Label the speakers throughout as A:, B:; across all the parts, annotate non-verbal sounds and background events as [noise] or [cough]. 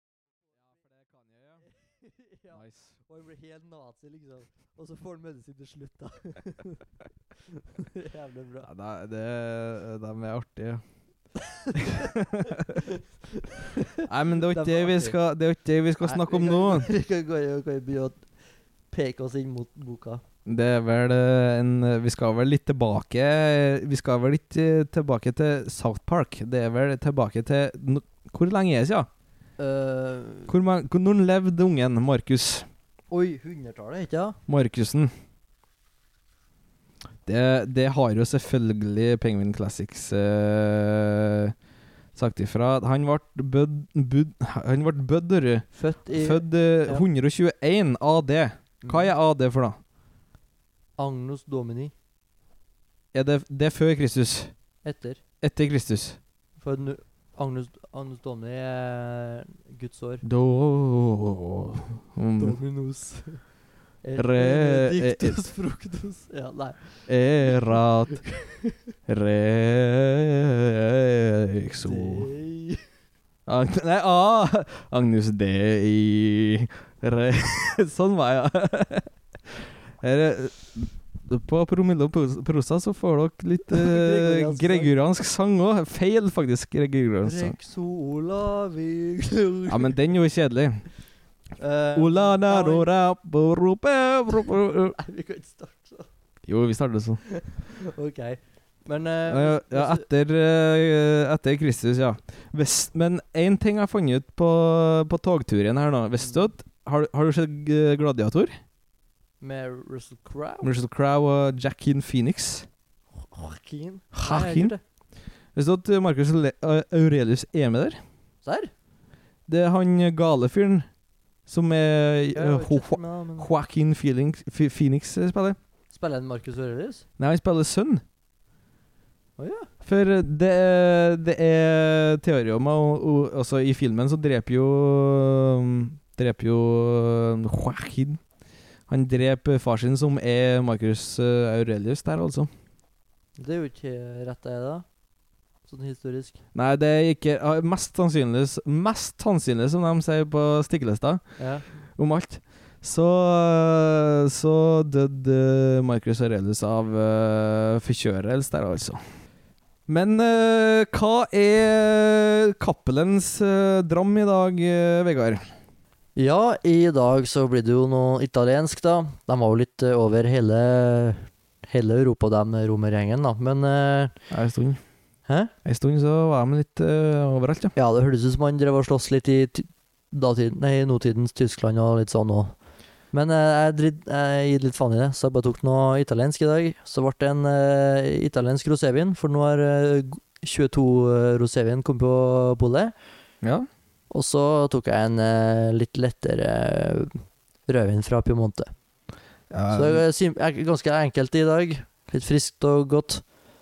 A: [laughs] ja.
B: Nice.
A: Og han blir helt nazi, liksom. Og så får han medisin til slutt, da. [laughs] Jævlig bra.
B: Nei, nei, det, de er artige. Nei, men det er jo
A: [laughs]
B: ikke
A: De er
B: det vi
A: artige.
B: skal, det er jo ikke det vi skal
A: Nei,
B: snakke om
A: vi
B: nå.
A: kan- [laughs] Vi kan gå inn og kan begynne å peke oss inn mot boka.
B: Det er vel eh, en Vi skal vel litt tilbake Vi skal vel litt eh, tilbake til South Park. Det er vel tilbake til no, Hvor lenge er det siden?
A: Eh,
B: Hvor man, hvor, når levde ungen Markus?
A: oi, hundretallet, ikke sant?
B: Markussen? Det, det har jo selvfølgelig Penguin Classics eh, sagt ifra. Han ble bødd bud, Han ble bødd, hører du.
A: Født i
B: Født eh,
A: ja.
B: 121 AD. Hva er AD for noe?
A: Agnus Domini.
B: Er det, det er før Kristus?
A: Etter.
B: Etter Kristus?
A: For nu, Agnus, Agnus Domini er Guds år.
B: Da mm,
A: Dominus.
B: Re- eh,
A: Dictus fructus. Ja, nei.
B: Erat Rexo
A: Dei-
B: Agn Nei, ah, Agnus Dei Re [laughs] Sånn var jeg. [laughs] Her er- På promille og pos- prosa så får dere
A: [laughs]
B: litt eh,
A: Gregoriansk sang.
B: gregoriansk sang òg. Feil, faktisk. Gregoriansk sang.
A: Rexo Olavi glor-
B: Ja, men den er jo kjedelig.
A: Eh,
B: Ola
A: [laughs] ja, men-
B: narora borope borope-
A: [laughs] Nei, vi kan ikke starte sånn.
B: Jo, vi starter sånn.
A: OK. Men eh,
B: Ja,
A: hvis-
B: ja,
A: hvis-
B: etter, eh, etter Kristus, ja. Vest, men én ting jeg fant ut på, på togturen her nå. Visste du at har, har du sett eh, Gladiator?
A: Med Russell Crowe?
B: Russell Crowe og Jackin Phoenix.
A: Joaquin?
B: Joaquin? Visste du at Marcus Le eh, Aurelius er med der?
A: Serr?
B: Det er han gale fyren som er eh, Ho- Ho-
A: Spiller
B: Joaquin Phoenix, Ph- Phoenix eh, spiller.
A: han Marcus Aurelius?
B: Nei, han spiller sønn.
A: Å ja.
B: For eh, det, er- det er teorier om og, og, Altså, i filmen så dreper jo um, Dreper jo um, Joaquin. Han dreper far sin, som er Marcus eh, Aurelius der, altså.
A: Det er jo ikke rett, det, da. Sånn historisk.
B: Nei, det er ikke ah, Mest sannsynlig Mest sannsynlig, som de sier på Stiklestad,
A: Ja.
B: om alt, så Så døde Marcus Aurelius av eh, forkjørelse der, altså. Men eh, hva er Cappelens eh, dram i dag, eh, Vegard?
A: ja, i dag så blir det jo noe italiensk, da. De var jo litt eh, over hele, hele Europa, dem romergjengen, da. Men eh,
B: Ei stund.
A: Hæ?
B: Ei stund så var de litt eh, overalt, ja.
A: ja, det hørtes ut som han drev og sloss litt i ty- datiden, nei, nåtidens Tyskland og litt sånn òg. Men eh, jeg, dritt, jeg gir litt faen i det, så jeg bare tok noe italiensk i dag. Så ble det en eh, italiensk rosévin, for nå har eh, 22 eh, rosévin kommet på bolet.
B: ja.
A: Og så tok jeg en eh, litt lettere eh, rødvin fra Piemonte. Så det er sim- er ganske enkelt i dag. Litt friskt og godt.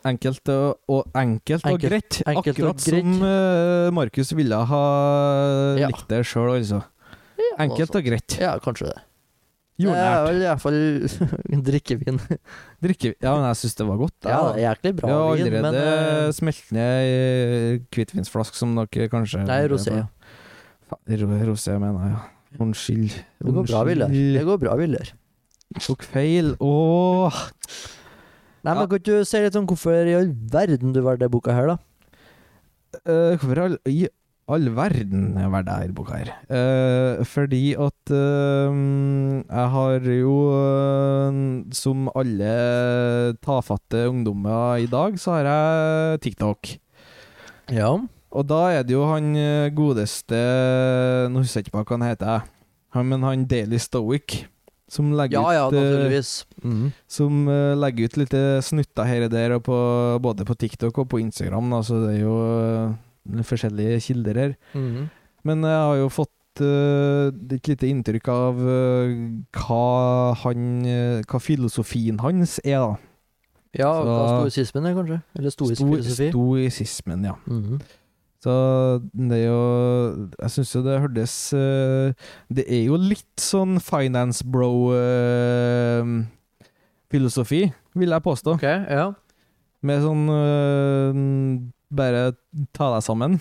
B: Enkelt og, og enkelt og
A: Enkelt-
B: greit.
A: enkelt og
B: Akkurat
A: greit.
B: som eh, Markus ville ha
A: Ja.
B: likt det sjøl, altså. Enkelt og greit.
A: Ja, kanskje det.
B: Jordnært.
A: Det er vel iallfall [laughs] drikkevin.
B: Drikke Ja, men jeg syns det var godt. da.
A: Ja, det er jæklig
B: Vi
A: bra
B: har
A: vin,
B: allerede
A: men eh,
B: smelt ned ei hvitvinsflask som dere kanskje
A: Nei, rosé.
B: Fa- ro- Rosé, mener jeg, ja. Unnskyld.
A: det går bra, Viljar. Det går bra, Viljar.
B: Tok feil. Åh.
A: Nei, men
B: Ja.
A: Kan du si litt om hvorfor i all verden du valgte denne boka her, da?
B: Eh, hvorfor i all, i all verden var det her boka her? Eh, fordi at eh, jeg har jo eh, Som alle tafatte ungdommer i dag, så har jeg TikTok.
A: Ja.
B: Og da er det jo han eh, godeste Nå husker jeg ikke på hva han heter, jeg. han, men han Daily Stoic. Som legger,
A: Ja, ja,
B: ut, eh,
A: naturligvis. Mhm.
B: som eh, legger ut lite snutter her og der, og på, både på TikTok og på Instagram. Da, så det er jo eh, forskjellige kilder her.
A: Mhm.
B: Men jeg har jo fått eh, et lite inntrykk av eh, hva, han, eh, hva filosofien hans er, da.
A: Ja,
B: Så-
A: hva stoisismen er, kanskje? Eller stoisk
B: Sto-
A: filosofi?
B: Stoisismen, ja.
A: Mhm.
B: Så det er jo Jeg syns jo det hørtes eh, Det er jo litt sånn finance bro-filosofi, vil jeg påstå.
A: Ok, ja.
B: Med sånn eh, Bare ta deg sammen.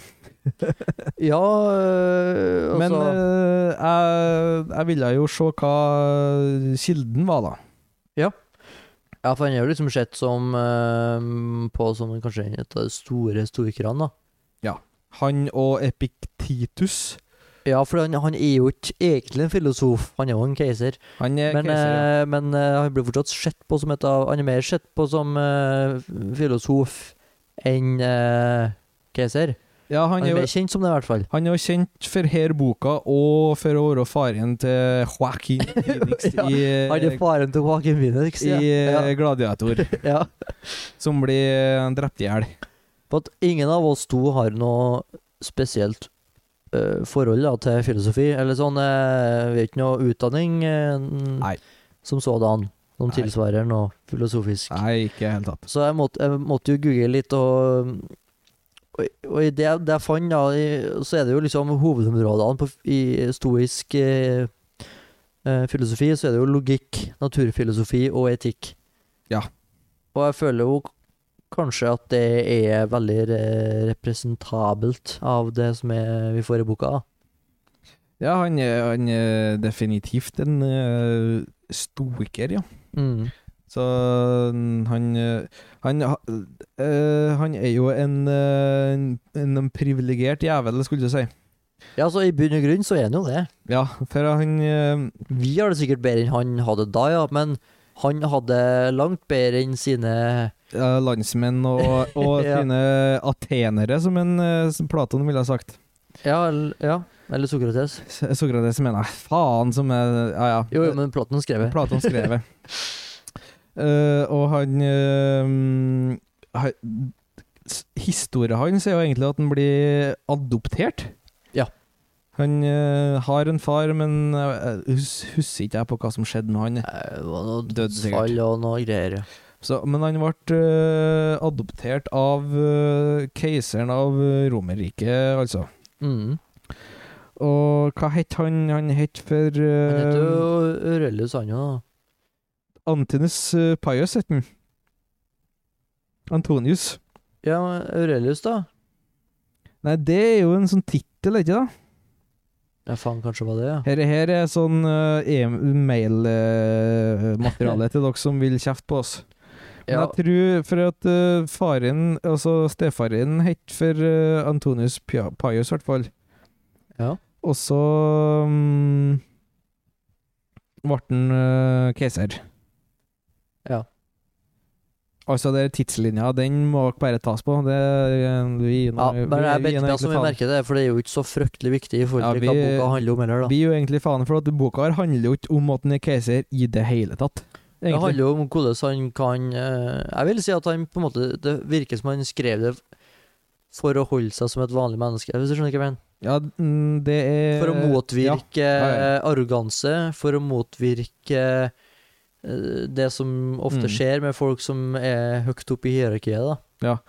A: [laughs] Ja, øh,
B: Men
A: altså
B: eh, jeg, jeg ville jo se hva kilden var, da.
A: Ja, for han er jo liksom sett som eh, på som kanskje en av de store historikerne, da.
B: Han og Epiktitus.
A: Ja, for han, han er jo ikke egentlig en filosof, han er jo en keiser.
B: Han er
A: Men,
B: keiser.
A: eh, men eh, han blir fortsatt sett på som et av Han er mer sett på som eh, filosof enn eh, keiser.
B: Ja, han
A: Han
B: er
A: er
B: jo
A: mer kjent som det, i hvert fall.
B: han er jo kjent for her boka og for å være faren til
A: [laughs]
B: Joaquin Phoenix
A: Ja, Han er
B: i, eh,
A: faren til Joaquin Phoenix.
B: i
A: Ja.
B: eh, Gladiator,
A: [laughs] Ja. ja.
B: som blir eh, drept i hjel.
A: For at ingen av oss to har noe spesielt eh, forhold da, til filosofi. Eller sånn eh, Vi har ikke noe utdanning eh,
B: Nei.
A: som sådan som
B: Nei.
A: tilsvarer noe filosofisk.
B: Nei, ikke i det hele tatt.
A: Så jeg måtte, jeg måtte jo google litt, og, og, og i det, det jeg fant, da, i- så er det jo liksom hovedområdene på, f- i stoisk eh, eh, filosofi, så er det jo logikk, naturfilosofi og etikk.
B: Ja.
A: Og jeg føler jo kanskje at det er veldig re- representabelt av det som er, vi får i boka. da.
B: Ja, han er, han er definitivt en eh, stoiker, ja.
A: Mm.
B: Så mm, han eh, Han, ha- eh, han er jo en, eh, en, en privilegert jævel, skulle du si.
A: Ja, så i bunn og grunn så er han jo det.
B: Ja, for han eh,
A: Vi har det sikkert bedre enn han hadde da, ja, men han hadde langt bedre enn sine
B: er eh, landsmenn
A: [laughs]
B: og, og
A: Ja.
B: sine atenere, som, en, eh, som Platon ville ha sagt.
A: Ja, eller, ja. eller Sokrates.
B: S- Sokrates mener jeg. Faen, som er Ja, ja.
A: Jo, jo, men Platon skrev det.
B: Platon skrev
A: [laughs]
B: det. Eh, og han uh, Historien hans er jo egentlig at han blir adoptert.
A: Ja.
B: Han eh, har en far, men jeg hus husker ikke jeg på hva som skjedde med han.
A: Eh, Det var noe
B: Døde sikkert.
A: dødsfall og noe greier. ja.
B: Så, men han ble eh, adoptert av eh, keiseren av eh, Romerriket, altså.
A: Mm.
B: Og hva het han? Han het for
A: Han
B: eh,
A: heter jo Aurelius han jo, da.
B: Antinus uh, Pius, het han. Antonius.
A: Ja, men Aurelius, da?
B: Nei, det er jo en sånn tittel, ikke det?
A: Ja, faen, kanskje var det, ja.
B: Her, her er sånn eh, e-mail-materiale til dere som vil kjefte på oss. Men
A: ja.
B: jeg tror for at eh, faren, altså stefaren, het for eh, Antonius Pia- Pius, i hvert fall.
A: Ja.
B: Og så mm, ble han eh, keiser.
A: Ja.
B: Altså, det er tidslinja, den må dere bare tas på. Det, eh, vi,
A: ja
B: vi-
A: men jeg
B: vi- vi gir
A: vet ikke
B: noe
A: altså, vi
B: faen.
A: merker det, for det er jo ikke så fryktelig viktig i forhold
B: Ja,
A: til
B: vi-
A: hva boka handler om heller, da.
B: blir jo egentlig faen for at boka her handler jo ikke om at han er keiser i det hele tatt.
A: Det handler
B: Egentlig.
A: jo om hvordan han kan eh, Jeg vil si at han på en måte Det virker som han skrev det for å holde seg som et vanlig menneske, hvis du skjønner hva jeg mener.
B: Ja, mm, det er
A: For å
B: Ja,
A: motvirke
B: ja, ja.
A: eh, arroganse, for å motvirke eh, det som ofte
B: Mm.
A: skjer med folk som er høyt oppe i hierarkiet. da.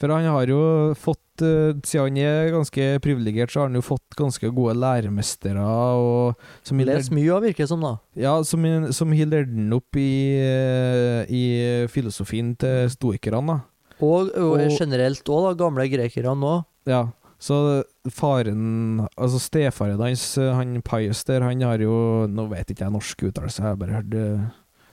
B: for han har jo fått eh, Siden han er ganske privilegert, så har han jo fått ganske gode læremestere og som har
A: Les
B: lært-
A: mye av, virker det som, da.
B: ja, som, som har lært han opp i, eh, i filosofien til stoikerne, da.
A: Og, og
B: Og-
A: generelt òg, da. Gamle grekere nå.
B: Ja, så faren Altså stefaren hans, eh, han Pius der, han har jo Nå vet ikke jeg norsk uttalelse, jeg har bare hørt eh, det.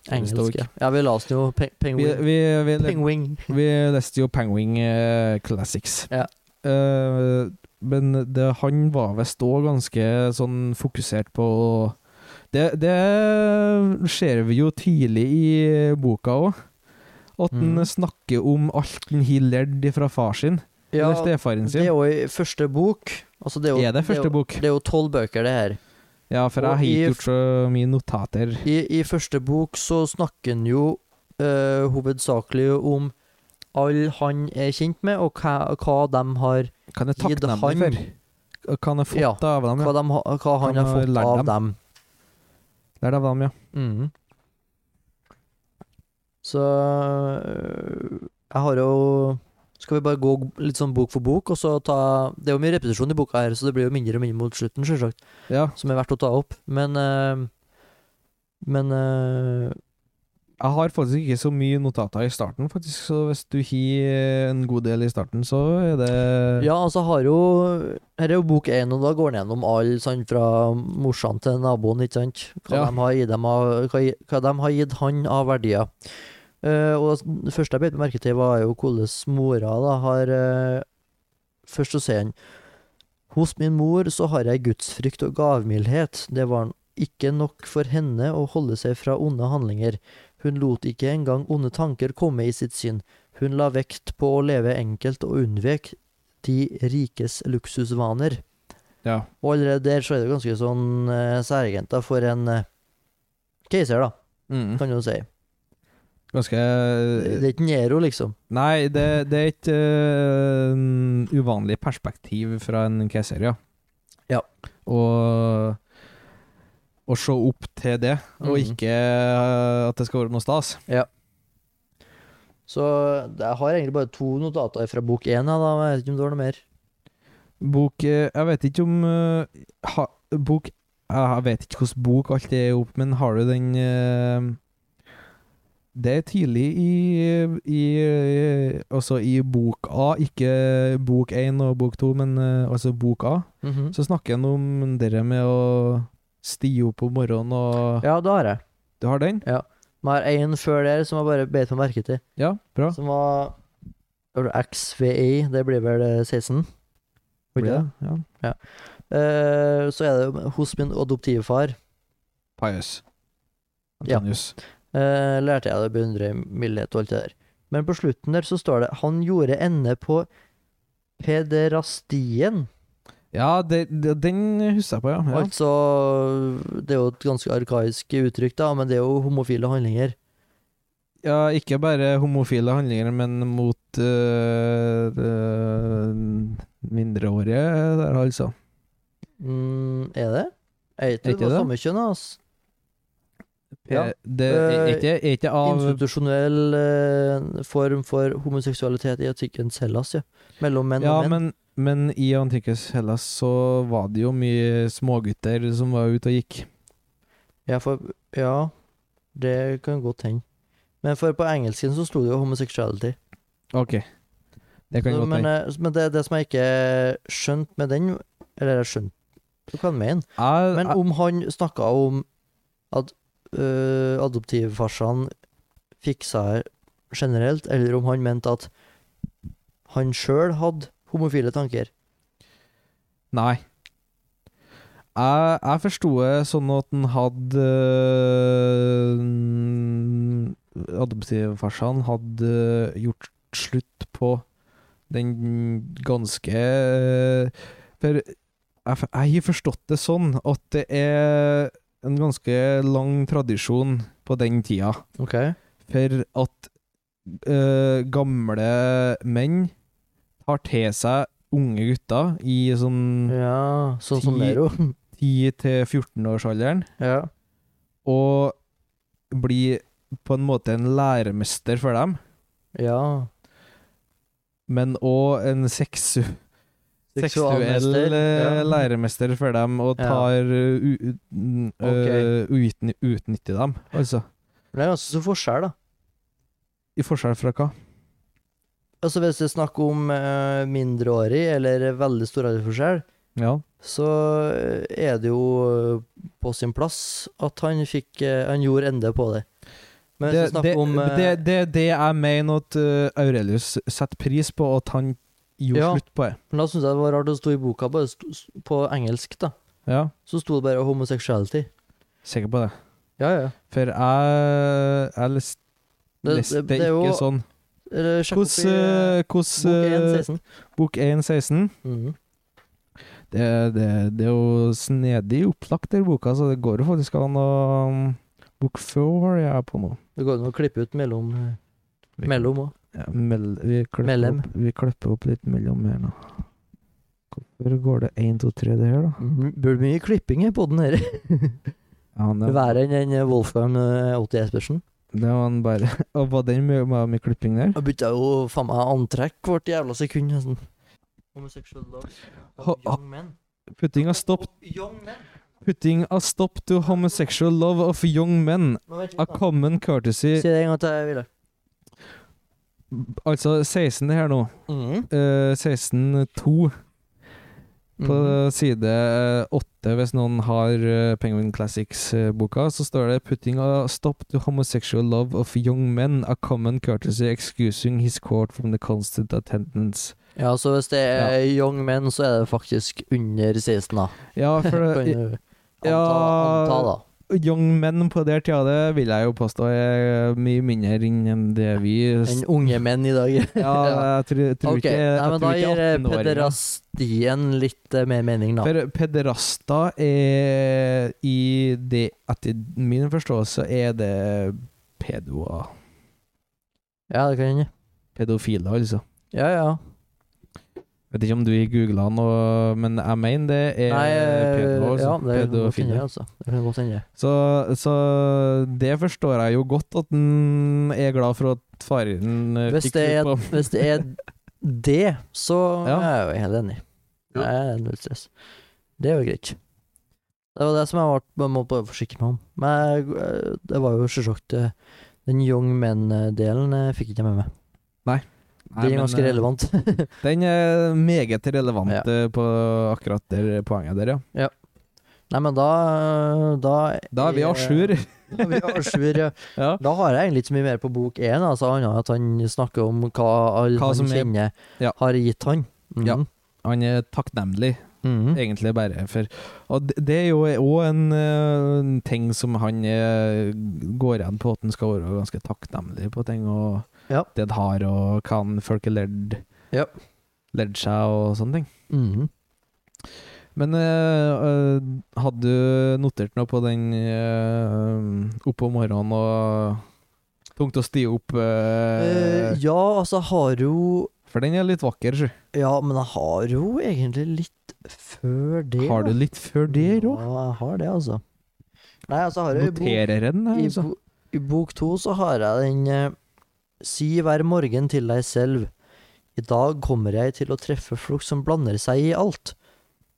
A: Engelsk.
B: Stoik.
A: ja. Ja, vi leste jo pe
B: Vi,
A: Penguin.
B: vi, vi,
A: Penguin.
B: Vi leste jo Penguin eh, Classics.
A: Ja.
B: Eh, men det, han var visst òg ganske sånn fokusert på Det, det ser vi jo tidlig i boka òg. At han
A: Mm.
B: snakker om alt han har lært fra far sin,
A: Ja,
B: eller stefaren
A: det er
B: sin.
A: jo i første bok. Altså, det er, jo,
B: er det første
A: jo-
B: bok?
A: Det er jo tolv bøker, det her.
B: Ja, for
A: Og
B: jeg har
A: i-
B: ikke gjort så mye notater.
A: I, I første bok så snakker han jo eh, hovedsakelig om alle han er kjent med, og hva, hva de har
B: Kan jeg
A: Gi det
B: takke dem
A: han.
B: for? Kan jeg fått
A: Ja.
B: det av dem?
A: Hva,
B: Ja.
A: de, ha- hva
B: Hva
A: han har
B: de
A: fått
B: lærte
A: av dem.
B: Det er det av dem, ja.
A: Mhm. Så øh, jeg har jo Skal vi bare gå litt sånn bok for bok, og så ta Det er jo mye repetisjon i boka her, så det blir jo mindre og mindre mot slutten, selvsagt,
B: ja.
A: eh, som er verdt å ta opp. Men øh, Men øh,
B: Jeg har faktisk ikke så mye notater i starten, faktisk, så hvis du har eh, en god del i starten, så er det
A: Ja, altså har jo Her er jo bok én, og da går den gjennom alle, sånn fra morsan til naboen, ikke sant? Hva,
B: Ja.
A: de, har gitt dem av, hva, gi- hva de har gitt han av verdier. Eh, og det første jeg bet merke til, var jo hvordan mora da har eh, Først så sier han Hos min mor så har jeg gudsfrykt og gavmildhet. Det var ikke nok for henne å holde seg fra onde handlinger. Hun lot ikke engang onde tanker komme i sitt syn. Hun la vekt på å leve enkelt og unnvek de rikes luksusvaner.
B: ja.
A: Og allerede der så er det ganske sånn uh, særegent da, for en eh, keiser, da,
B: Mm.
A: kan du jo si.
B: Ganske
A: Det er ikke Nero, liksom.
B: Nei, det, det er et øh, uvanlig perspektiv fra en keiser, ja.
A: Ja.
B: Og å se opp til det, og
A: Mhm.
B: ikke øh, at det skal være noe stas.
A: Så jeg har egentlig bare to notater fra bok én, ja, da. men Jeg vet ikke om du har noe mer.
B: Bok eh, Jeg vet ikke om eh, ha, Bok Jeg vet ikke hvordan bok alt det er opp, men har du den eh, Det er tidlig i, i eh, Altså i bok A, ikke bok 1 og bok 2, men eh, altså bok A. Så snakker han om det der med å stige opp om morgenen og
A: Ja, det har jeg.
B: Du har den?
A: Men jeg har én før der som jeg bare bet meg merke til,
B: Ja, bra.
A: som var Hva var det, XVI, det blir vel eh, 16? Var
B: Blir
A: ikke det?
B: det? Ja.
A: Eh, så er det jo hos min adoptivfar.
B: Pius.
A: Ja.
B: Antonius.
A: Eh, lærte jeg det å beundre mildhet og alt det der. Men på slutten der så står det 'Han gjorde ende på pederastien'.
B: Ja, det, det, den husker jeg på, ja. ja.
A: Altså Det er jo et ganske arkaisk uttrykk, da, men det er jo homofile handlinger.
B: ja ikke bare homofile handlinger, men mot øh, øh, mindreårige der, altså.
A: Mm, er det? Er ikke det
B: Ikke
A: på
B: det?
A: samme kjønn, ass? Ja.
B: Eh, Det er
A: Eh,
B: ikke, er ikke av
A: Institusjonell eh, form for homoseksualitet i antikkens Hellas, ja. Mellom menn
B: Ja,
A: og menn.
B: men, men i antikkes Hellas så var det jo mye smågutter som var ute og gikk.
A: Ja, for, ja, det kan godt hende. Men for på engelsken så sto det jo 'homosexuality'.
B: OK. Det kan
A: Så,
B: godt
A: men
B: hende.
A: eh, men det, det som jeg ikke skjønte med den Eller jeg skjønte hva han mener,
B: Jeg-
A: eh, men om han snakka om at øh, adoptivfarsan fiksa det generelt, eller om han mente at han sjøl hadde homofile tanker.
B: Nei. Jeg, jeg forsto det sånn at han hadde øh, Adoptivfarsan hadde gjort slutt på den ganske øh, For jeg, f- jeg har forstått det sånn at det er en ganske lang tradisjon på den tida
A: Ok.
B: for at øh, gamle menn tar til seg unge gutter i sånn
A: Ja, sånn som
B: Ti- [laughs]
A: Nero.
B: 10-14-årsalderen
A: ja.
B: og bli på en måte en læremester for dem,
A: ja.
B: men òg en seksu seksuell
A: Seksualmester,
B: eh,
A: ja.
B: læremester for dem, og
A: Ja.
B: tar eh, u- u- n- eh, utny utnytter dem, altså.
A: Men det er ganske stor forskjell, da.
B: I forskjell fra hva?
A: Altså Hvis det er snakk om eh, mindreårig eller veldig stor aldersforskjell,
B: Ja.
A: så er det jo eh, på sin plass at han fikk eh, Han gjorde ende på det. Men
B: Det
A: hvis
B: er
A: vi
B: det,
A: snakker om eh,
B: det, det, det jeg mener at eh, Aurelius setter pris på, at han gjorde
A: Ja.
B: slutt på det.
A: men Da syns jeg det var rart det sto i boka, bare sto, s- på engelsk, da.
B: Ja,
A: Så sto det bare 'homosexuality'.
B: sikker på det.
A: Ja, ja.
B: For jeg, jeg leste
A: Det,
B: leste
A: det, det er jo
B: ikke sånn.
A: eller, Sjekk opp i eh, bok
B: Hvordan
A: 1.16.
B: Bok 1.16
A: Mhm.
B: det, det, det er jo snedig opplagt der boka, så det går jo faktisk an å Bok 4 jeg er på nå.
A: Det går an å klippe ut mellom eh,
B: Vi-
A: Mellom òg.
B: Ja, mell, vi, klipper
A: Mellem.
B: opp, vi klipper opp litt mellom her nå. Hvorfor går det 1, 2, 3 det her, da?
A: Burde mye klipping i podden her.
B: Ja, det,
A: [laughs] Verre enn den eh, Wolfgang eh, 80 Espersen.
B: det var en bare [laughs] Og var den med, med, med klipping der?
A: Jeg bytta jo faen meg antrekk hvert jævla sekund. nesten. Homosexual love
B: Ha-
A: of young men.
B: Puttinga stoppet
A: Young men.
B: Putting a stop to homosexual love of young men. A common courtesy
A: Si det en gang til, Ville.
B: Altså 16 det her nå.
A: Mm.
B: Eh, 16.2 Mm. på
A: Mhm.
B: side eh, 8, hvis noen har eh, Penguin Classics-boka, så står det 'Putting a stop to homosexual love of young men, a common courtesy excusing his court from the constant attendance'.
A: Ja, så hvis det er young men, så er det faktisk under 16, da. [laughs]
B: Ja, for
A: Kan
B: det,
A: du anta,
B: Eh, Ja.
A: anta, da.
B: young men på der tida, det vil jeg jo påstå er eh, mye mindre enn det vi
A: Enn unge menn i dag.
B: [laughs]
A: [laughs]
B: Ja, jeg tror, tror
A: Ok,
B: ikke jeg
A: Nei, men da
B: tror ikke
A: gir eh,
B: 18-åringer.
A: pederastien litt eh, mer mening, da.
B: For pederaster er i det Etter min forståelse er det pedoer.
A: Ja, det kan hende.
B: Pedofile, altså.
A: Ja, ja.
B: Vet ikke om du googla noe, men jeg mener det er
A: Nei, eh,
B: pedoer. Altså.
A: ja, det kan godt hende,
B: pedofile.
A: altså. Det kan godt hende.
B: Så, så det forstår jeg jo godt, at han er glad for at faren eh,
A: Hvis
B: fikk
A: det er,
B: ut på
A: hvis det, er det, så
B: [laughs] Ja.
A: er jeg jo helt enig.
B: Ja.
A: Det er null stress. Det er jo greit. Det var det som jeg var, må bare forsikre meg om. Men jeg, eh, det var jo selvsagt eh, den young men-delen eh, fikk ikke jeg med meg.
B: Nei,
A: Den er
B: men,
A: ganske
B: eh,
A: relevant. [laughs]
B: Den er meget relevant
A: Ja.
B: eh, på akkurat det poenget der, ja.
A: Nei, men da Da,
B: Da er vi à jour.
A: [laughs]
B: [laughs]
A: Da er vi à jour, ja.
B: Ja.
A: Da har jeg egentlig ikke så mye mer på bok én, altså, annet enn at han snakker om hva alle
B: Hva som
A: han
B: er-
A: kjenner,
B: Ja.
A: har gitt han. Mhm.
B: Ja. Han er takknemlig.
A: Mhm.
B: egentlig bare for Og det, det er jo òg en, eh, en ting som han eh, går igjen på, at han skal være ganske takknemlig på ting, og
A: Ja.
B: det han har, og hva han folk har lært
A: Ja.
B: lært seg, og sånne ting.
A: Mhm.
B: Men eh, eh, hadde du notert noe på den eh, oppe om morgenen og tungt å stige opp? eh,
A: Eh, ja, altså, jeg har jo
B: for den er litt vakker, sjø.
A: Ja, men jeg har jo egentlig litt før det.
B: Har du
A: da.
B: litt før det òg?
A: Ja, jeg har det, altså. Nei, altså, jeg har jo i bok-
B: Noterer den,
A: I,
B: altså?
A: bo, I bok to så har jeg den eh, Si hver morgen til deg selv. I dag kommer jeg til å treffe folk som blander seg i alt.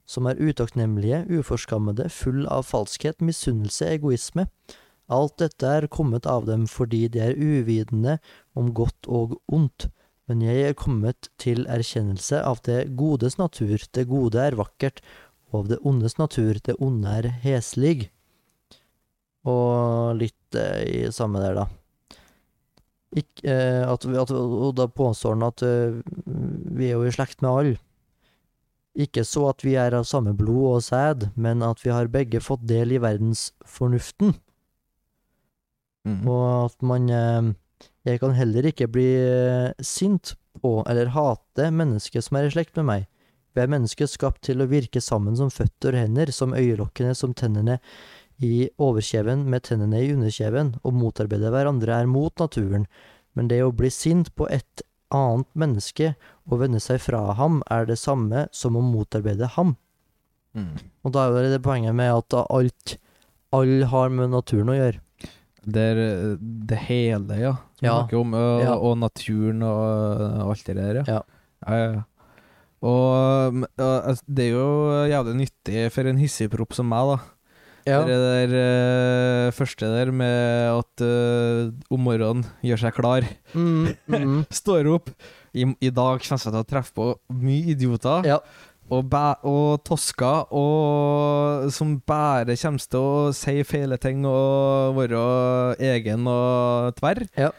A: Som er utakknemlige, uforskammede, full av falskhet, misunnelse, egoisme. Alt dette er kommet av dem fordi de er uvitende om godt og ondt. Men jeg er kommet til erkjennelse av det godes natur, det gode er vakkert, og av det ondes natur, det onde er heslig. Og litt eh, i samme der, da. Ikk, eh, at, vi- at, og da påstår han at eh, vi er jo i slekt med alle. Ikke så at vi er av samme blod og sæd, men at vi har begge fått del i verdensfornuften.
B: Mhm.
A: Og at man eh, Jeg kan heller ikke bli eh, sint på eller hate mennesket som er i slekt med meg. Vi er mennesker skapt til å virke sammen som føtter og hender, som øyelokkene, som tennene i overkjeven, med tennene i underkjeven. Å motarbeide hverandre er mot naturen, men det å bli sint på et annet menneske og vende seg fra ham, er det samme som å motarbeide ham.
B: Mhm.
A: Og da er jo det poenget med at da alt, all har med naturen å gjøre.
B: Der, eh, det hele, ja. Som
A: Ja.
B: snakker om, og,
A: Ja.
B: og naturen og, og alt det der,
A: Ja.
B: Ja, ja, ja. Og mm, og, altså, det er jo jævlig nyttig for en hissigpropp som meg, da. Det der eh, første der med at eh, om morgenen gjør seg klar,
A: Mm, mm.
B: står opp. I, i dag kommer jeg til å treffe på mye idioter.
A: Ja.
B: Og, bæ og tosker og som bare kommer til å si feile ting og være egen og tverr.
A: Ja.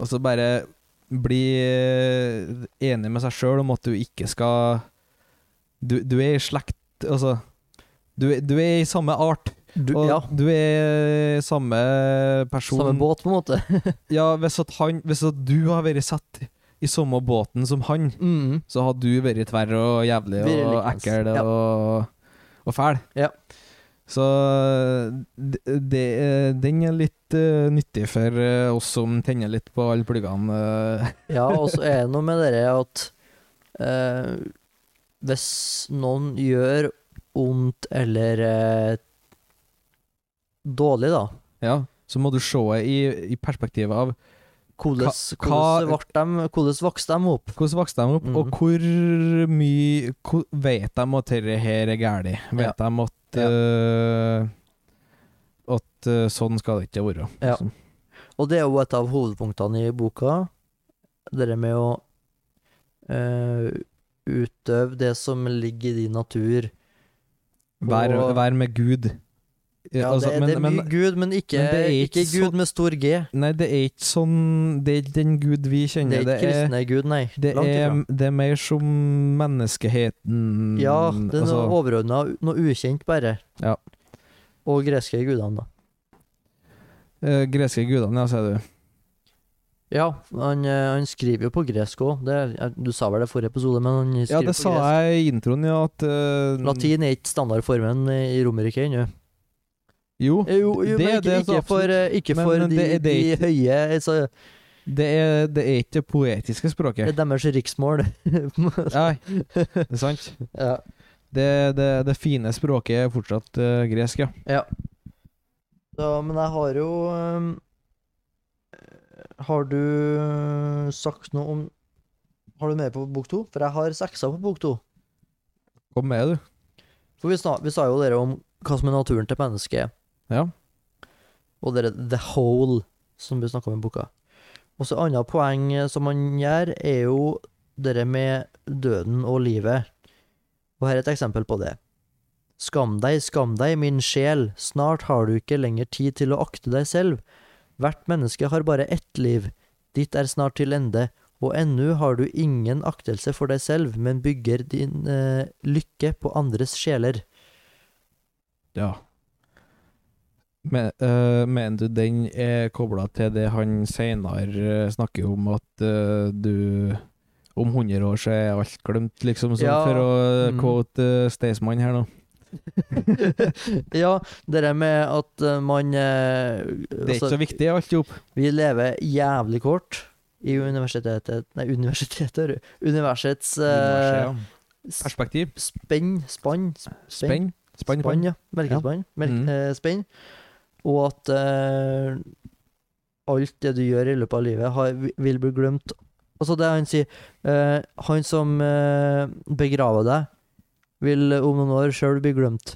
B: Og så bare bli enig med seg sjøl om at du ikke skal Du, du er i slekt Altså, du, er- du er i samme art,
A: Du,
B: og
A: ja,
B: du er samme person.
A: samme båt, på en måte. [laughs]
B: Ja, hvis at, han, hvis at du har vært satt i samme båten som han,
A: Mm.
B: så har du vært tverr og jævlig
A: Vært
B: og
A: likens,
B: ekkel
A: ja.
B: og, og fæl.
A: Ja.
B: Så det, det, den er litt eh, nyttig for eh, oss som tenner litt på alle pluggene. eh. [laughs]
A: Ja, og så er det noe med det at eh, hvis noen gjør ondt eller eh, dårlig, da
B: ja. Så må du se det i, i perspektivet av
A: Hvordan hvordan
B: hva-
A: vart de- hvordan vokste de opp?
B: Hvordan vokste de opp,
A: Mhm.
B: og hvor mye hvor, Vet de at dette her er galt? Vet de at
A: Ja.
B: eh, At eh, sånn skal det ikke være?
A: Ja.
B: liksom.
A: Og det er jo et av hovedpunktene i boka. Det der med å eh, utøve det som ligger i din natur.
B: Vær,
A: Og-
B: vær med Gud. Eh,
A: Ja,
B: altså,
A: det,
B: men,
A: det er mye
B: men,
A: Gud, men ikke,
B: men det er
A: ikke,
B: ikke
A: Gud
B: så-
A: med stor G.
B: Nei, det er ikke sånn Det er ikke den Gud vi
A: Det
B: kjenner.
A: er ikke kristne Gud, nei.
B: det
A: Langt
B: er, mm,
A: ifra.
B: det er mer som menneskeheten
A: Ja, det er noe
B: altså,
A: overordna, noe ukjent, bare.
B: Ja.
A: Og greske gudene, da.
B: eh, Greske gudene, ja, sier du.
A: Ja, han, eh, han skriver jo på gresk òg. Du sa vel det i forrige episode, men han skriver
B: Ja, det
A: på
B: sa
A: gresk.
B: jeg i introen, ja, at eh,
A: Latin er ikke standardformen i Romerike ennå.
B: Jo,
A: Jo, jo
B: det,
A: men
B: er
A: ikke,
B: det, så
A: ikke for, eh, ikke
B: Men,
A: for
B: men
A: de,
B: det er- det er
A: de høye altså,
B: Det er, det er ikke det poetiske
A: Det
B: språket.
A: er deres riksmål. [laughs]
B: Nei, det er sant.
A: ja.
B: Det, det, det fine språket er fortsatt eh, gresk, ja.
A: Så, men jeg har jo ehm, Har du sagt noe om Har du mer på bok to? For jeg har seksa på bok to.
B: Kom med, du.
A: For vi, snak, vi sa jo dere om hva som er naturen til mennesket,
B: Ja.
A: og dere the whole, som vi snakka om i boka. Og så et annet poeng eh, som man gjør, er jo dere med døden og livet. Og her er et eksempel på det. Skam deg, skam deg, min sjel, snart har du ikke lenger tid til å akte deg selv. Hvert menneske har bare ett liv, ditt er snart til ende, og ennu har du ingen aktelse for deg selv, men bygger din eh, lykke på andres sjeler.
B: ja. Men, eh, mener du den er kobla til det han seinere snakker om, at eh, du om 100 år så er alt glemt, liksom, sånn
A: Ja.
B: for å
A: Mm.
B: quote uh, Staysman her nå.
A: [laughs] ja, det der med at eh, man eh,
B: Det er
A: altså,
B: ikke så viktig, alt i hop.
A: Vi lever jævlig kort i universitetet Nei, universitetet, hører du. Universets eh, s-
B: Perspektiv.
A: spenn, spann,
B: Spenn. Spann.
A: spann, ja. Melkespann. Melk,
B: Mm.
A: eh, spenn. Og at eh, alt det du gjør i løpet av livet, har, vil bli glemt. Altså det han sier eh, Han som eh, begraver deg, vil om noen år sjøl bli glemt.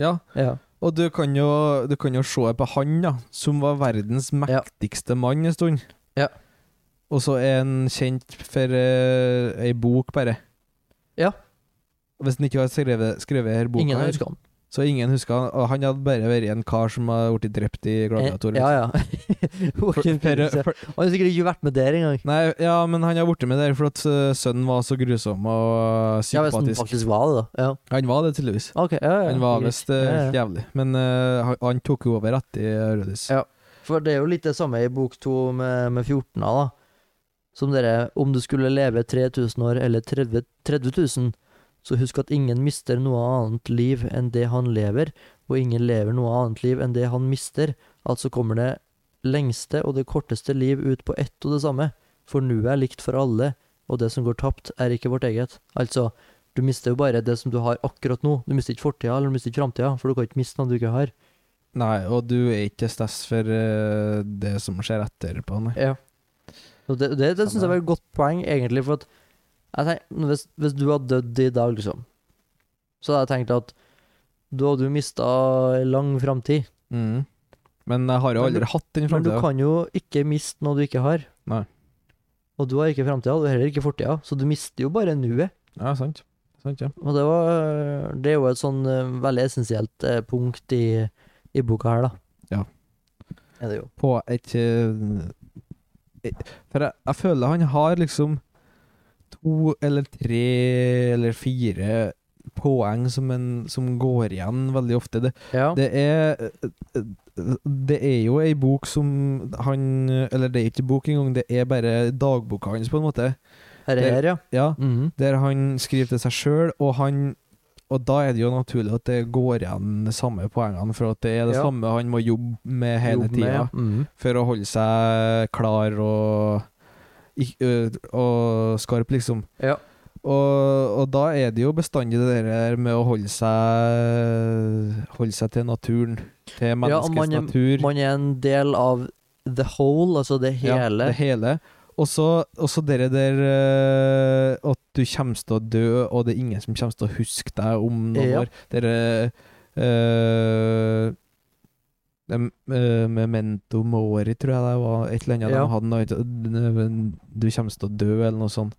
B: Ja.
A: ja.
B: Og du kan, jo, du kan jo se på han, da, som var verdens mektigste mann en stund.
A: Ja.
B: Og så er han kjent for eh, ei bok, bare.
A: Ja.
B: Hvis han ikke har skrevet, skrevet her boka,
A: Ingen
B: her,
A: husker han.
B: så ingen husker han. Og han hadde bare vært en kar som har blitt drept i gladiator.
A: Eh, Ja, [laughs] ja.
B: For,
A: Joaquin
B: for,
A: Phoenix, ja.
B: for,
A: Han har sikkert ikke vært med der engang.
B: nei, ja, men han har blitt med der for at eh, sønnen var så grusom og eh,
A: Ja, hvis han
B: sympatisk.
A: faktisk var det, da. Ja.
B: han var det, tydeligvis.
A: Ok, ja, ja.
B: Han var
A: greit.
B: visst eh,
A: Ja, ja.
B: helt jævlig. Men eh, han, han tok jo over etter Rødhus.
A: Ja. For det er jo litt det samme i bok to med, med 14 da. Som dere, om du skulle leve 3000 år eller 30, 30 000, så husk at ingen mister noe annet liv enn det han lever, og ingen lever noe annet liv enn det han mister. Altså kommer det lengste og det korteste liv ut på ett og det samme, for nuet er likt for alle, og det som går tapt, er ikke vårt eget. Altså, du mister jo bare det som du har akkurat nå. Du mister ikke fortida, eller du mister ikke framtida, for du kan ikke miste noe du ikke har.
B: Nei, og du er ikke stess for eh, det som skjer etterpå, nei.
A: Ja. Og det det, det syns jeg
B: Samme.
A: var et godt poeng, egentlig. For at jeg tenk, hvis, hvis du hadde dødd i dag, liksom, så hadde jeg tenkt at da hadde du mista lang framtid.
B: Mm. Men jeg har jo
A: Men du-
B: aldri hatt den
A: Men du
B: framtida.
A: kan jo ikke miste noe du ikke har.
B: Nei.
A: Og du har ikke framtida, og heller ikke fortida, så du mister jo bare nuet.
B: Ja, sant. sant ja.
A: Og det, var, det er jo et sånn eh, veldig essensielt eh, punkt i, i boka her, da.
B: Ja.
A: Er det jo.
B: På et eh, et- For jeg, jeg føler han har liksom to eller tre eller fire poeng som, en, som går igjen veldig ofte. Det,
A: Ja.
B: Det er eh, Det er jo ei bok som han Eller det er ikke bok engang, det er bare dagboka hans, på en måte.
A: her er
B: det-
A: her, ja.
B: Ja,
A: Mhm.
B: Der han skriver til seg sjøl, og han Og da er det jo naturlig at det går igjen de samme poengene, for at det er det
A: Ja.
B: samme han må jobbe med hele
A: Jobb med, ja.
B: tida
A: Mhm.
B: for å holde seg klar og ikk- ø, og skarp, liksom.
A: Ja.
B: Og, og da er det jo bestandig det der med å holde seg Holde seg til naturen. Til
A: Ja, og
B: menneskets
A: man er-
B: natur.
A: Man er en del av the whole, altså det
B: Ja,
A: hele.
B: det hele. Og så og så dere der eh, at du kommer til å dø, og det er ingen som kommer til å huske deg om noen
A: Ja.
B: år. Dere eh, dem, eh, Memento mori, tror jeg det var. Et eller annet
A: Ja.
B: de hadde. Noe, du kommer til å dø, eller noe sånt.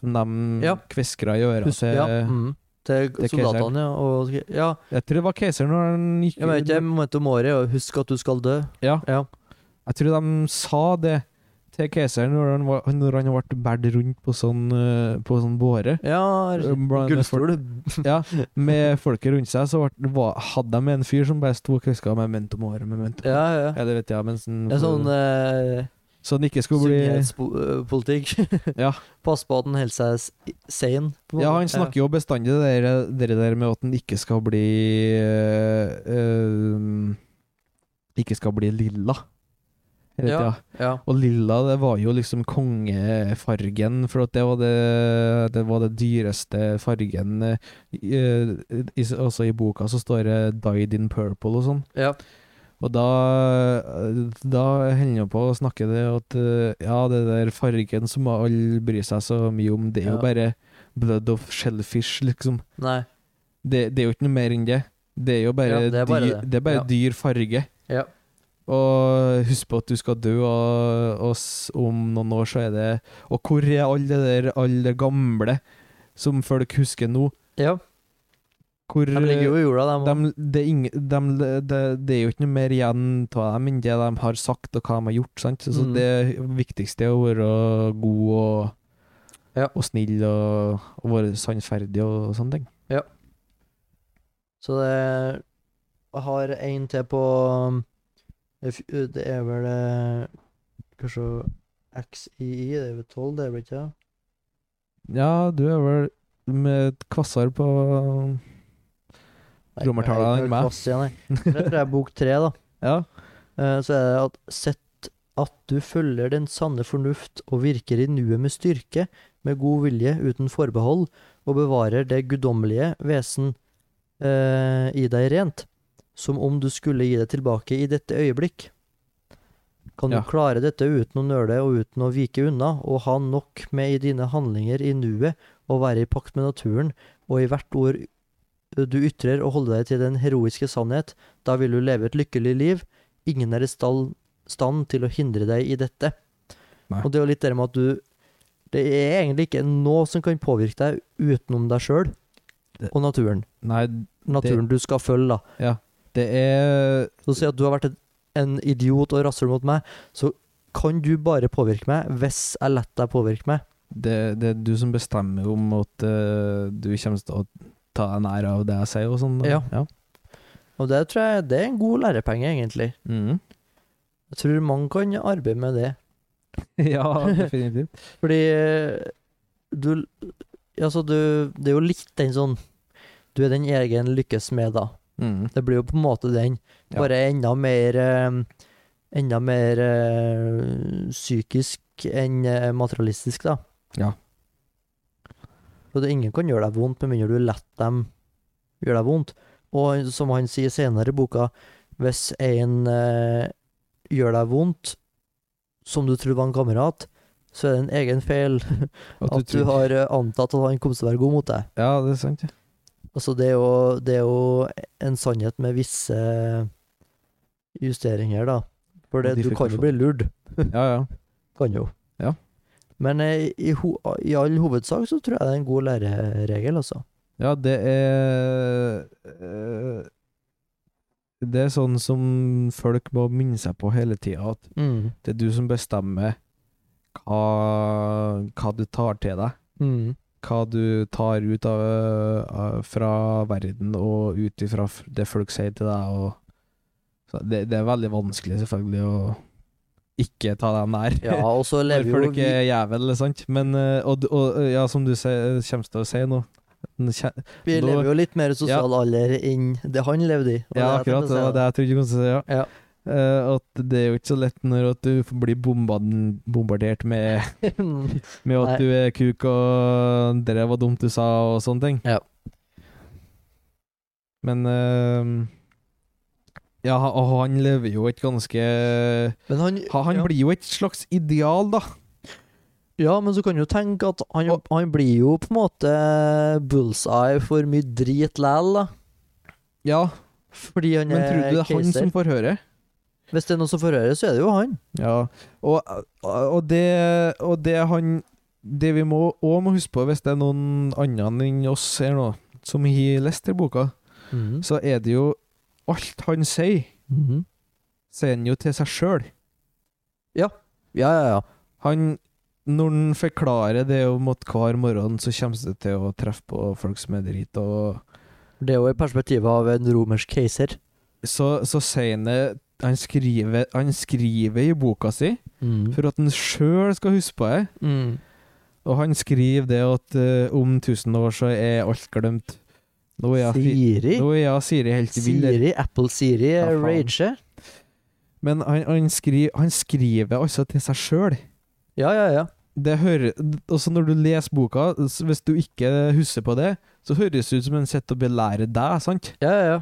B: Som de
A: Ja.
B: kviskra i øra
A: Husk-
B: til
A: ja, mm, til
B: til
A: soldatene, ja. Og, ja
B: Jeg tror det var keiseren når han gikk
A: jeg vet ikke, momentet om året er å huske at du skal dø.
B: Ja.
A: Ja.
B: Jeg tror de sa det til keiseren når han, var, når han ble båret rundt på sånn, eh, på sånn båre.
A: ja
B: Blant-
A: Gullstol.
B: Ja, med folket rundt seg, så ble- var, hadde de en fyr som bare sto og kviska med mentum året med mentum.
A: [laughs] Ja, ja.
B: Ja, det vet jeg, mens den,
A: Det er sånn eh,
B: så den ikke skulle bli
A: sunnhetspolitikk.
B: Ja.
A: [laughs] Pass på at den holder seg s- sane. på en
B: Ja,
A: måte.
B: han snakker jo bestandig det der, det der med at han ikke skal bli eh, eh, Ikke skal bli lilla. Hele
A: Ja.
B: tida.
A: ja.
B: Og lilla, det var jo liksom kongefargen, for at det var det, det, var det dyreste fargen eh, i, i, Også i boka så står det 'Died in purple' og sånn.
A: ja.
B: Og da, da holder han på å snakke det at eh, ja, det der fargen som alle bryr seg så mye om, det er
A: Ja.
B: jo bare blood of shellfish, liksom.
A: Nei.
B: Det, det er jo ikke noe mer enn det. Det er jo bare,
A: Ja, det er bare
B: dyr,
A: det.
B: det. er bare
A: Ja.
B: dyr farge.
A: Ja.
B: Og husk på at du skal dø, og, og s- om noen år så er det Og hvor er alle det der, alle det gamle som folk husker nå?
A: ja.
B: Hvor
A: De ligger jo i jorda, de.
B: dem- det, er ing- dem- det, det er jo ikke noe mer igjen av dem enn det de har sagt og hva de har gjort. Sant? Så
A: Mm.
B: det viktigste er å være god og,
A: Ja.
B: og snill og, og være sannferdig og, sånne ting.
A: Så det jeg har en til på um, if- Det er vel eh, Kanskje XII, det er vel 12, det er vel ikke det?
B: Ja, du er vel med et kvassere på [laughs]
A: Nei,
B: Romertallet
A: jeg er
B: enn
A: ikke
B: meg.
A: fast igjen, jeg. Det tror jeg er bok tre, da.
B: Ja.
A: Eh, Så er det at sett at du følger den sanne fornuft og virker i nuet med styrke, med god vilje uten forbehold, og bevarer det guddommelige vesen eh, i deg rent, som om du skulle gi det tilbake i dette øyeblikk. Kan du
B: Ja.
A: klare dette uten å nøle og uten å vike unna, og ha nok med i dine handlinger i nuet, og være i pakt med naturen, og i hvert ord du ytrer og holde deg til den heroiske sannhet, da vil du leve et lykkelig liv, ingen er i stall, stand til å hindre deg i dette.
B: Nei.
A: Og det er jo litt det med at du Det er egentlig ikke noe som kan påvirke deg utenom deg sjøl
B: Det-
A: og naturen.
B: Nei,
A: Naturen du skal følge, da.
B: det er
A: Så si at du har vært et, en idiot og rasshøl mot meg, så kan du bare påvirke meg hvis jeg lar deg påvirke meg.
B: det, det er du som bestemmer om at eh, du kommer til å ta deg nær av det jeg sier og sånn.
A: Ja. Og det tror jeg det er en god lærepenge, egentlig.
B: Mhm.
A: Jeg tror mange kan arbeide med det.
B: [laughs] ja definitivt.
A: Fordi eh, du Altså, du Det er jo litt den sånn Du er din egen lykkes med, da.
B: Mhm.
A: Det blir jo på en måte den.
B: Ja.
A: Bare enda mer eh, Enda mer eh, psykisk enn eh, materialistisk, da.
B: Ja.
A: Og det, ingen kan gjøre deg vondt med mindre du lar dem gjøre deg vondt. Og som han sier senere i boka, hvis en eh, gjør deg vondt, som du trodde var en kamerat, så er det en egen feil
B: At
A: at du
B: tror-
A: har eh, antatt at han kom til å være god mot deg.
B: Ja, det er sant. ja.
A: Altså, det er jo, det er jo en sannhet med visse justeringer, da. For det, du kan jo bli lurt.
B: Ja, ja.
A: [laughs] Kan jo.
B: Ja.
A: Men eh, i, ho i all hovedsak så tror jeg det er en god læreregel, altså.
B: Ja, det er eh, Det er sånn som folk må minne seg på hele tida, at
A: Mm.
B: det er du som bestemmer hva, hva du tar til deg.
A: Mm.
B: Hva du tar ut av, av, fra verden og ut ifra f- det folk sier til deg. Og, så det, det er veldig vanskelig, selvfølgelig, å ikke ta dem nær.
A: Ja, og
B: [laughs]
A: så lever
B: Når
A: jo
B: folk
A: vi
B: er jævel, sant. Men, eh, og, og ja, som du sier- kommer til å si nå kje-
A: Vi
B: Nå-
A: lever jo litt mer i sosial alder enn det han levde i.
B: Ja,
A: og det jeg
B: akkurat.
A: tenkte å si
B: Det var
A: da.
B: det jeg trodde du kom til å si. Ja.
A: Ja.
B: Eh, at det er jo ikke så lett når at du blir bomban- bombardert med,
A: Mm.
B: med at
A: Nei.
B: du er kuk og det der var dumt du sa og sånne ting.
A: Ja.
B: Men eh, ehm, Ja, og han lever jo et ganske ha,
A: [laughs] Men han,
B: Han
A: ja.
B: blir jo et slags ideal, da.
A: Ja, men så kan du tenke at han,
B: Og-
A: han blir jo på en måte bullseye for mye drit læl, da.
B: Ja,
A: Fordi han
B: men tror
A: er
B: du det er han
A: Eh, keiser.
B: som får høre?
A: Hvis det er noen som får høre, så er det jo han.
B: Ja, og, og, det, og det han Det vi må òg må huske på, hvis det er noen andre enn oss her nå, som har lest den boka,
A: Mm.
B: så er det jo Alt han sier, Mm.
A: Mhm.
B: sier han jo til seg sjøl.
A: Ja, ja, ja.
B: Han Når han forklarer det om at hver morgen så kommer det til å treffe på folk som er drita, og
A: Det er jo i perspektivet av en romersk keiser.
B: så, så sier han det han skriver, han skriver i boka si
A: Mhm.
B: for at han sjøl skal huske på det.
A: Mhm.
B: Og han skriver det at eh, om tusen år så er alt glemt. Nå er jeg, fi-
A: Siri?
B: nå er jeg Siri helt vill. der.
A: Siri, Apple Siri,
B: Ja, faen.
A: Rage.
B: Men han, han, skri, han skriver altså til seg sjøl.
A: Ja, ja, ja.
B: Det hører, også når du leser boka, s- hvis du ikke husker på det, så høres det ut som han sitter og belærer deg, sant?
A: Ja, ja, ja.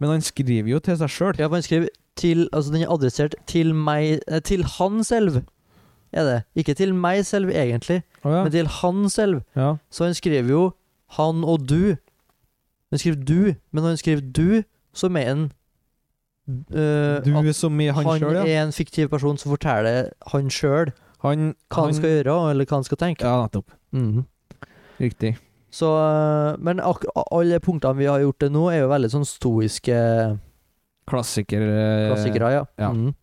B: Men han skriver jo til seg sjøl.
A: Ja, for han skriver til Altså, den er adressert til meg eh, Til han selv, er det. Ikke til meg selv, egentlig, men til han selv.
B: ja.
A: Så han skriver jo 'han og du'. Han skriver 'du', men når han skriver 'du', så mener han eh,
B: Du
A: at
B: er som i han
A: han
B: sjøl, ja.
A: er en fiktiv person som forteller han sjøl
B: Han,
A: hva han skal gjøre, eller hva han skal tenke.
B: Ja, nettopp.
A: Mhm.
B: Riktig.
A: Så, eh, men ak alle punktene vi har gjort det nå, er jo veldig sånn stoiske
B: Klassiker. eh,
A: klassikere. ja.
B: ja.
A: Mhm.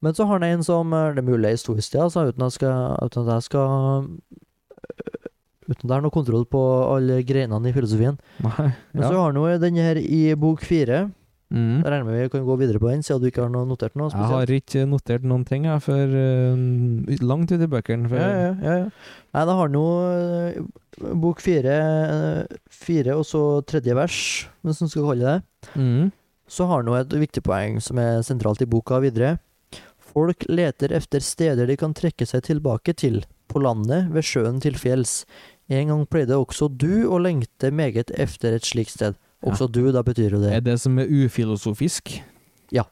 A: Men så har han en som eh, Det er mulig er historisk, det, altså, uten at jeg skal, uten at jeg skal øh, Uten at jeg har noe kontroll på alle greinene i filosofien.
B: Nei.
A: Men
B: Ja.
A: så har han jo den her i bok fire.
B: Mm.
A: Jeg regner med vi kan gå videre på den, siden du ikke har noe notert noe
B: Jeg
A: spesielt.
B: har ikke notert noen ting jeg, for eh, langt ut i bøkene. For,
A: Ja, ja, ja, ja. Nei, da har han jo eh, bok fire, eh, fire og så tredje vers, hvis man skal kalle det.
B: Mm.
A: så har han jo et viktig poeng som er sentralt i boka videre. Folk leter efter steder de kan trekke seg tilbake til, på landet, ved sjøen, til fjells. En gang pleide også du å lengte meget efter et slikt sted. Også du, da betyr jo det.
B: Er det som er ufilosofisk?
A: Men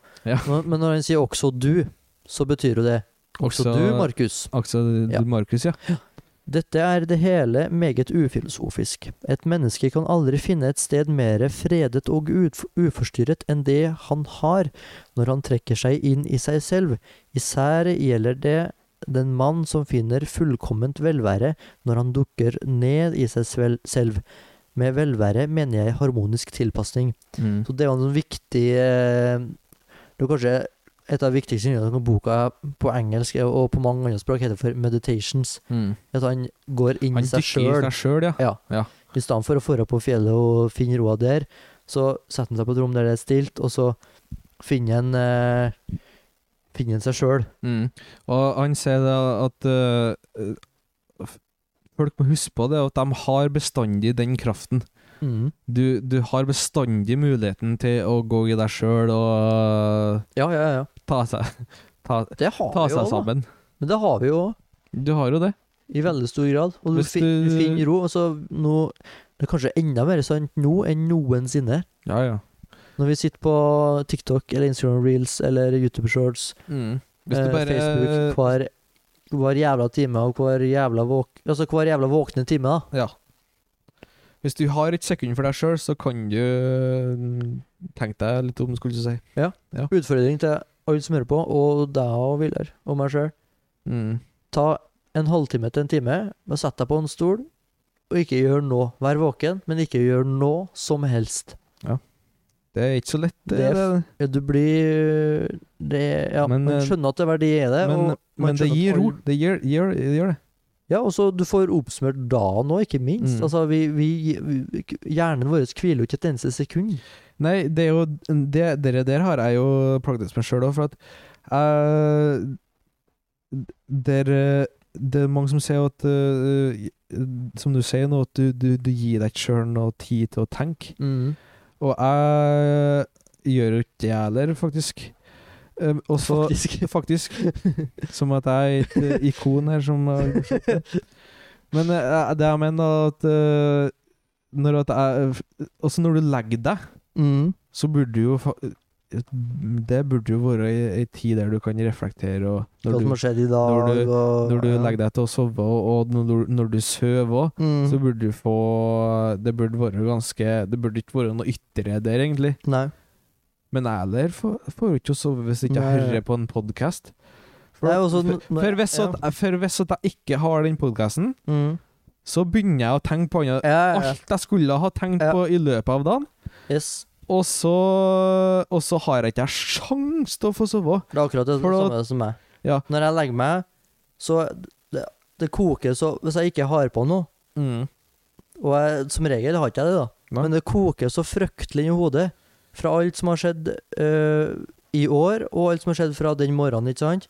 A: men når han sier også du, så betyr jo det også, du, Markus.
B: Aksel
A: Ja.
B: Markus, ja.
A: Dette er det hele meget ufilosofisk. Et menneske kan aldri finne et sted mere fredet og ut- uforstyrret enn det han har når han trekker seg inn i seg selv. Især gjelder det den mann som finner fullkomment velvære når han dukker ned i seg svel- selv. Med velvære mener jeg harmonisk tilpasning.
B: Mm.
A: Så det var en sånn viktig eh, Det var kanskje et av de viktigste innleggene i boka på engelsk og på mange andre språk heter for 'meditations'.
B: Mm.
A: At han går inn
B: Han
A: i Mm. seg
B: dykker i
A: sjøl.
B: seg sjøl, ja.
A: I stedet for å dra på fjellet og finne roa der, så setter han seg på et rom der det er stilt, og så finner han eh, Finner han seg sjøl.
B: Mm. Og han sier da at eh, f- Folk må huske på det, at de har bestandig den kraften.
A: Mm.
B: Du, du har bestandig muligheten til å gå i deg sjøl og
A: Ja, ja, ja.
B: ta seg, ta,
A: Det har
B: ta
A: vi jo
B: seg
A: også, da.
B: sammen.
A: Men det har vi jo også,
B: Du har jo det.
A: i veldig stor grad. Og du,
B: Hvis
A: fin, du
B: du-
A: finner ro. Og så nå Det er kanskje enda mer sant nå enn noensinne.
B: Ja, ja.
A: Når vi sitter på TikTok eller Instagram Reels eller YouTube Shorts,
B: Mm. Hvis du
A: eh,
B: bare
A: Facebook hver, hver jævla time og hver jævla, våk, altså hver jævla våkne time, da.
B: Ja. Hvis du har et sekund for deg sjøl, så kan du mm, tenke deg litt om, skulle du si.
A: Utfordring til alle som hører på, og deg og Viljar, og meg sjøl.
B: Mm.
A: Ta en halvtime til en time, og sett deg på en stol, og ikke gjør noe. Vær våken, men ikke gjør noe som helst.
B: Det er ikke så lett, eh, det.
A: Det er
B: det,
A: Ja, Du blir det, Ja,
B: Men,
A: man
B: eh,
A: skjønner at det er verdi i det.
B: Men,
A: og man
B: men det
A: skjønner at
B: gir
A: alle-
B: ro. Det gir, gir, det gjør det.
A: Ja, og så du får oppsummert dagen òg, ikke minst.
B: Mm.
A: Altså, vi, vi, vi, hjernen vår hviler jo ikke et eneste sekund.
B: Nei, det er jo det, Dere der har jeg jo plagdes med sjøl òg, for at eh, Dere Det er mange som sier at eh, Som du sier nå, at du, du, du gir deg ikke sjøl noe tid til å tenke. Og jeg gjør jo ikke det heller, faktisk. Um, og så
A: Faktisk.
B: [laughs] Faktisk. Som at jeg er et eh, ikon her som har forsøkt det. Men eh, det jeg mener, da, at eh, når at jeg Også når du legger deg,
A: [laughs] Mm.
B: så burde du jo fa Det burde jo være ei ei tid der du kan reflektere, og
A: Hva
B: når
A: som
B: du,
A: har skjedd i dag,
B: når
A: og
B: når du
A: ja.
B: legger deg til å sove, og, og når, du- når du sover òg,
A: mm.
B: så burde du få Det burde være ganske Det burde ikke være noe ytre der, egentlig.
A: Nei.
B: Men jeg heller får får jo ikke å sove hvis ikke jeg
A: Nei.
B: hører på en podkast. For,
A: Nei, også
B: for,
A: når-
B: for, hvis at, for hvis at jeg ikke har den podkasten,
A: Mm.
B: så begynner jeg å tenke på andre,
A: Ja, ja, ja.
B: alt jeg skulle ha tenkt
A: Ja.
B: på i løpet av dagen,
A: Yes.
B: og så, og så har jeg ikke sjans til å få sove.
A: Det er akkurat det
B: For da-
A: samme som meg.
B: Ja.
A: Når jeg legger meg, så det, det koker så Hvis jeg ikke har på noe, og jeg, som regel har ikke jeg det, da,
B: Nei.
A: men det koker så fryktelig i hodet fra alt som har skjedd øh, i år, og alt som har skjedd fra den morgenen, ikke sant?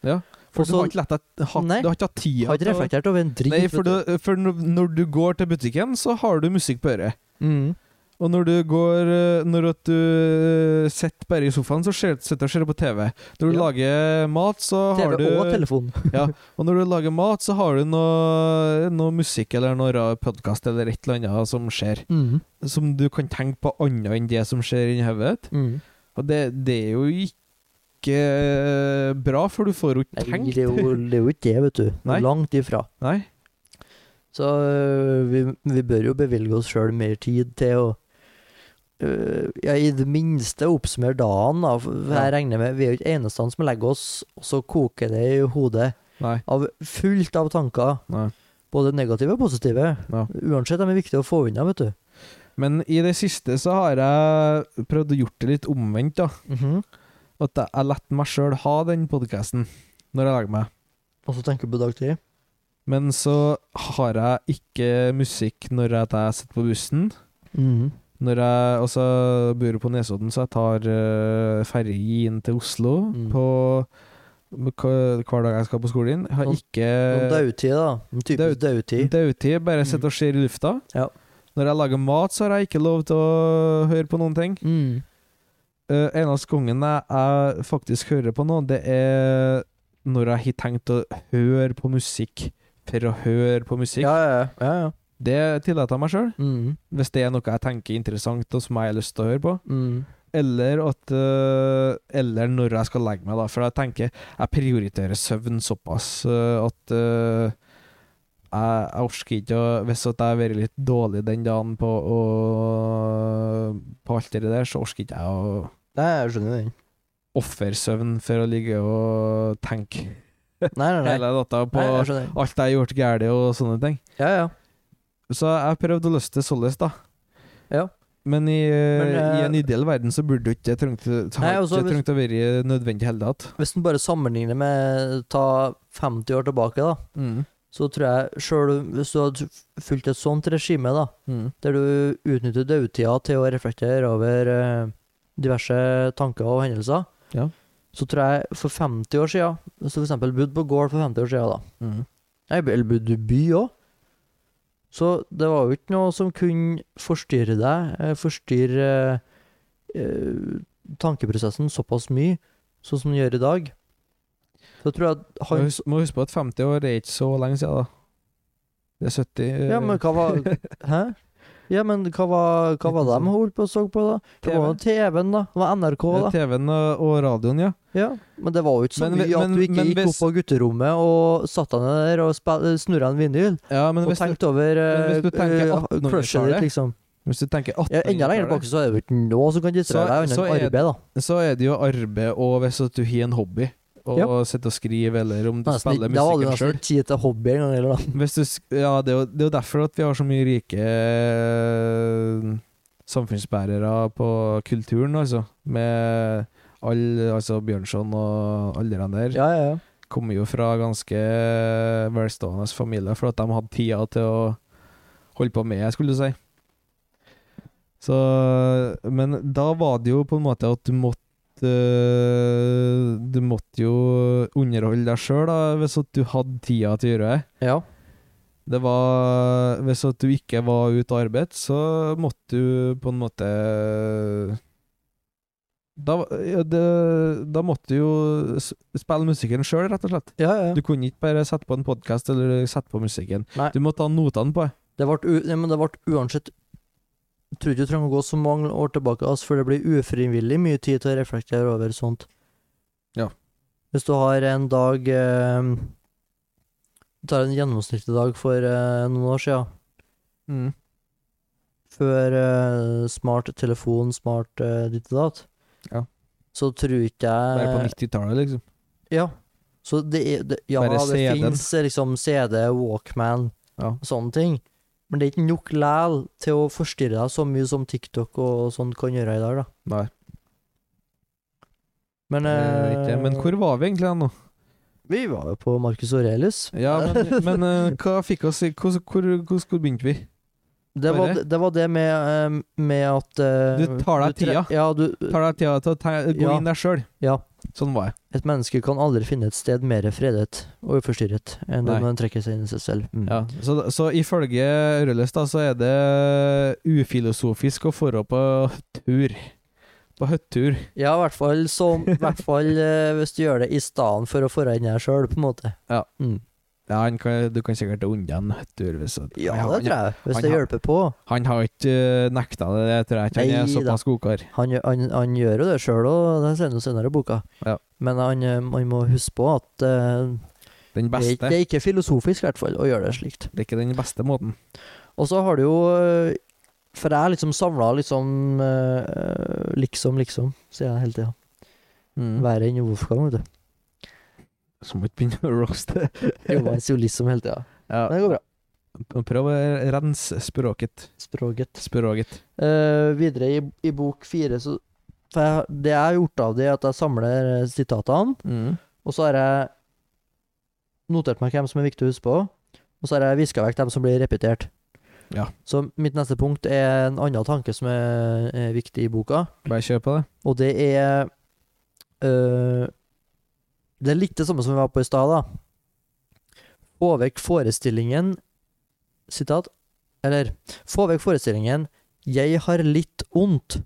B: For
A: Og
B: du
A: så-
B: har ikke lett deg hatt-
A: Nei.
B: Du har ikke hatt
A: Jeg har
B: tida
A: ikke reflektert over en drit.
B: Nei,
A: vet
B: for,
A: du.
B: du, for når når du går til butikken, så har du musikk på øret.
A: Mm.
B: Og når du går eh, Når at du eh, sitter bare i sofaen, så ser- sitter du og ser på TV. Når du
A: Ja.
B: lager mat, så har
A: TV
B: du
A: og telefon.
B: Og når du lager mat, så har du noe, noe musikk eller noe podkast eller et eller annet som skjer,
A: Mm.
B: som du kan tenke på annet enn det som skjer inni hodet ditt.
A: Mm.
B: Og det, det er jo ikke bra, for du får jo ikke
A: Nei,
B: tenkt.
A: det er, jo, det er jo ikke det, vet du.
B: Nei.
A: Langt ifra.
B: [laughs] Nei.
A: Så øh, vi, vi bør jo bevilge oss sjøl mer tid til å øh, ja, I det minste oppsummere dagen. Da. For Jeg regner med Vi er jo ikke eneste som legger oss, og så koker det i hodet
B: Nei.
A: av fullt av tanker.
B: Nei.
A: Både negative og positive.
B: Ja.
A: Uansett, de er viktige å få unna, vet du.
B: Men i det siste så har jeg prøvd å gjort det litt omvendt, da.
A: Mhm.
B: At jeg- jeg lett meg sjøl ha den podkasten når jeg lager meg.
A: Og så tenker du på dag tre.
B: Men så har jeg ikke musikk når jeg- at jeg sitter på bussen.
A: Mhm.
B: Når jeg altså, bor på Nesodden, så jeg tar uh, ferje inn til Oslo
A: Mm.
B: på hva- hver dag jeg skal på skolen. Jeg har
A: Noen-
B: ikke
A: Noen Dautid, da. En typisk dautid.
B: Dautid, bare
A: Mm.
B: sitter og ser i lufta.
A: Ja.
B: Når jeg lager mat, så har jeg ikke lov til å høre på noen ting.
A: Mm.
B: Uh, eneste gangen jeg, jeg faktisk hører på noe, det er når jeg har tenkt å høre på musikk for å høre på musikk.
A: Ja, ja, ja. ja, ja.
B: Det tillater jeg meg sjøl,
A: Mm.
B: hvis det er noe jeg tenker er interessant og som jeg har lyst til å høre på.
A: Mm.
B: Eller at øh, Eller når jeg skal legge meg, da. For jeg tenker jeg prioriterer søvn såpass øh, at øh, jeg, jeg orker ikke å Hvis at jeg har vært litt dårlig den dagen på, å- på alt det der, så orker ikke jeg å
A: Nei, jeg skjønner den.
B: ofre søvn for å ligge og tenke
A: Nei, nei, nei.
B: hele natta på
A: nei jeg skjønner den.
B: alt jeg har gjort galt og sånne ting.
A: Ja, ja.
B: Så jeg har prøvd å løse det således, da.
A: Ja.
B: Men i, øh,
A: Men, eh,
B: i en ideell verden så burde det ikke trengt,
A: Nei, også
B: ikke
A: hvis-
B: trengt å være nødvendig i hele tatt.
A: Hvis en bare sammenligner med ta 50 år tilbake, da,
B: Mm.
A: så tror jeg sjøl hvis du hadde fulgt et sånt regime, da,
B: Mm.
A: der du utnytter dødtida til å reflektere over eh, diverse tanker og hendelser,
B: Ja.
A: så tror jeg for 50 år sia, hvis du f.eks. bodde på gård for 50 år sia, da, jeg- eller bodde i by òg, så det var jo ikke noe som kunne forstyrre deg, eh, forstyrre eh, eh, tankeprosessen såpass mye, sånn som den gjør i dag. Så jeg tror at
B: Må
A: han
B: hus- Må huske på at 50 år er ikke så lenge siden, da. Det er 70 eh,
A: Ja, men
B: [laughs]
A: hva var Hæ? Ja, men hva var, hva var det de holdt på og så på, da? Det var jo TV-en, da. Det var NRK,
B: Ja, [laughs]
A: da.
B: TV-en og, og radioen, ja.
A: Ja, Men det var jo ikke så
B: Men-
A: mye at
B: men-
A: du ikke
B: men
A: gikk
B: hvis-
A: opp på gutterommet og satte deg ned der og spil- snurra en vinyl,
B: ja men,
A: og
B: hvis du,
A: tenkte over
B: men hvis
A: eh,
B: du tenker
A: eh,
B: 1800-tallet,
A: crushet ditt, liksom.
B: hvis du tenker
A: Ja, enda lenger
B: 1800-tallet,
A: tilbake så er det jo ikke noe som kan
B: Så-
A: distrahere deg
B: så
A: annet
B: er
A: enn
B: det-
A: arbeid, da.
B: så er det jo arbeid, og hvis at du har en hobby, og sitter og skriver, eller om du
A: Nesten,
B: spiller
A: ikke- da hadde du
B: musikken
A: nesten
B: sjøl
A: ikke tid til hobby engang, eller noe.
B: Hvis du, sk- ja, det er, jo, det er jo derfor at vi har så mye rike eh, samfunnsbærere på kulturen, altså. Med all, altså Bjørnson og alle de der.
A: Ja, ja, ja.
B: Kommer jo fra ganske velstående familier, for at de hadde tida til å holde på med, skulle du si. Så, men da var det jo på en måte at du måtte eh, Du måtte jo underholde deg sjøl hvis at du hadde tida til å gjøre det.
A: Ja,
B: Det var Hvis at du ikke var ute av arbeid, så måtte du på en måte Da, ja, det, da måtte du jo s- spille musikken sjøl, rett og slett.
A: ja. ja.
B: Du kunne ikke bare sette på en podkast eller sette på musikken.
A: Nei.
B: Du måtte ha notene på.
A: Det ble, u, nei, men det ble uansett Jeg tror ikke du trenger å gå så mange år tilbake ass, før det blir ufrivillig mye tid til å reflektere over sånt.
B: Ja.
A: Hvis du har en dag eh, Du tar en gjennomsnittlig dag for eh, noen år siden,
B: Mm.
A: før eh, smart telefon, smart eh, ditt og datt,
B: Ja.
A: så tror ikke
B: Bare på
A: jeg
B: 90-tallet, liksom.
A: Ja. Så det er det, Ja,
B: Bare
A: det
B: CD-en.
A: fins liksom CD, Walkman,
B: Ja.
A: og sånne ting. Men det er ikke nok læl til å forstyrre deg så mye som TikTok og sånt kan gjøre i dag, da.
B: Nei,
A: Men,
B: det er ikke det. Men
A: eh,
B: hvor var vi egentlig hen nå?
A: Vi var jo på Marcus Aurelius. [laughs]
B: Ja, men, men eh, hva fikk oss i Hvor, hvor, hvor, hvor begynte vi?
A: Det var
B: Bare?
A: det, var det med, eh, med at eh,
B: Du tar deg
A: tre-
B: tida.
A: Ja, du
B: Tar deg tida til å te gå
A: Ja.
B: inn deg sjøl.
A: Ja.
B: Sånn var jeg.
A: Et menneske kan aldri finne et sted mer fredet og uforstyrret enn
B: Nei.
A: når man trekker seg inn i seg selv. Mm.
B: Ja. Så, så ifølge Røles, da, så er det ufilosofisk å dra på tur. På hyttetur.
A: Ja, i hvert fall, som, i hvert fall eh, hvis du gjør det i stedet for å få deg inn her sjøl, på en måte.
B: Ja.
A: Mm.
B: Ja, han kan, du kan sikkert unne en hyttetur. Hvis, at-
A: ja
B: han,
A: det tror jeg. Hvis
B: han
A: det
B: har-
A: hjelper på.
B: han har ikke eh, nekta det, det tror jeg ikke. Han er
A: Nei da.
B: såpass godkar.
A: Han, gjør- han, han gjør jo det sjøl òg, det er senere og senere i boka.
B: Ja.
A: Men han, eh, man må huske på at eh,
B: Den
A: det, er ikke-
B: beste.
A: det er ikke filosofisk, i hvert fall, å gjøre det slikt.
B: Det er ikke den beste måten.
A: Og så har du jo eh, For jeg liksom samla liksom eh, Liksom, liksom, sier jeg hele tida.
B: Mm.
A: Verre enn Wolfgang, vet du.
B: [laughs] Så må ikke begynne å roaste.
A: Jobber jo liksom hele tida.
B: [laughs] Ja.
A: Men det går bra.
B: Prøv å rense språket.
A: Språket.
B: Språket.
A: Eh, videre i, i bok fire så for jeg, Det jeg har gjort av det, er at jeg samler eh, sitatene, og så har jeg notert meg hvem som er viktig å huske på, og så har jeg viska vekk dem som blir repetert.
B: Ja.
A: Så mitt neste punkt er en annen tanke som er, er viktig i boka,
B: Bare kjør på det.
A: og det er eh, Det er litt det samme som vi var på i stad, da. Få vekk forestillingen Sitat. Eller Få vekk forestillingen 'Jeg har litt ondt'.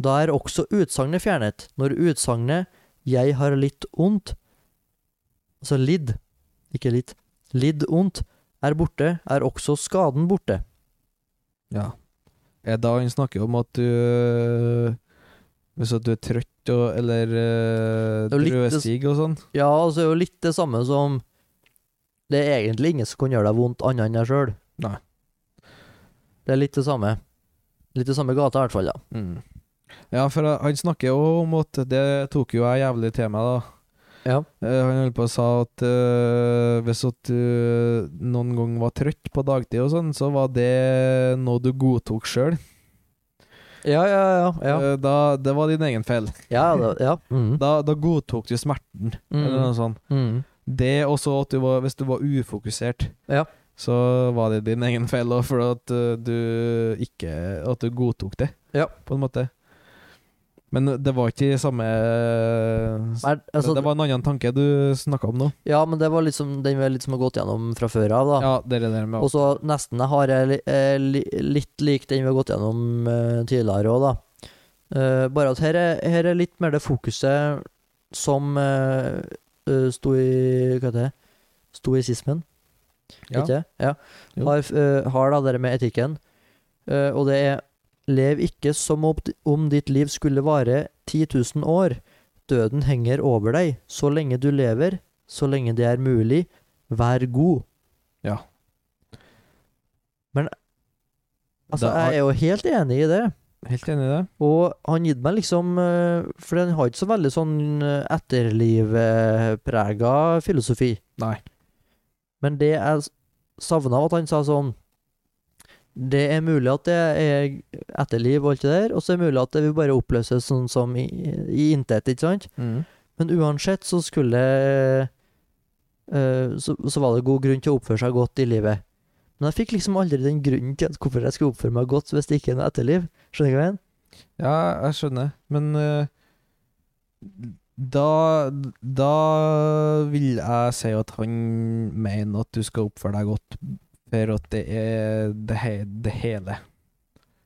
A: Da er også utsagnet fjernet. Når utsagnet 'Jeg har litt ondt', altså lidd, ikke litt, lidd ondt, er borte, er også skaden borte.
B: Ja. Er Eh, da han snakker om at du øh, Hvis at du er trøtt og eller øh,
A: Det er jo litt-
B: drøsig og sånn.
A: Ja, altså det er jo litt det samme som Det er egentlig ingen som kan gjøre deg vondt annet enn deg sjøl.
B: Nei.
A: Det er litt det samme. Litt det samme gata, i hvert fall, ja.
B: Ja, for øh, han snakker jo om at Det tok jo jeg jævlig til meg, da.
A: Ja.
B: Eh, Han holdt på å sa at øh, hvis at du noen gang var trøtt på dagtid og sånn, så var det noe du godtok sjøl.
A: Ja, ja, ja. Ja,
B: Eh, Da, det var din egen feil.
A: ja. det- ja. Mm.
B: Da, da godtok du smerten, eller
A: Mm.
B: noe sånt.
A: Mm.
B: Det også at du var, hvis du var ufokusert,
A: Ja.
B: så var det din egen feil òg, for at eh, du ikke At du godtok det,
A: Ja.
B: på en måte. Men det var ikke i samme
A: Nei, altså,
B: Det var en annen tanke du snakka om nå.
A: Ja, men det var liksom den vi har liksom har gått gjennom fra før av, da.
B: Ja, det der med
A: Og så nesten jeg har jeg li, eh, li, litt lik den vi har gått gjennom eh, tidligere òg, da. Eh, bare at her er, her er litt mer det fokuset som eh, eh, sto i Hva heter det? Stoisismen,
B: Ja.
A: ikke det? Ja.
B: Jo.
A: Har, eh, har da det med etikken. Eh, og det er Lev ikke som om d- om ditt liv skulle vare 10 000 år. Døden henger over deg. Så lenge du lever, så lenge det er mulig, vær god.
B: Ja.
A: Men Altså,
B: Da har-
A: jeg er jo helt enig i det.
B: Helt enig i det.
A: Og han gitt meg liksom eh, For den har ikke så veldig sånn eh, etterlivprega filosofi.
B: Nei.
A: Men det jeg savna, var at han sa sånn Det er mulig at det er etterliv og alt det der, og så er det mulig at det vil bare oppløses sånn som i, i intet, ikke sant?
B: Mm.
A: Men uansett så skulle eh, så, så var det god grunn til å oppføre seg godt i livet. Men jeg fikk liksom aldri den grunnen til at hvorfor jeg skulle oppføre meg godt hvis det ikke er noe etterliv. Skjønner du hva jeg mener?
B: Ja, jeg skjønner, men eh, da, da vil jeg si at han mener at du skal oppføre deg godt, for at det er det, he det hele.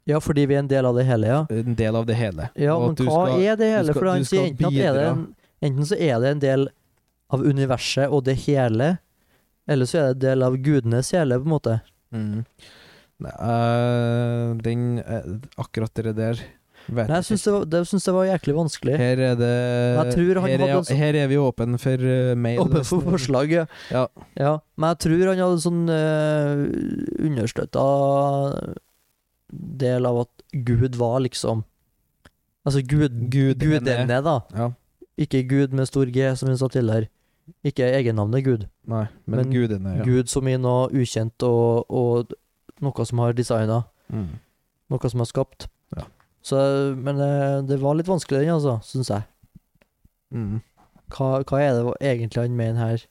A: Ja, fordi vi er en del av det hele, ja.
B: En del av det hele.
A: Ja,
B: Og
A: men
B: at du
A: hva
B: skal-
A: er det hele?
B: skal-
A: For han
B: du
A: sier
B: skal
A: enten at er det en, enten så er det en del av universet og det hele, eller så er det en del av gudenes hele, på en måte.
B: Mm. Nei, eh, den eh, Akkurat det der vet
A: Nei, jeg syns det, var- det, syns jeg var jæklig vanskelig.
B: Her er det
A: Jeg tror han
B: her,
A: hadde
B: er,
A: også-
B: her er vi åpen for eh,
A: [laughs]
B: mail.
A: Åpen for forslag, ja.
B: Ja.
A: Ja, Men jeg tror han hadde sånn uh, understøtta del av at Gud var liksom Altså Gud,
B: Gud E.
A: gudene,
B: henne.
A: da.
B: Ja.
A: Ikke Gud med stor G, som vi sa tidligere. Ikke egennavnet Gud.
B: Nei, men,
A: Men
B: gudene, ja.
A: Gud som i noe ukjent og, og noe som har designa,
B: Mm.
A: noe som har skapt.
B: Ja.
A: Så, men eh, det var litt vanskelig, den, altså, syns jeg.
B: Mm.
A: Hva, hva er det egentlig han mener her?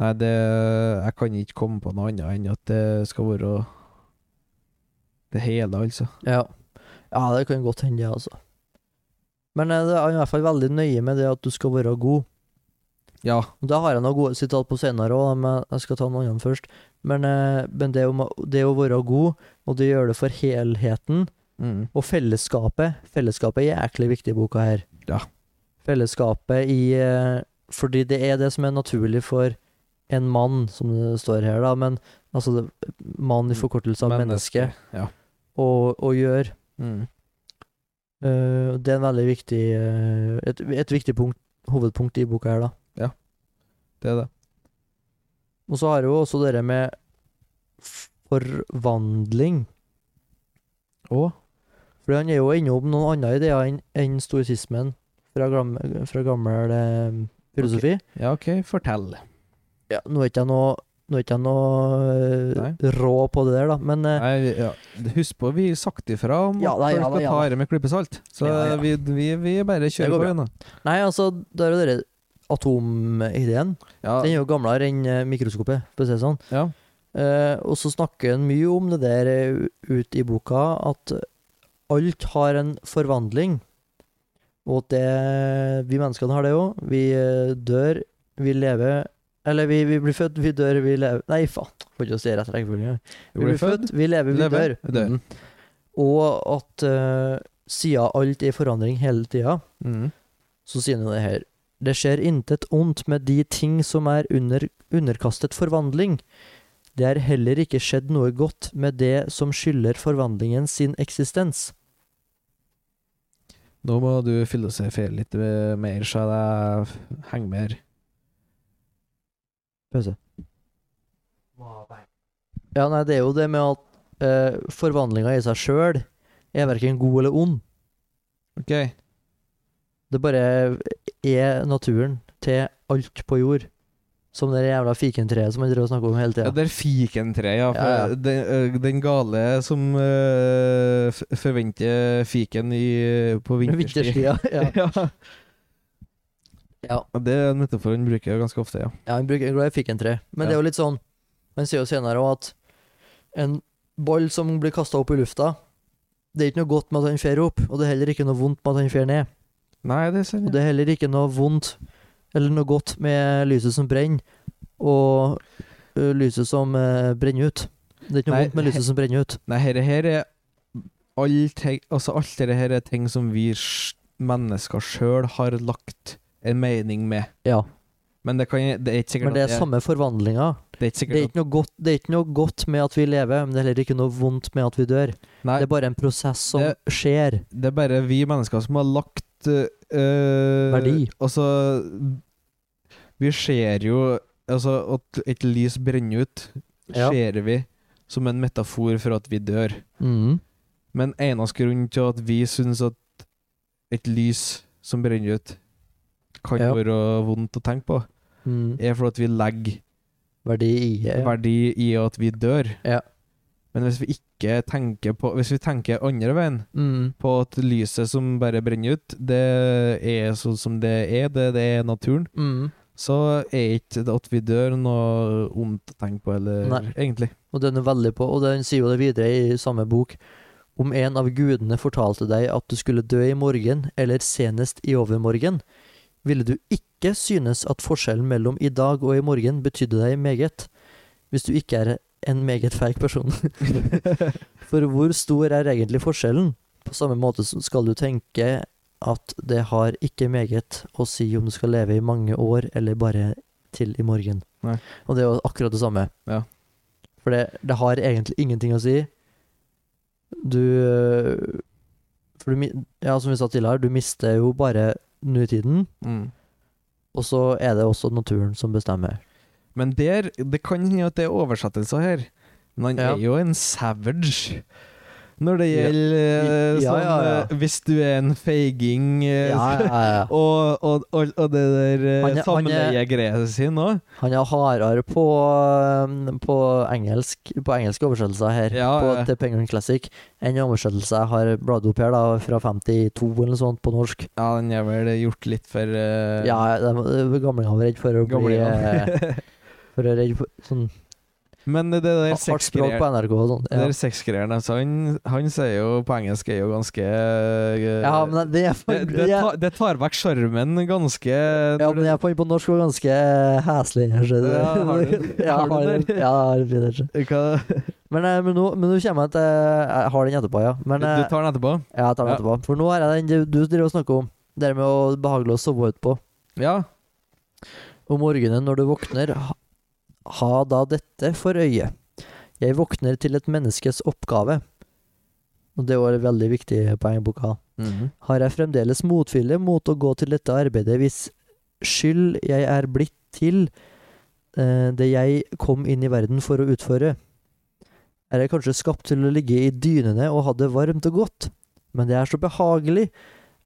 B: Nei, det Jeg kan ikke komme på noe annet enn at det skal være det hele, altså.
A: Ja. ja, det kan godt hende, det, altså. Men eh, det er i hvert fall veldig nøye med det at du skal være god.
B: Ja.
A: Og Da har jeg noen gode sitat på senere òg, men jeg skal ta noen andre først. Men, eh, men det, om, å- det å være god, og det gjør det for helheten
B: Mm.
A: og fellesskapet Fellesskapet er jæklig viktig i boka her.
B: Ja.
A: Fellesskapet i eh, Fordi det er det som er naturlig for en mann, som det står her, da, men altså det- mann i forkortelse av menneske,
B: Ja.
A: å, å gjøre.
B: Mm.
A: Eh, det er en veldig viktig eh, et, et viktig punkt, hovedpunkt i boka her, da.
B: Det er det.
A: Og så har jeg jo også det der med forvandling.
B: Å?
A: For han er jo innom noen andre ideer enn enn stoisismen fra, glam, fra gammel eh, filosofi.
B: Ja, OK, fortell.
A: Ja, nå er ikke jeg noe nå er ikke jeg noe
B: Nei.
A: eh, rå på det der, da, men eh,
B: Nei, vi- ja. Husk på, vi sa ifra om
A: Ja da,
B: at
A: ja
B: folk
A: da,
B: skal
A: ja
B: ta
A: da.
B: det med klype salt. Så
A: Ja, ja.
B: Vi, vi, vi bare kjører
A: går
B: på
A: bra.
B: igjen, da.
A: Nei, altså, det er jo den atomideen. Den
B: Ja,
A: er jo gamlere enn eh, mikroskopet, for å si det sånn.
B: ja.
A: Eh, og så snakker han mye om det der eh, ut i boka, at alt har en forvandling. Og at det Vi menneskene har det jo. Vi eh, dør, vi lever Eller vi, vi blir født, vi dør, vi lever Nei, faen. Får ikke å si rett rekkefølge. engang. Vi blir født, vi lever, vi
B: lever,
A: dør.
B: dør.
A: Mhm. Og at eh, siden alt er i forandring hele tida,
B: Mm.
A: så sier han jo det her. Det skjer intet ondt med de ting som er under, underkastet forvandling. Det er heller ikke skjedd noe godt med det som skylder forvandlingen sin eksistens.
B: Nå må du filosofere litt eh, mer, så jeg f- henger med her.
A: Pause. Ja, nei, det er jo det med at eh, forvandlinga i seg sjøl er verken god eller ond.
B: OK.
A: Det bare er naturen til alt på jord. Som det jævla fikentreet som han driver og snakker om hele
B: Ja,
A: tida.
B: der fikentreet, ja. For
A: Ja, ja.
B: Den, ø, den gale som ø, f forventer fiken i, på vinterstid.
A: Vinterstida. Ja.
B: [laughs] ja.
A: ja.
B: Det er en metafor han bruker ganske ofte, ja.
A: Ja, han bruker, er glad i fikk en tre. Men det er jo litt sånn Man sier jo senere òg at en ball som blir kasta opp i lufta Det er ikke noe godt med at han fer opp, og det er heller ikke noe vondt med at han fer ned.
B: Nei, det er
A: Og
B: sant.
A: det
B: ja.
A: er heller ikke noe vondt eller noe godt med lyset som brenner, og ø, lyset som eh, brenner ut. Det er ikke noe
B: Nei,
A: vondt med lyset som brenner ut.
B: Nei, herre her er alt, he- altså, alt dette her er ting som vi sj- mennesker sjøl har lagt en mening med.
A: Ja,
B: Men det, kan, det er ikke sikkert
A: Men det
B: at
A: er samme forvandlinga.
B: det er ikke
A: Det er
B: sikkert
A: ikke noe godt, det er ikke noe godt med at vi lever, men det er heller ikke noe vondt med at vi dør.
B: at, nei,
A: Det er bare en prosess som
B: Det-
A: skjer.
B: Det er bare vi mennesker som har lagt eh,
A: Verdi.
B: Altså Vi ser jo Altså at et lys brenner ut,
A: Ja.
B: ser vi som en metafor for at vi dør.
A: Mhm.
B: Men eneste grunn til at vi syns at et lys som brenner ut, kan
A: Ja.
B: være vondt å tenke på,
A: Mhm.
B: er for at vi legger
A: Verdi i ja.
B: verdi i at vi dør.
A: Ja.
B: Men hvis vi ikke tenker på Hvis vi tenker andre veien,
A: Mm.
B: på at lyset som bare brenner ut, det er sånn som det er, det, det er naturen,
A: Mm.
B: så er ikke det at vi dør noe ondt å tenke på, eller
A: Nei.
B: egentlig.
A: Og den er veldig på, og den sier jo det videre i samme bok. Om en av gudene fortalte deg at du skulle dø i morgen, eller senest i overmorgen, ville du ikke synes at forskjellen mellom i dag og i morgen betydde deg meget, hvis du ikke er en meget feig person. [laughs] For hvor stor er egentlig forskjellen? På samme måte så skal du tenke at det har ikke meget å si om du skal leve i mange år, eller bare til i morgen.
B: Nei.
A: Og det er jo akkurat det samme. For det, det har egentlig ingenting å si. Du øh, For du mi- Ja, som vi sa tidligere, du mister jo bare nutiden,
B: Mm.
A: og så er det også naturen som bestemmer.
B: Men der, det kan hende at det er oversettelser her, men han
A: Ja.
B: er jo en savage. Når det
A: Ja.
B: gjelder eh,
A: Ja,
B: sånn
A: ja, ja.
B: eh, Hvis du er en feiging eh,
A: Ja, ja, [laughs] ja.
B: [laughs] og, og, og, og det der eh,
A: Han er- han er-
B: samleiegreia si nå
A: Han er hardere på, øhm, på engelsk På engelske oversettelser her
B: Ja,
A: på,
B: ja.
A: til Penguin Classic enn oversettelse jeg har bladd opp her, da, fra 52 eller noe sånt på norsk.
B: Ja, den er vel gjort litt for eh,
A: Ja, de- gamlingene var redd for å bli eh,
B: [laughs] gamlingene.
A: For å redd for [laughs] sånn
B: Men det der
A: hardt språk på
B: sexgreiene
A: NRK og sånn. Ja.
B: altså, han, han sier jo på engelsk er jo ganske eh,
A: ja, men det er for
B: det, det, tar, det tar vekk sjarmen ganske
A: Ja, men jeg fant på norsk var ganske eh, heslig. jeg skjønner.
B: Ja, har du den?
A: [laughs] Ja,
B: Har du
A: har
B: den
A: den.
B: der?
A: Ja, har den fin, jeg skjønner.
B: Hva-
A: men, eh, men, nå, men nå kommer jeg til eh, Jeg har den etterpå, ja. Men, eh,
B: Du tar den etterpå?
A: ja, jeg tar den
B: ja.
A: etterpå. For nå er det den du du driver og snakker om. Det med å behagelig å sove utpå.
B: Ja.
A: Om morgenen når du våkner, ha- ha da dette for øye. Jeg våkner til et menneskes oppgave. Og det var et veldig viktig poeng i boka. har jeg fremdeles motvilje mot å gå til dette arbeidet hvis skyld jeg er blitt til eh, det jeg kom inn i verden for å utføre. Er jeg kanskje skapt til å ligge i dynene og ha det varmt og godt, men det er så behagelig.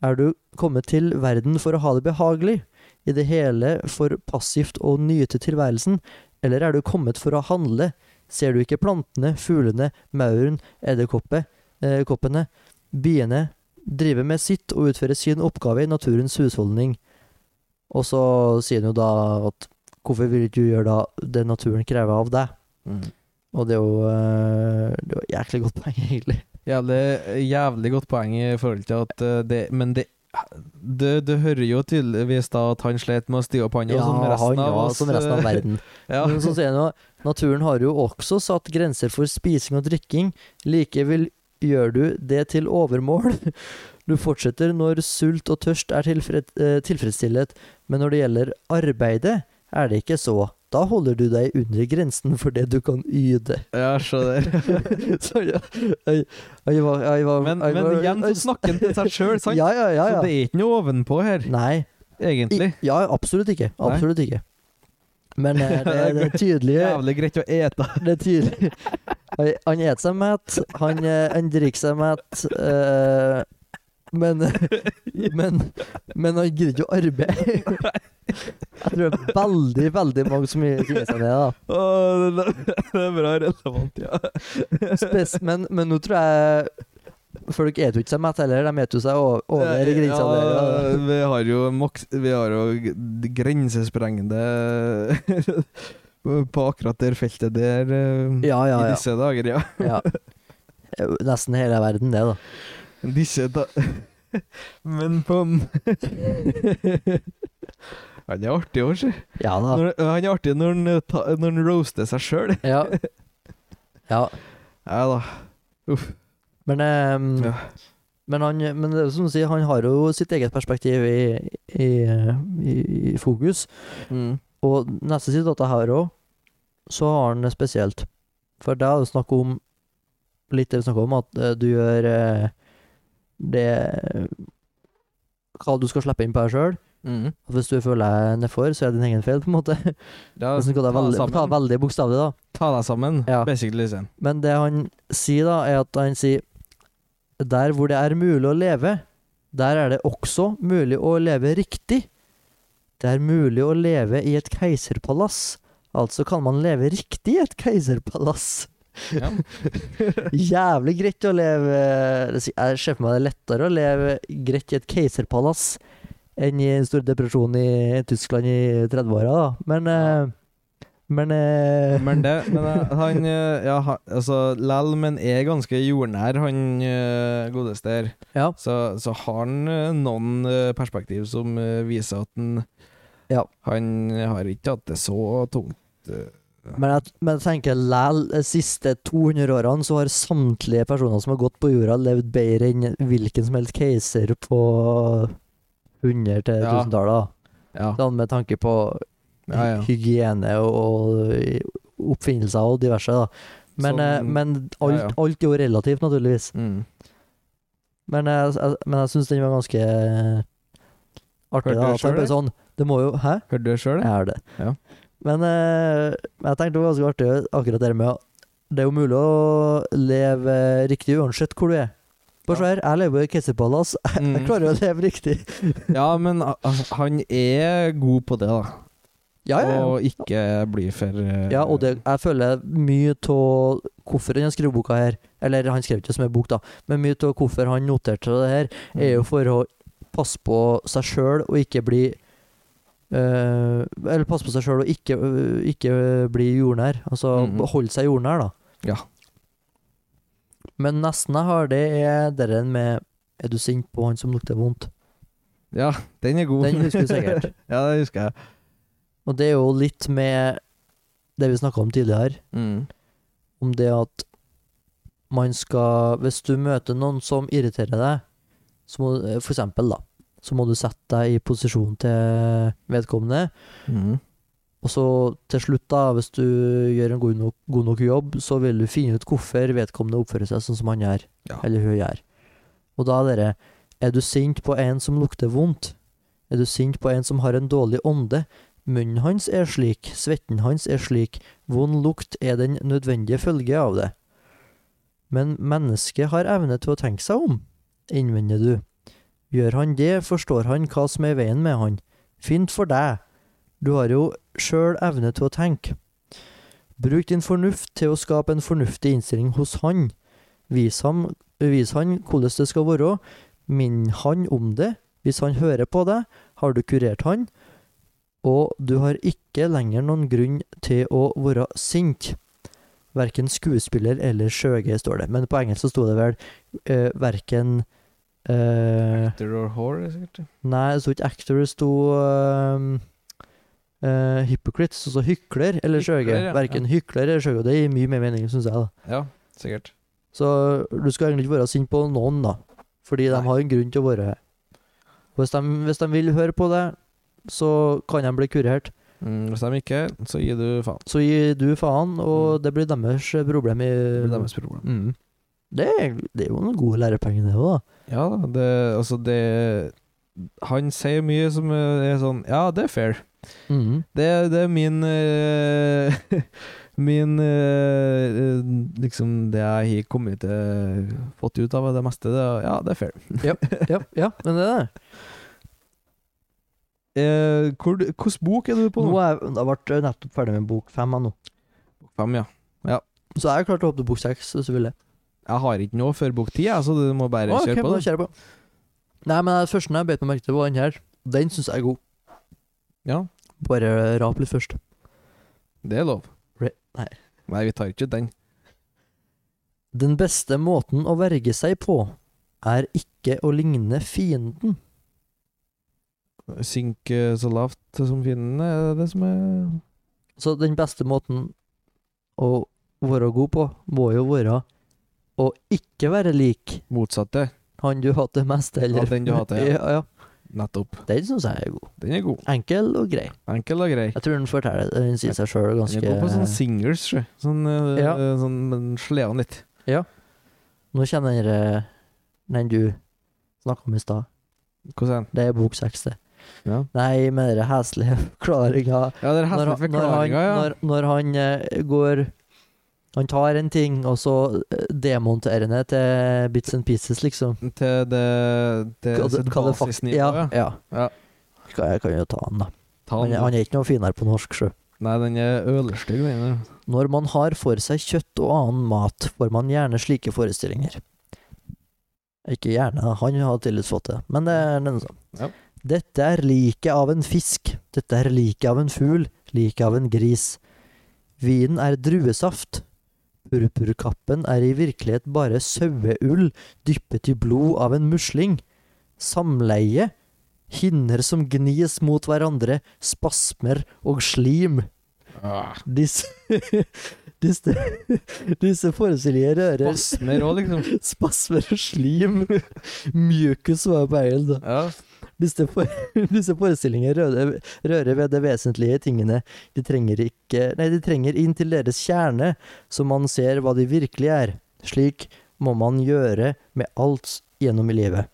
A: Er du kommet til verden for å ha det behagelig, i det hele for passivt å nyte tilværelsen, eller er du kommet for å handle, ser du ikke plantene, fuglene, mauren, edderkoppene, biene, drive med sitt og utføre sin oppgave i naturens husholdning. Og så sier han jo da at hvorfor vil ikke du gjøre da det naturen krever av deg? Og det er jo eh, det er jo jæklig godt poeng, egentlig.
B: Jævlig, jævlig godt poeng i forhold til at eh, det Men det du, du hører jo tydeligvis da at han slet med å stige opp hånda, som resten
A: han,
B: av
A: ja,
B: oss.
A: som sånn resten av
B: eh, [laughs]
A: verden. Men
B: Ja.
A: sånn så sier han jo naturen har jo også satt grenser for spising og drikking. Likevel gjør du det til overmål. [laughs] Du fortsetter når sult og tørst er tilfred, eh, tilfredsstillet, men når det gjelder arbeidet, er det ikke så. Da holder du deg under grensen for det du kan yte.
B: ja, se [laughs] der.
A: [laughs] Så ja, jeg, jeg var, jeg var,
B: Men,
A: jeg
B: men
A: var-
B: igjen så snakker han til seg sjøl, sant?
A: Ja, ja, ja.
B: Så det
A: ja.
B: er ikke noe ovenpå her,
A: Nei.
B: egentlig.
A: I, ja, absolutt ikke.
B: Nei.
A: Absolutt ikke. Men eh, det,
B: [laughs]
A: det tydelige
B: Jævlig greit å ete.
A: Det er tydelig. Han, han et seg mett, han, eh, han drikker seg mett, eh, men, men, men han gidder ikke å arbeide. Jeg tror det er veldig, veldig mange som finner seg ned, da.
B: Å, det, [laughs] det er bra relevant, ja.
A: Spes, men, men nå tror jeg Folk eter jo ikke seg mett heller, de eter jo seg o- over i grensa der. da.
B: Ja, vi har jo maks... Vi har jo g- grensesprengende [laughs] På akkurat det feltet der eh,
A: Ja, ja,
B: i
A: ja.
B: disse dager, ja. [laughs]
A: ja. Det er jo Nesten hele verden, det, da.
B: Disse da... [laughs] Men på [laughs] Han er artig òg, si.
A: Ja da.
B: Når- Han er artig når han, eh, ta- når han roaster seg sjøl.
A: Ja. ja.
B: Ja da.
A: Men, ehm,
B: Ja.
A: men, han, men det er jo som du sier, han har jo sitt eget perspektiv i, i, i, i fokus. Mm, Og neste sitat jeg har òg, så har han det spesielt. For det er jo snakk om litt det vi snakker om, at eh, du gjør eh, det Hva du skal slippe inn på deg sjøl.
B: Mm.
A: Hvis du føler deg nedfor, så er det din egen feil, på en måte.
B: Ja,
A: Hvis du skal ta,
B: deg
A: veldig, ta
B: sammen.
A: veldig bokstavelig, da.
B: Ta deg sammen,
A: Ja.
B: basically. liksom. Sen.
A: Men det han sier da, er at han sier Der hvor det er mulig å leve, der er det også mulig å leve riktig. Det er mulig å leve i et keiserpalass. Altså kan man leve riktig i et keiserpalass. [laughs]
B: Ja.
A: Jævlig greit å leve det sier- Jeg ser for meg det er lettere å leve greit i et keiserpalass enn i den store depresjonen i Tyskland i 30-åra, da. Men eh, Men, eh,
B: Men det men eh,
A: [laughs]
B: han eh, Ja, ha- altså Lell, men er ganske jordnær, han eh, godeste her.
A: Ja.
B: Så, så har han eh, noen eh, perspektiv som eh, viser at han
A: Ja.
B: Han har ikke hatt det så tungt. eh.
A: Men jeg, men jeg tenker læl, de siste 200 årene så har samtlige personer som har gått på jorda, levd bedre enn hvilken som helst keiser på 100- til
B: Ja.
A: 1000-tallet.
B: Ja.
A: Sånn med tanke på
B: Ja, ja.
A: hygiene og, og oppfinnelser og diverse. da. Men,
B: Sånn-
A: eh, men alt,
B: ja, ja.
A: alt er jo relativt, naturligvis.
B: Mm.
A: Men jeg, jeg, men jeg syns den var ganske eh,
B: Hørte du
A: artig. da,
B: det
A: at det
B: selv,
A: er bare sånn, det må jo Hæ?
B: Hørte du det sjøl,
A: Jeg
B: det?
A: er det.
B: Ja.
A: Men eh, jeg tenkte det var ganske artig akkurat det med at det er jo mulig å leve riktig uansett hvor du er. Bare se her, jeg lever i Kessie Palace. Jeg
B: Mm.
A: klarer jo å leve riktig.
B: [laughs] Ja, men ah, ah, han er god på det, da.
A: Ja, ja, ja.
B: Og ikke bli for eh,
A: Ja, og det, jeg føler mye av hvorfor han skrev boka her Eller han skrev ikke så mye bok, da, men mye av hvorfor han noterte det her, er
B: Mm.
A: jo for å passe på seg sjøl og ikke bli eh, Eller passe på seg sjøl og ikke, eh, ikke bli jordnær. Altså
B: Mhm.
A: holde seg jordnær, da.
B: Ja.
A: Men nesten jeg har det, er det der med Er du sint på han som lukter vondt?
B: Ja, den er god.
A: Den husker du sikkert.
B: [laughs] ja, det husker jeg.
A: Og det er jo litt med det vi snakka om tidligere.
B: Mm.
A: om det at man skal Hvis du møter noen som irriterer deg, så må, for eksempel, da, så må du sette deg i posisjon til vedkommende.
B: Mm.
A: Og så til slutt, da, hvis du gjør en god nok, god nok jobb, så vil du finne ut hvorfor vedkommende oppfører seg sånn som han gjør,
B: Ja.
A: eller hun gjør. Og da er dere Er du sint på en som lukter vondt? Er du sint på en som har en dårlig ånde? Munnen hans er slik, svetten hans er slik, vond lukt er den nødvendige følge av det. Men mennesket har evne til å tenke seg om, innvender du. Gjør han det, forstår han hva som er i veien med han. Fint for deg. Du har jo sjøl evne til å tenke. Bruk din fornuft til å skape en fornuftig innstilling hos han. Vis, ham, vis han hvordan det skal være. Minn han om det. Hvis han hører på deg, har du kurert han, og du har ikke lenger noen grunn til å være sint. Verken skuespiller eller skjøge, står det. Men på engelsk så sto det vel eh, verken eh,
B: Actor or whore, sikkert.
A: Nei, det sto ikke actor, det sto ehm, eh, hypocrites, altså hykler eller skjøge.
B: Hykler, ja,
A: Verken hykler eller skjøge. og Det gir mye mer mening, syns jeg. da.
B: Ja, sikkert.
A: Så du skal egentlig ikke være sint på noen, da. Fordi de
B: Nei.
A: har en grunn til å være her. Hvis de, hvis de vil høre på deg, så kan de bli kurert.
B: Mm, hvis de ikke, så gir du faen.
A: Så gir du faen, og det blir deres eh, problem i
B: Mm. Det blir deres problem.
A: Mm. Det, er, det er jo noen gode lærepenger, det òg, da.
B: Ja da, det Altså, det Han sier mye som eh, er sånn Ja, det er fair.
A: Mm.
B: Det, det er min eh, [laughs] Min eh, eh, Liksom det jeg har kommet til Fått ut av det meste. Det, er, ja, det er fair.
A: [laughs] Ja, ja, men det er det.
B: Eh, hvor, hvilken bok er du på
A: Nå
B: nå?
A: er, jeg ble nettopp ferdig med bok fem, jeg nå.
B: Fem, ja.
A: Så jeg er klar til å hoppe til bok seks, hvis du vil det.
B: Jeg har ikke noe før bok ti, jeg, så du må bare
A: Ok,
B: kjøre på.
A: men da
B: det.
A: kjører jeg på. Nei, men den første jeg bet meg merke til, var den her. Den syns jeg er god.
B: Ja,
A: Bare rap litt først.
B: det er lov.
A: Re- nei.
B: Nei, vi tar ikke den.
A: Den beste måten å verge seg på er ikke å ligne fienden.
B: Synke eh, så lavt som fienden er det som er
A: Så den beste måten å være god på, må jo være å ikke være lik
B: motsatte.
A: han du hater mest, eller
B: Ja, den du hater, ja.
A: [laughs] ja. ja,
B: Nettopp.
A: Den syns jeg er god.
B: Den er god.
A: Enkel og grei.
B: Enkel og grei.
A: Jeg tror den forteller Den sier seg sjøl
B: Den
A: ganske
B: er god på sånne singers, sjø. sånn, eh,
A: Ja.
B: eh, sånn men slea den litt.
A: Nå kjenner jeg eh, den du snakka om i stad.
B: Hvordan?
A: Det er bok seks, det.
B: Ja.
A: Nei, med den [laughs] heslige forklaringa.
B: ja, det er
A: Når,
B: heslige
A: han- når han,
B: forklaringer, ja.
A: når, når han eh, går Han tar en ting, og så eh, demonterer han det til bits and pieces, liksom.
B: Til det, det,
A: Hva
B: Eh,
A: det-
B: sitt
A: hva det faktisk-
B: basisnivå,
A: ja,
B: ja.
A: ja.
B: Ja.
A: Skal- Jeg kan jo ta han, da.
B: Ta
A: Han,
B: den.
A: er- han er ikke noe finere på norsk, sjø.
B: Nei, den er ølstygg, den der.
A: Når man har for seg kjøtt og annen mat, får man gjerne slike forestillinger. Ikke gjerne, han har tydeligvis fått det, men det er den som.
B: Ja.
A: Dette er liket av en fisk, dette er liket av en fugl, liket av en gris. Vinen er druesaft. Purpurkappen er i virkelighet bare saueull dyppet i blod av en musling. Samleie. Hinner som gnis mot hverandre, spasmer og slim.
B: Ah.
A: Disse, [laughs] disse, disse forestillinger rører [laughs]
B: Basmer òg, liksom.
A: spasmer og slim. Mjukis var på eilen.
B: Ja.
A: Disse, for, [laughs] disse forestillinger rører, rører ved det vesentlige i tingene. De trenger, ikke, nei, de trenger inn til deres kjerne, så man ser hva de virkelig er. Slik må man gjøre med alt gjennom i livet.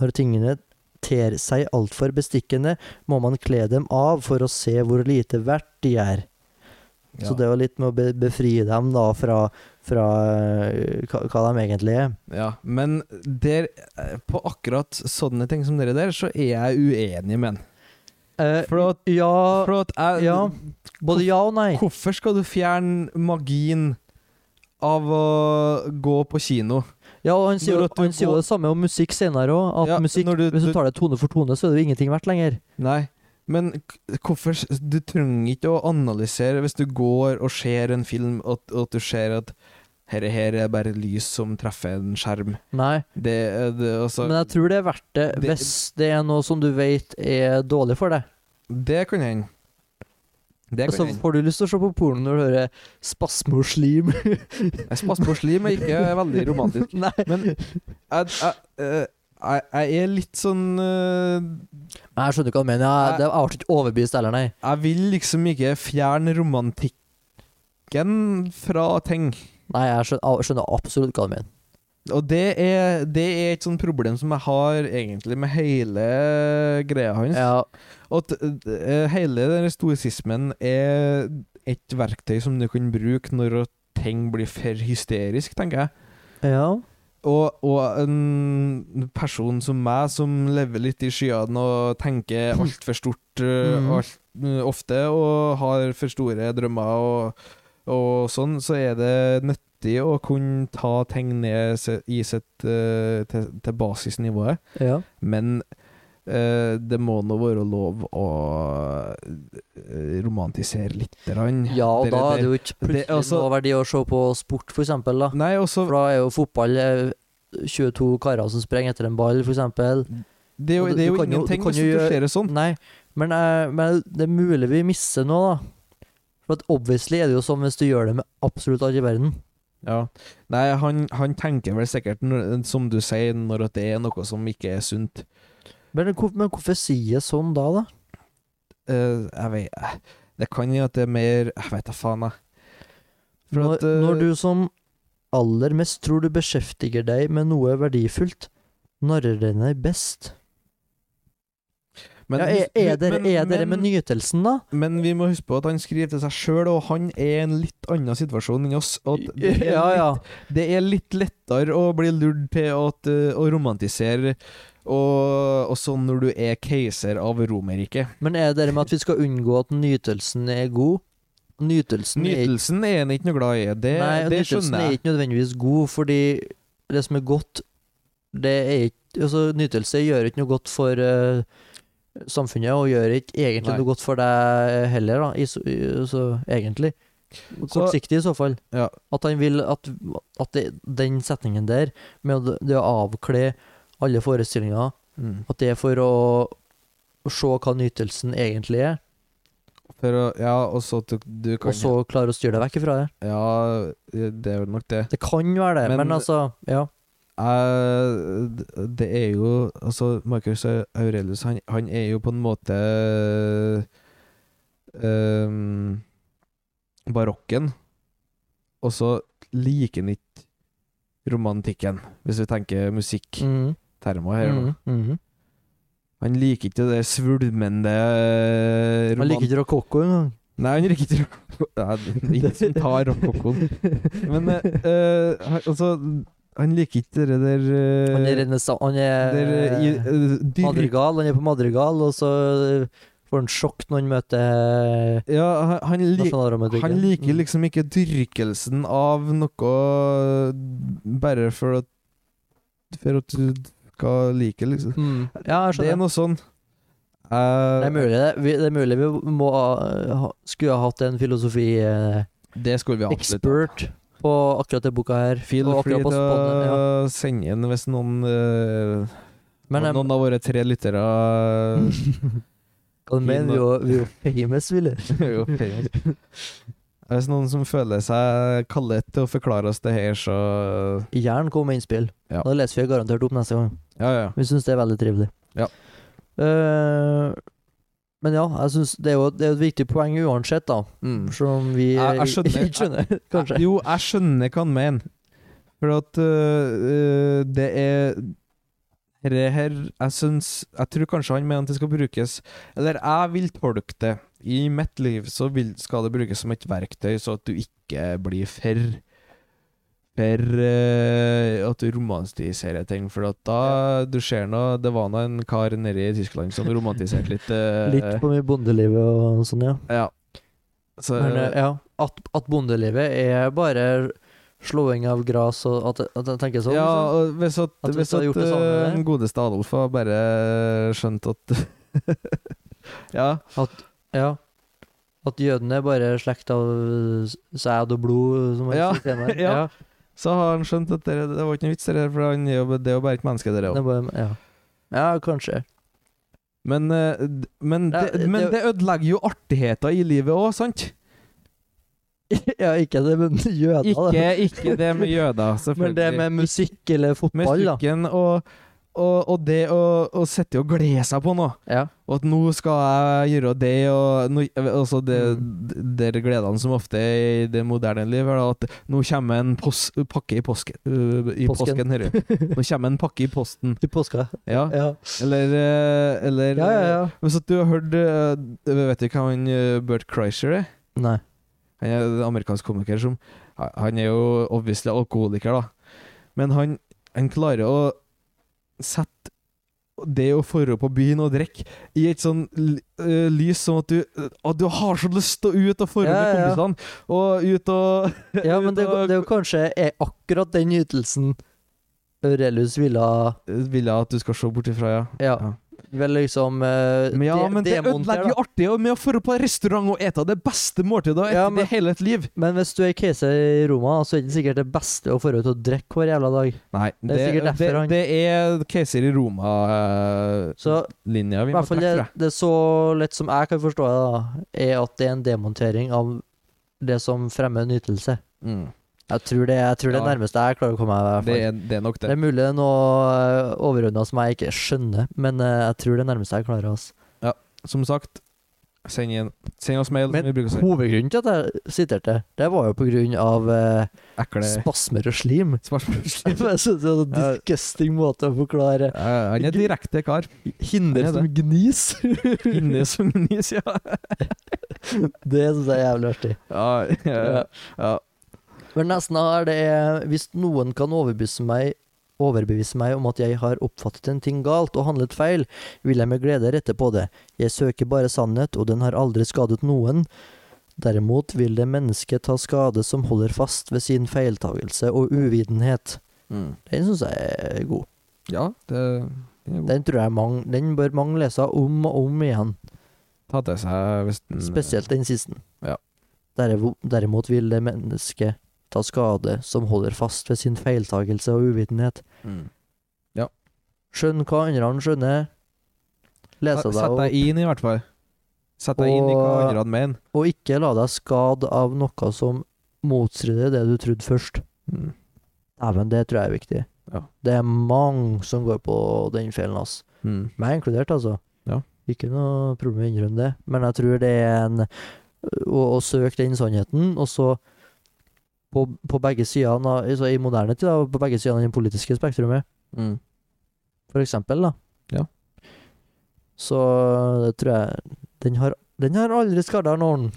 A: Når tingene ter seg altfor bestikkende, må man kle dem av for å se hvor lite verdt de er.
B: Ja.
A: Så det var litt med å be befri dem da fra, fra eh, hva, hva de egentlig er.
B: Ja, men der, eh, på akkurat sånne ting som dere der, så er jeg uenig med han.
A: Eh,
B: For at,
A: ja,
B: for at jeg,
A: ja. Både ja og nei.
B: Hvorfor skal du fjerne magien av å gå på kino?
A: Ja, og Han sier jo
B: Når at du
A: han sier jo
B: går-
A: det samme om musikk senere òg. At
B: Ja,
A: musikk,
B: når du-
A: hvis du
B: du-
A: tar det tone for tone, så er det jo ingenting verdt lenger.
B: Nei, men k- hvorfor s- Du trenger ikke å analysere hvis du går og ser en film, og at, at du ser at herre her er bare lys som treffer en skjerm.
A: Nei,
B: Det er det, altså,
A: men jeg tror det er verdt det,
B: det-
A: hvis det er noe som du vet er dårlig for deg.
B: det kan hende. Det
A: Så
B: kan hende.
A: får du lyst til å se på porno når du hører spasme og slim.
B: Jeg spasser på slim, er ikke veldig romantisk.
A: Nei,
B: Men jeg, jeg, eh, jeg, jeg er litt sånn eh,
A: men jeg skjønner ikke hva du mener. Jeg, det, jeg ble ikke overbevist heller, nei.
B: Jeg vil liksom ikke fjerne romantikken fra ting.
A: Nei, jeg skjønner, jeg skjønner absolutt hva du mener.
B: Og det er, det er et sånt problem som jeg har egentlig med hele greia hans.
A: Ja,
B: At eh, hele den stoisismen er et verktøy som du kan bruke når at ting blir for hysterisk, tenker jeg.
A: ja.
B: Og, og en person som meg, som lever litt i skyene og
A: [laughs]
B: tenker altfor stort eh,
A: Mhm.
B: alt, ofte, og har for store drømmer og, og sånn, så er det nyttig å kunne ta ting ned se- i sitt, eh, til, til basisnivået.
A: ja.
B: Men eh, det må nå være lov å eh, romantisere lite grann.
A: ja, og
B: Det-
A: da er det
B: det-
A: jo ikke
B: det-
A: plutselig
B: altså-
A: noe verdi å se på sport, for eksempel. Da.
B: Nei, og så
A: For da er jo fotball eh, 22 karer som sprenger etter en ball, for eksempel.
B: Det er jo,
A: og du-
B: det er
A: du
B: jo
A: kan jo- du
B: ingenting
A: kan
B: hvis
A: jo
B: du
A: gjøre-
B: ser det sånn.
A: Nei, men, eh, men det er mulig vi misser noe, da. For at obviously er det jo sånn hvis du gjør det med absolutt alle i verden.
B: Ja. Nei, han, han tenker vel sikkert, når, som du sier, når at det er noe som ikke er sunt.
A: Men, hvor, men hvorfor sier jeg sånn da, da?
B: Eh, jeg vet eh, Det kan jo at det er mer Jeg vet da faen, jeg. For
A: Når,
B: at, eh,
A: når du som aller mest tror du beskjeftiger deg med noe verdifullt, narrer den deg best.
B: men-
A: ja, er, er dere,
B: men-
A: er dere med
B: men-
A: nytelsen, da?
B: Men vi må huske på at han skriver til seg sjøl, og han er i en litt annen situasjon enn oss. At
A: [laughs]
B: det, er
A: Ja, ja.
B: Litt, det er litt lettere å bli lurt til at, eh, å romantisere og, og sånn når du er keiser av Romerriket.
A: Men er dere med at vi skal unngå at nytelsen er god? Nytelsen, er ikke-
B: Nytelsen er han ikke noe glad i. Det,
A: Nei, og
B: det
A: nytelsen
B: skjønner
A: er
B: jeg.
A: ikke nødvendigvis god, fordi det som er godt, det er ikke Altså, nytelse gjør ikke noe godt for eh, samfunnet, og gjør ikke egentlig
B: Nei.
A: noe godt for deg heller, da. I, så, i, så egentlig. Kortsiktig, i så fall.
B: Ja.
A: At han vil at, at det, den setningen der, med å- det å avkle alle forestillinger,
B: Mm.
A: at det er for å å se hva nytelsen egentlig er,
B: For å, ja, og så at du, du kan
A: og så klare å styre deg vekk ifra det.
B: Ja, det er vel nok det.
A: Det kan være det,
B: Men-
A: men altså Ja.
B: Jeg- det er jo Altså, Marcus Aurelius, han, han er jo på en måte ehm, barokken, og så liker han ikke romantikken, hvis vi tenker musikktermer
A: Mm.
B: her. nå.
A: Mhm, mhm.
B: Han liker ikke det svulmende
A: Han liker
B: romantikken.
A: ikke rokokko engang.
B: Nei, han drikker ikke rokoko. Nei, Ingen som tar rokokoen. Men eh, eh, han- altså Han liker ikke det der eh,
A: Han er renessa... Han er
B: der, eh, i, eh, dyr-
A: madrigal. Han er på madrigal, og så eh, får han sjokk når han møter
B: Ja, han, han, lik,
A: nasjonalromantikken.
B: han liker
A: Mm.
B: liksom ikke dyrkelsen av noe eh, bare for at For at du skal like, liksom.
A: mm. Ja, jeg
B: Det er
A: skjønner.
B: noe sånn Eh,
A: Det er, mulig, det. Vi, det er mulig vi må eh, ha, skulle ha hatt en filosofi-expert
B: Det skulle vi absolutt ha.
A: på akkurat denne boka her.
B: Feel
A: og
B: free
A: akkurat på
B: til
A: spånene, ja.
B: å sende inn hvis noen eh,
A: Men jeg,
B: noen av våre tre lyttere
A: hva mener vi jo, vi er jo famous, Wille.
B: er eh, jo famous. Hvis noen som føler seg kallet til å forklare oss det her, så
A: Jern kom med innspill.
B: Ja.
A: Da leser vi garantert opp neste gang.
B: Ja, ja.
A: Vi syns det er veldig trivelig.
B: Ja.
A: Eh, men ja, jeg synes det er jo det er jo et viktig poeng uansett, da.
B: Mm.
A: Selv om vi
B: Jeg- jeg skjønner-
A: ikke [laughs] skjønner, kanskje.
B: Jo, jeg skjønner hva han mener. For at øh, øh, det er det her Jeg syns Jeg tror kanskje han mener at det skal brukes Eller jeg vil tolke det. I mitt liv så vil, skal det brukes som et verktøy, så at du ikke blir for For øh, at du romantiserer ting. For at da Du ser nå Det var nå en kar nede i Tyskland som romantiserte
A: [laughs]
B: litt. øh,
A: Litt på mye bondelivet og sånn, ja.
B: Ja. Så,
A: Men, eh, ja. At, at bondelivet er bare slåing av gras og at, at jeg tenker sånn.
B: Ja,
A: liksom.
B: og hvis at,
A: At hvis
B: hvis
A: du
B: at
A: hadde gjort det samme
B: eh,
A: der.
B: den godeste Adolf har bare skjønt at [laughs] Ja.
A: ja. At jødene er bare slekt av eh, sæd og blod, som man
B: Ja,
A: sier senere.
B: [laughs] ja. Så har han skjønt at det, det var ikke noe vits, det der, for han er jo, det er jo bare et menneske, det der òg.
A: Det er bare, ja. ja, kanskje.
B: Men, eh, d- men,
A: Ja,
B: det, men
A: det-
B: det ødelegger jo artigheten i livet òg, sant?
A: [laughs] ja, ikke det med jøder,
B: Ikke,
A: da.
B: ikke det med jøder,
A: [laughs] Men det
B: selvfølgelig.
A: med musikk eller fotball, da.
B: musikken og, og, og det å, å sitte og glede seg på noe.
A: Ja.
B: Og at nå skal jeg gjøre det, og nå, altså det,
A: Mm.
B: det er gledene som ofte er i det moderne liv, er da at nå kommer en pos, pakke i, påske, øh, i
A: Påsken.
B: påsken.
A: [laughs]
B: hører du. Nå kommer en pakke i posten.
A: Til påska.
B: Ja.
A: [laughs] Ja,
B: Eller, øh, eller
A: ja, ja. ja.
B: Hvis at du har hørt øh, Vet du hva han øh, Bert Kreischer er?
A: Nei.
B: Han er en amerikansk komiker som Han er jo obviously alkoholiker, da. Men han, han klarer å sette det å dra på byen og drikke i et sånn l- øh, lys, sånn at du, at du har så lyst til å ut og dra
A: Ja,
B: med
A: ja, ja.
B: kompisene. Og ut og
A: Ja,
B: [laughs]
A: men det,
B: Da-
A: det er jo kanskje er akkurat den ytelsen Aurelius ville ha
B: Eh, Vil jeg at du skal se bort ifra, ja.
A: Ja.
B: Ja.
A: Vel, liksom eh,
B: Men ja,
A: de-
B: men det
A: demonter,
B: ødelegger jo
A: da.
B: artig og med å dra på restaurant og ete det beste måltidet etter
A: Ja, men-
B: det hele et liv.
A: Men hvis du er keiser i Roma, så er det ikke sikkert det beste å dra ut og drikke hver jævla dag.
B: Nei,
A: Det er sikkert derfor
B: det,
A: han-
B: det er keiser i
A: Så
B: Roma-linja vi
A: i
B: må
A: hvert fall
B: trekke
A: det,
B: fra.
A: det er så lett som jeg kan forstå det, da, er at det er en demontering av det som fremmer en ytelse.
B: Mm.
A: Jeg tror det, jeg tror det er
B: Ja.
A: nærmeste jeg klarer å komme meg. i hvert
B: Det
A: fall.
B: er, det er nok
A: Det
B: det.
A: er mulig det er noe eh, overordnet som jeg ikke skjønner, men eh, jeg tror det er nærmeste jeg klarer. Altså.
B: Som sagt, send, inn, send oss mail.
A: Men
B: vi bruker å si.
A: Hovedgrunnen til at jeg siterte, det var jo på grunn av eh,
B: Ekle
A: spasmer og slim. [laughs]
B: spørsmål. [laughs]
A: Jeg synes det er en
B: Ja.
A: disgusting måte å forklare
B: Eh, Han er direkte kar.
A: hinder
B: Ja, det.
A: som gnis. [laughs]
B: Inni som gnis, ja.
A: det synes jeg er jævlig artig.
B: Ja, ja, ja.
A: Men nesten her, det er Hvis noen kan overbevise meg Overbevise meg om at jeg har oppfattet en ting galt og handlet feil, vil jeg med glede rette på det. Jeg søker bare sannhet, og den har aldri skadet noen. Derimot vil det mennesket ta skade som holder fast ved sin feiltagelse og uvitenhet.
B: Mm.
A: Den syns jeg er god.
B: ja det det er god.
A: Den tror jeg mange, den bør mange lese om og om igjen.
B: Ta til seg eh, hvis den
A: Spesielt den siste.
B: Mm. Ja.
A: Derevo- Derimot vil det mennesket ta skade som holder fast ved sin feiltagelse og uvitenhet.
B: Mm.
A: Skjønn hva andre han skjønner. Lese deg
B: Sett deg
A: opp,
B: inn, i hvert fall. Sett deg inn i hva
A: Og-
B: andre han mener.
A: og ikke la deg skade av noe som motstrider det du trodde først.
B: Mm.
A: Dæven, det tror jeg er viktig.
B: Ja.
A: Det er mange som går på den fellen, ass.
B: Mm.
A: Meg inkludert, altså.
B: Ja.
A: Ikke noe problem å innrømme det, men jeg tror det er en Å, å søke den sannheten, og så på, på begge sidene av- altså I moderne tid, da, på begge sidene i det politiske spektrumet,
B: Mm.
A: for eksempel, da.
B: Ja.
A: Så det tror jeg Den har, den har aldri skada noen.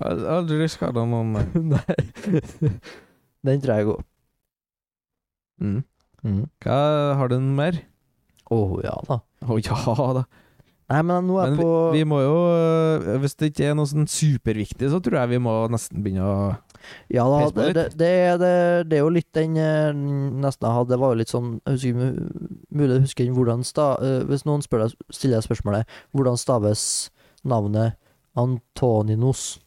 B: Jeg har Aldri skada noen. [laughs] nei.
A: Nei. den tror jeg er god.
B: Mm.
A: Å
B: Hva, har du noe mer?
A: ja da.
B: Å ja da.
A: Nei, men nå er
B: Men
A: jeg på
B: Vi må jo, øh, hvis det ikke er noe sånn superviktig, så tror jeg vi må nesten begynne å
A: Ja da,
B: Pes på
A: det, det,
B: litt.
A: det, er- det, det er jo litt den eh, nesten jeg hadde. Det var jo litt sånn jeg husker, ikke- Mulig jeg husker ikke hvordan sta, eh, Hvis noen spør deg, stiller deg spørsmålet Hvordan staves navnet Antoninos,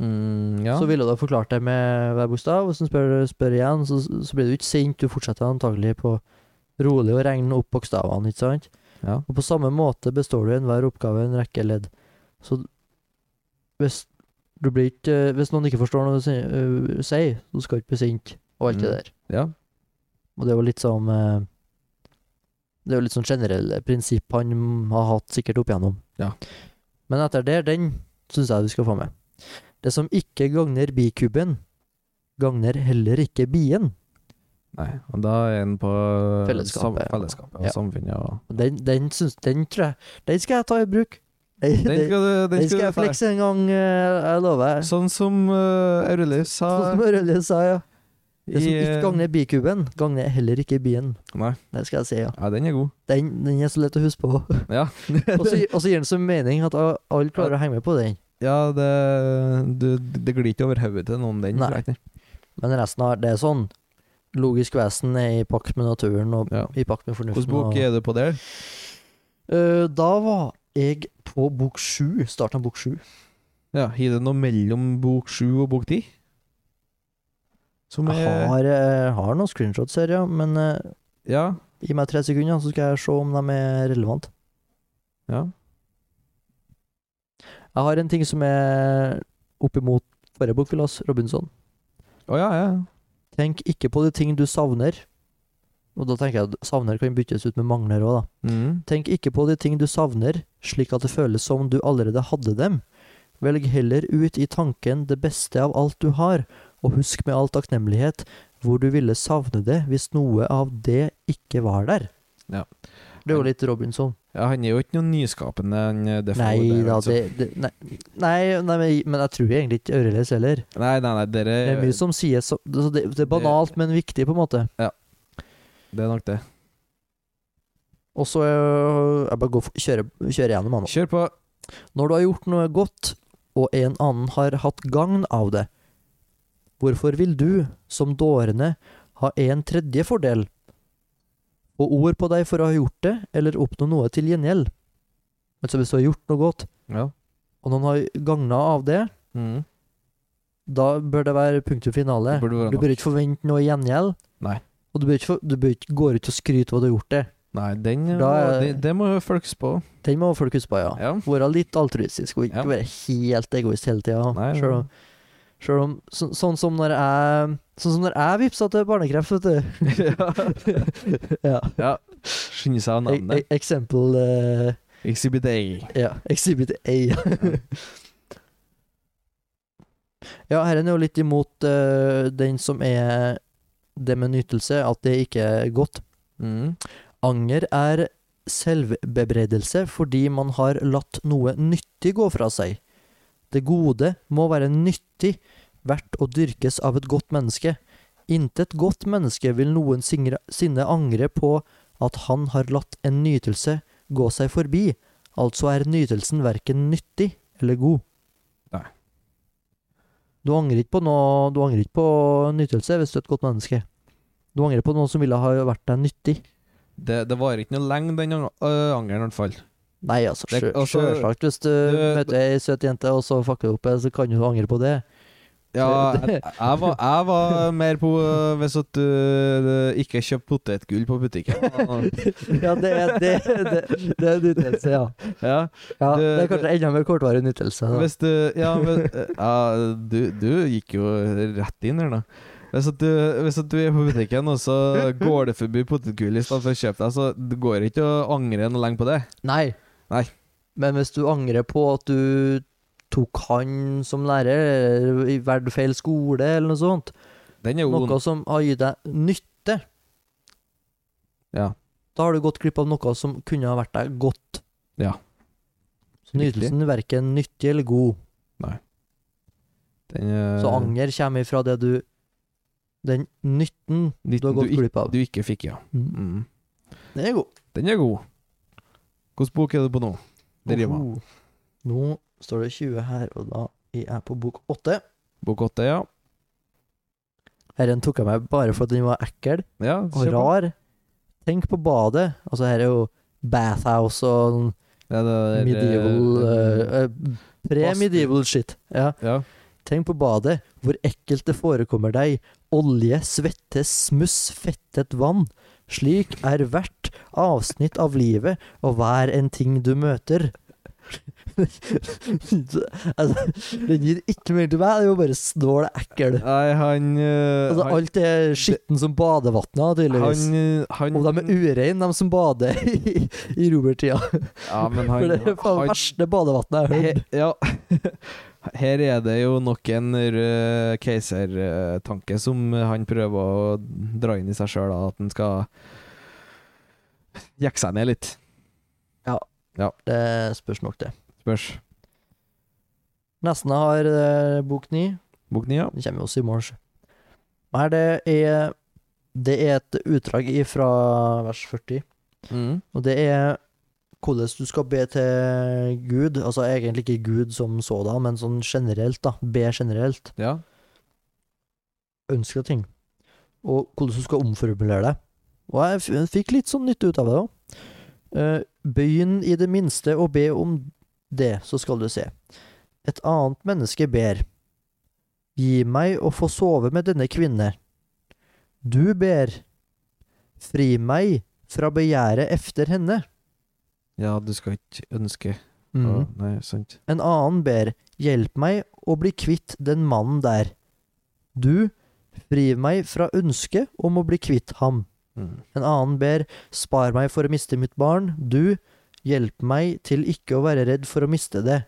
B: ja.
A: så ville du ha forklart det med hver bokstav. Hvis du spør, spør igjen, så, så blir du ikke sint. Du fortsetter antagelig på rolig å regne opp bokstavene, ikke sant?
B: ja.
A: Og på samme måte består du i enhver oppgave i en rekke ledd. Så hvis du blir ikke eh, Hvis noen ikke forstår noe du sier, eh, sier, så skal du ikke bli sint, og alt det
B: Mm.
A: der.
B: Ja.
A: Og det er jo litt som eh, Det er jo litt sånn generelle prinsipp han har hatt sikkert opp igjennom.
B: Ja.
A: Men etter det, den syns jeg vi skal få med. Det som ikke gagner bikuben, gagner heller ikke bien.
B: Nei, og da er en på
A: Fellesskapet,
B: sam
A: ja.
B: fellesskapet og
A: Ja.
B: samfunnet og
A: Den, den, syns, den tror jeg Den skal jeg ta i bruk. Den, den,
B: [laughs] Den
A: den,
B: skal du den skal
A: skal
B: du
A: jeg
B: ta.
A: flekse en gang, eh, jeg lover.
B: Sånn som uh, Aurelius sa
A: Sånn som Ørjelius sa, ja. Det som
B: i, eh,
A: ikke gagner bikuben, gagner heller ikke bien.
B: Nei.
A: Det skal jeg si, ja.
B: Ja, den er god.
A: Den, den er så lett å huske
B: [laughs]
A: på.
B: Ja,
A: [laughs] Og så og så gir den så mening at a- alle klarer å henge med på den.
B: [laughs] ja det, du, det glir ikke over hodet til noen, den.
A: Nei.
B: tror jeg ikke.
A: Men resten av det er sånn. Logisk vesen er i pakt med naturen og
B: Ja.
A: i pakt med fornuften.
B: Hvilken bok
A: og-
B: er du på der?
A: Øh, da var jeg på bok sju. Starten av bok sju.
B: Ja, Har det noe mellom bok sju og bok ti? Som
A: Jeg
B: er
A: har, eh, har noen screenshots her, ja, men eh,
B: Ja.
A: gi meg tre sekunder, så skal jeg se om de er relevante.
B: ja.
A: Jeg har en ting som er oppimot forrige bok vi leste, Robinson.
B: Å ja, ja.
A: Tenk ikke på de ting du savner. Og da tenker jeg at savner kan byttes ut med mangler òg, da.
B: Mm.
A: Tenk ikke på de ting du savner, slik at det føles som du allerede hadde dem. Velg heller ut i tanken det beste av alt du har, og husk med all takknemlighet hvor du ville savne det hvis noe av det ikke var der.
B: Ja.
A: Det er jo litt Robinson.
B: ja. Han er jo ikke noe nyskapende, han eh, Defoe.
A: Nei
B: der,
A: da,
B: altså.
A: det, det nei, nei, nei, men- men jeg tror egentlig ikke Øreless heller.
B: Nei, nei, nei, dere
A: Det er mye som sies så så det, det er banalt, men viktig, på en måte.
B: Det er nok det.
A: Og så øh, Jeg bare går, for- kjører, kjører gjennom, han nå.
B: Kjør på.
A: Når du har gjort noe godt, og en annen har hatt gagn av det, hvorfor vil du, som dårene, ha en tredje fordel? Og ord på deg for å ha gjort det, eller oppnå noe til gjengjeld? Altså hvis du har gjort noe godt,
B: Ja.
A: og noen har gagna av det,
B: Mm.
A: da bør det være punktum finale.
B: Det burde være
A: Du
B: nok.
A: bør ikke forvente noe i gjengjeld.
B: Nei.
A: Og du bør ikke, for- du bør ikke gå ut og skryte av at du har gjort det.
B: Nei, den
A: Da
B: må,
A: er-
B: det, det må jo følges på.
A: Den må folk huske på, ja.
B: Ja.
A: Være litt altruistisk, og
B: Ja.
A: ikke være helt egoist hele tida.
B: Nei,
A: Sjøl om Sjøl om så, Sånn som når jeg Sånn som når jeg vipsa til barnekreft, vet du. Ja.
B: [laughs] ja. Skynde seg å
A: E
B: nevne
A: e
B: det.
A: eksempel eh,
B: Exhibit A.
A: Ja, [laughs] Exhibit A. ja, her er den jo litt imot eh, den som er det med nytelse, at det ikke er godt.
B: Mm.
A: Anger er selvbebreidelse fordi man har latt noe nyttig gå fra seg. Det gode må være nyttig, verdt å dyrkes av et godt menneske. Intet godt menneske vil noensinne angre på at han har latt en nytelse gå seg forbi, altså er nytelsen verken nyttig eller god.
B: Nei.
A: Du angrer ikke på noe, du angrer ikke på nytelse hvis du er et godt menneske. Du angrer på noe som ville ha vært deg nyttig.
B: Det, det varer ikke noe lenge, den ang- øh, angeren i hvert fall.
A: Nei, altså,
B: Det-
A: sjø-
B: altså,
A: sjølsagt. Hvis du
B: det-
A: møter ei søt jente, og så fucker du opp, eh, så kan du jo angre på
B: [laughs]
A: det.
B: Ja,
A: [laughs] Det-
B: jeg,
A: det-
B: jeg, var, jeg var mer på øh, hvis at du øh, ikke kjøpte potetgull på butikken.
A: [laughs] Ja, det er, det, det, det er nytelse, ja.
B: ja.
A: ja.
B: Det-
A: Det er kanskje enda mer kortvarig nytelse. da.
B: Hvis du Ja, men eh, ja, du, du gikk jo rett inn her, da. Hvis at, du, hvis at du er på butikken, og så går det forbi potetgull i stedet for å kjøpe deg, så det går ikke å angre noe lenge på det.
A: Nei.
B: Nei.
A: Men hvis du angrer på at du tok han som lærer, eller valgte feil skole, eller noe sånt,
B: Den er jo ond.
A: noe som har gitt deg nytte,
B: Ja.
A: da har du gått glipp av noe som kunne ha vært deg godt.
B: Ja.
A: Så nytelsen er verken nyttig eller god.
B: Den, øh,
A: Så anger kommer ifra det du Den nytten du har
B: nytten
A: gått
B: du,
A: glipp av.
B: ikke, du ikke fikk, ja.
A: Mm.
B: Mm.
A: Den er god.
B: Den er god. Hvilken bok er du på nå? Det rimer.
A: Oho. Oh. Nå står det 20 her, og da er jeg på bok 8.
B: Bok åtte, ja.
A: Herren tok jeg meg bare for at den var ekkel
B: ja
A: og
B: kjør på.
A: rar. Tenk på badet. Altså, her er jo bathhouse og sånn
B: Ja, det er-
A: medieval eh, eh, Pre-medieval shit. Ja.
B: ja.
A: Tenk på badet, hvor ekkelt det forekommer deg. Olje, svette, smuss, fettet vann. Slik er hvert avsnitt av livet og hver en ting du møter. [laughs] altså, den gir ikke mening til meg, det er jo bare snål ekkel.
B: Nei, han eh,
A: Altså,
B: han-
A: alt er skitten som badevannet, tydeligvis.
B: han, eh, han
A: Og de er ureine, de som bader i, i romertida.
B: Ja, men
A: [laughs] For
B: han,
A: det er faen
B: han
A: verste badevannet jeg har hørt.
B: he, Ja. [laughs] Her er det jo nok en rød keisertanke som han prøver å dra inn i seg sjøl, at han skal jekke seg ned litt.
A: Det spørs nok, det.
B: Spørs.
A: Nesten har eh, bok ni.
B: Bok ni, ja.
A: Den kommer jo også i morgen. Nei, det er Det er et utdrag fra vers 40,
B: Mm.
A: og det er hvordan du skal be til Gud. Altså egentlig ikke Gud som sådan, men sånn generelt, da. Be generelt.
B: Ja.
A: Ønske ting. Og hvordan du skal omformulere det. Og jeg f- fikk litt sånn nytte ut av det òg. Begynn i det minste å be om det, så skal du se. Et annet menneske ber. Gi meg å få sove med denne kvinne. Du ber. Fri meg fra begjæret efter henne.
B: ja, du skal ikke ønske
A: Mhm.
B: å- Nei, sant.
A: En annen ber, hjelp meg å bli kvitt den mannen der. Du, fri meg fra ønsket om å bli kvitt ham.
B: Mm.
A: En annen ber, spar meg for å miste mitt barn. Du, hjelp meg til ikke å være redd for å miste det.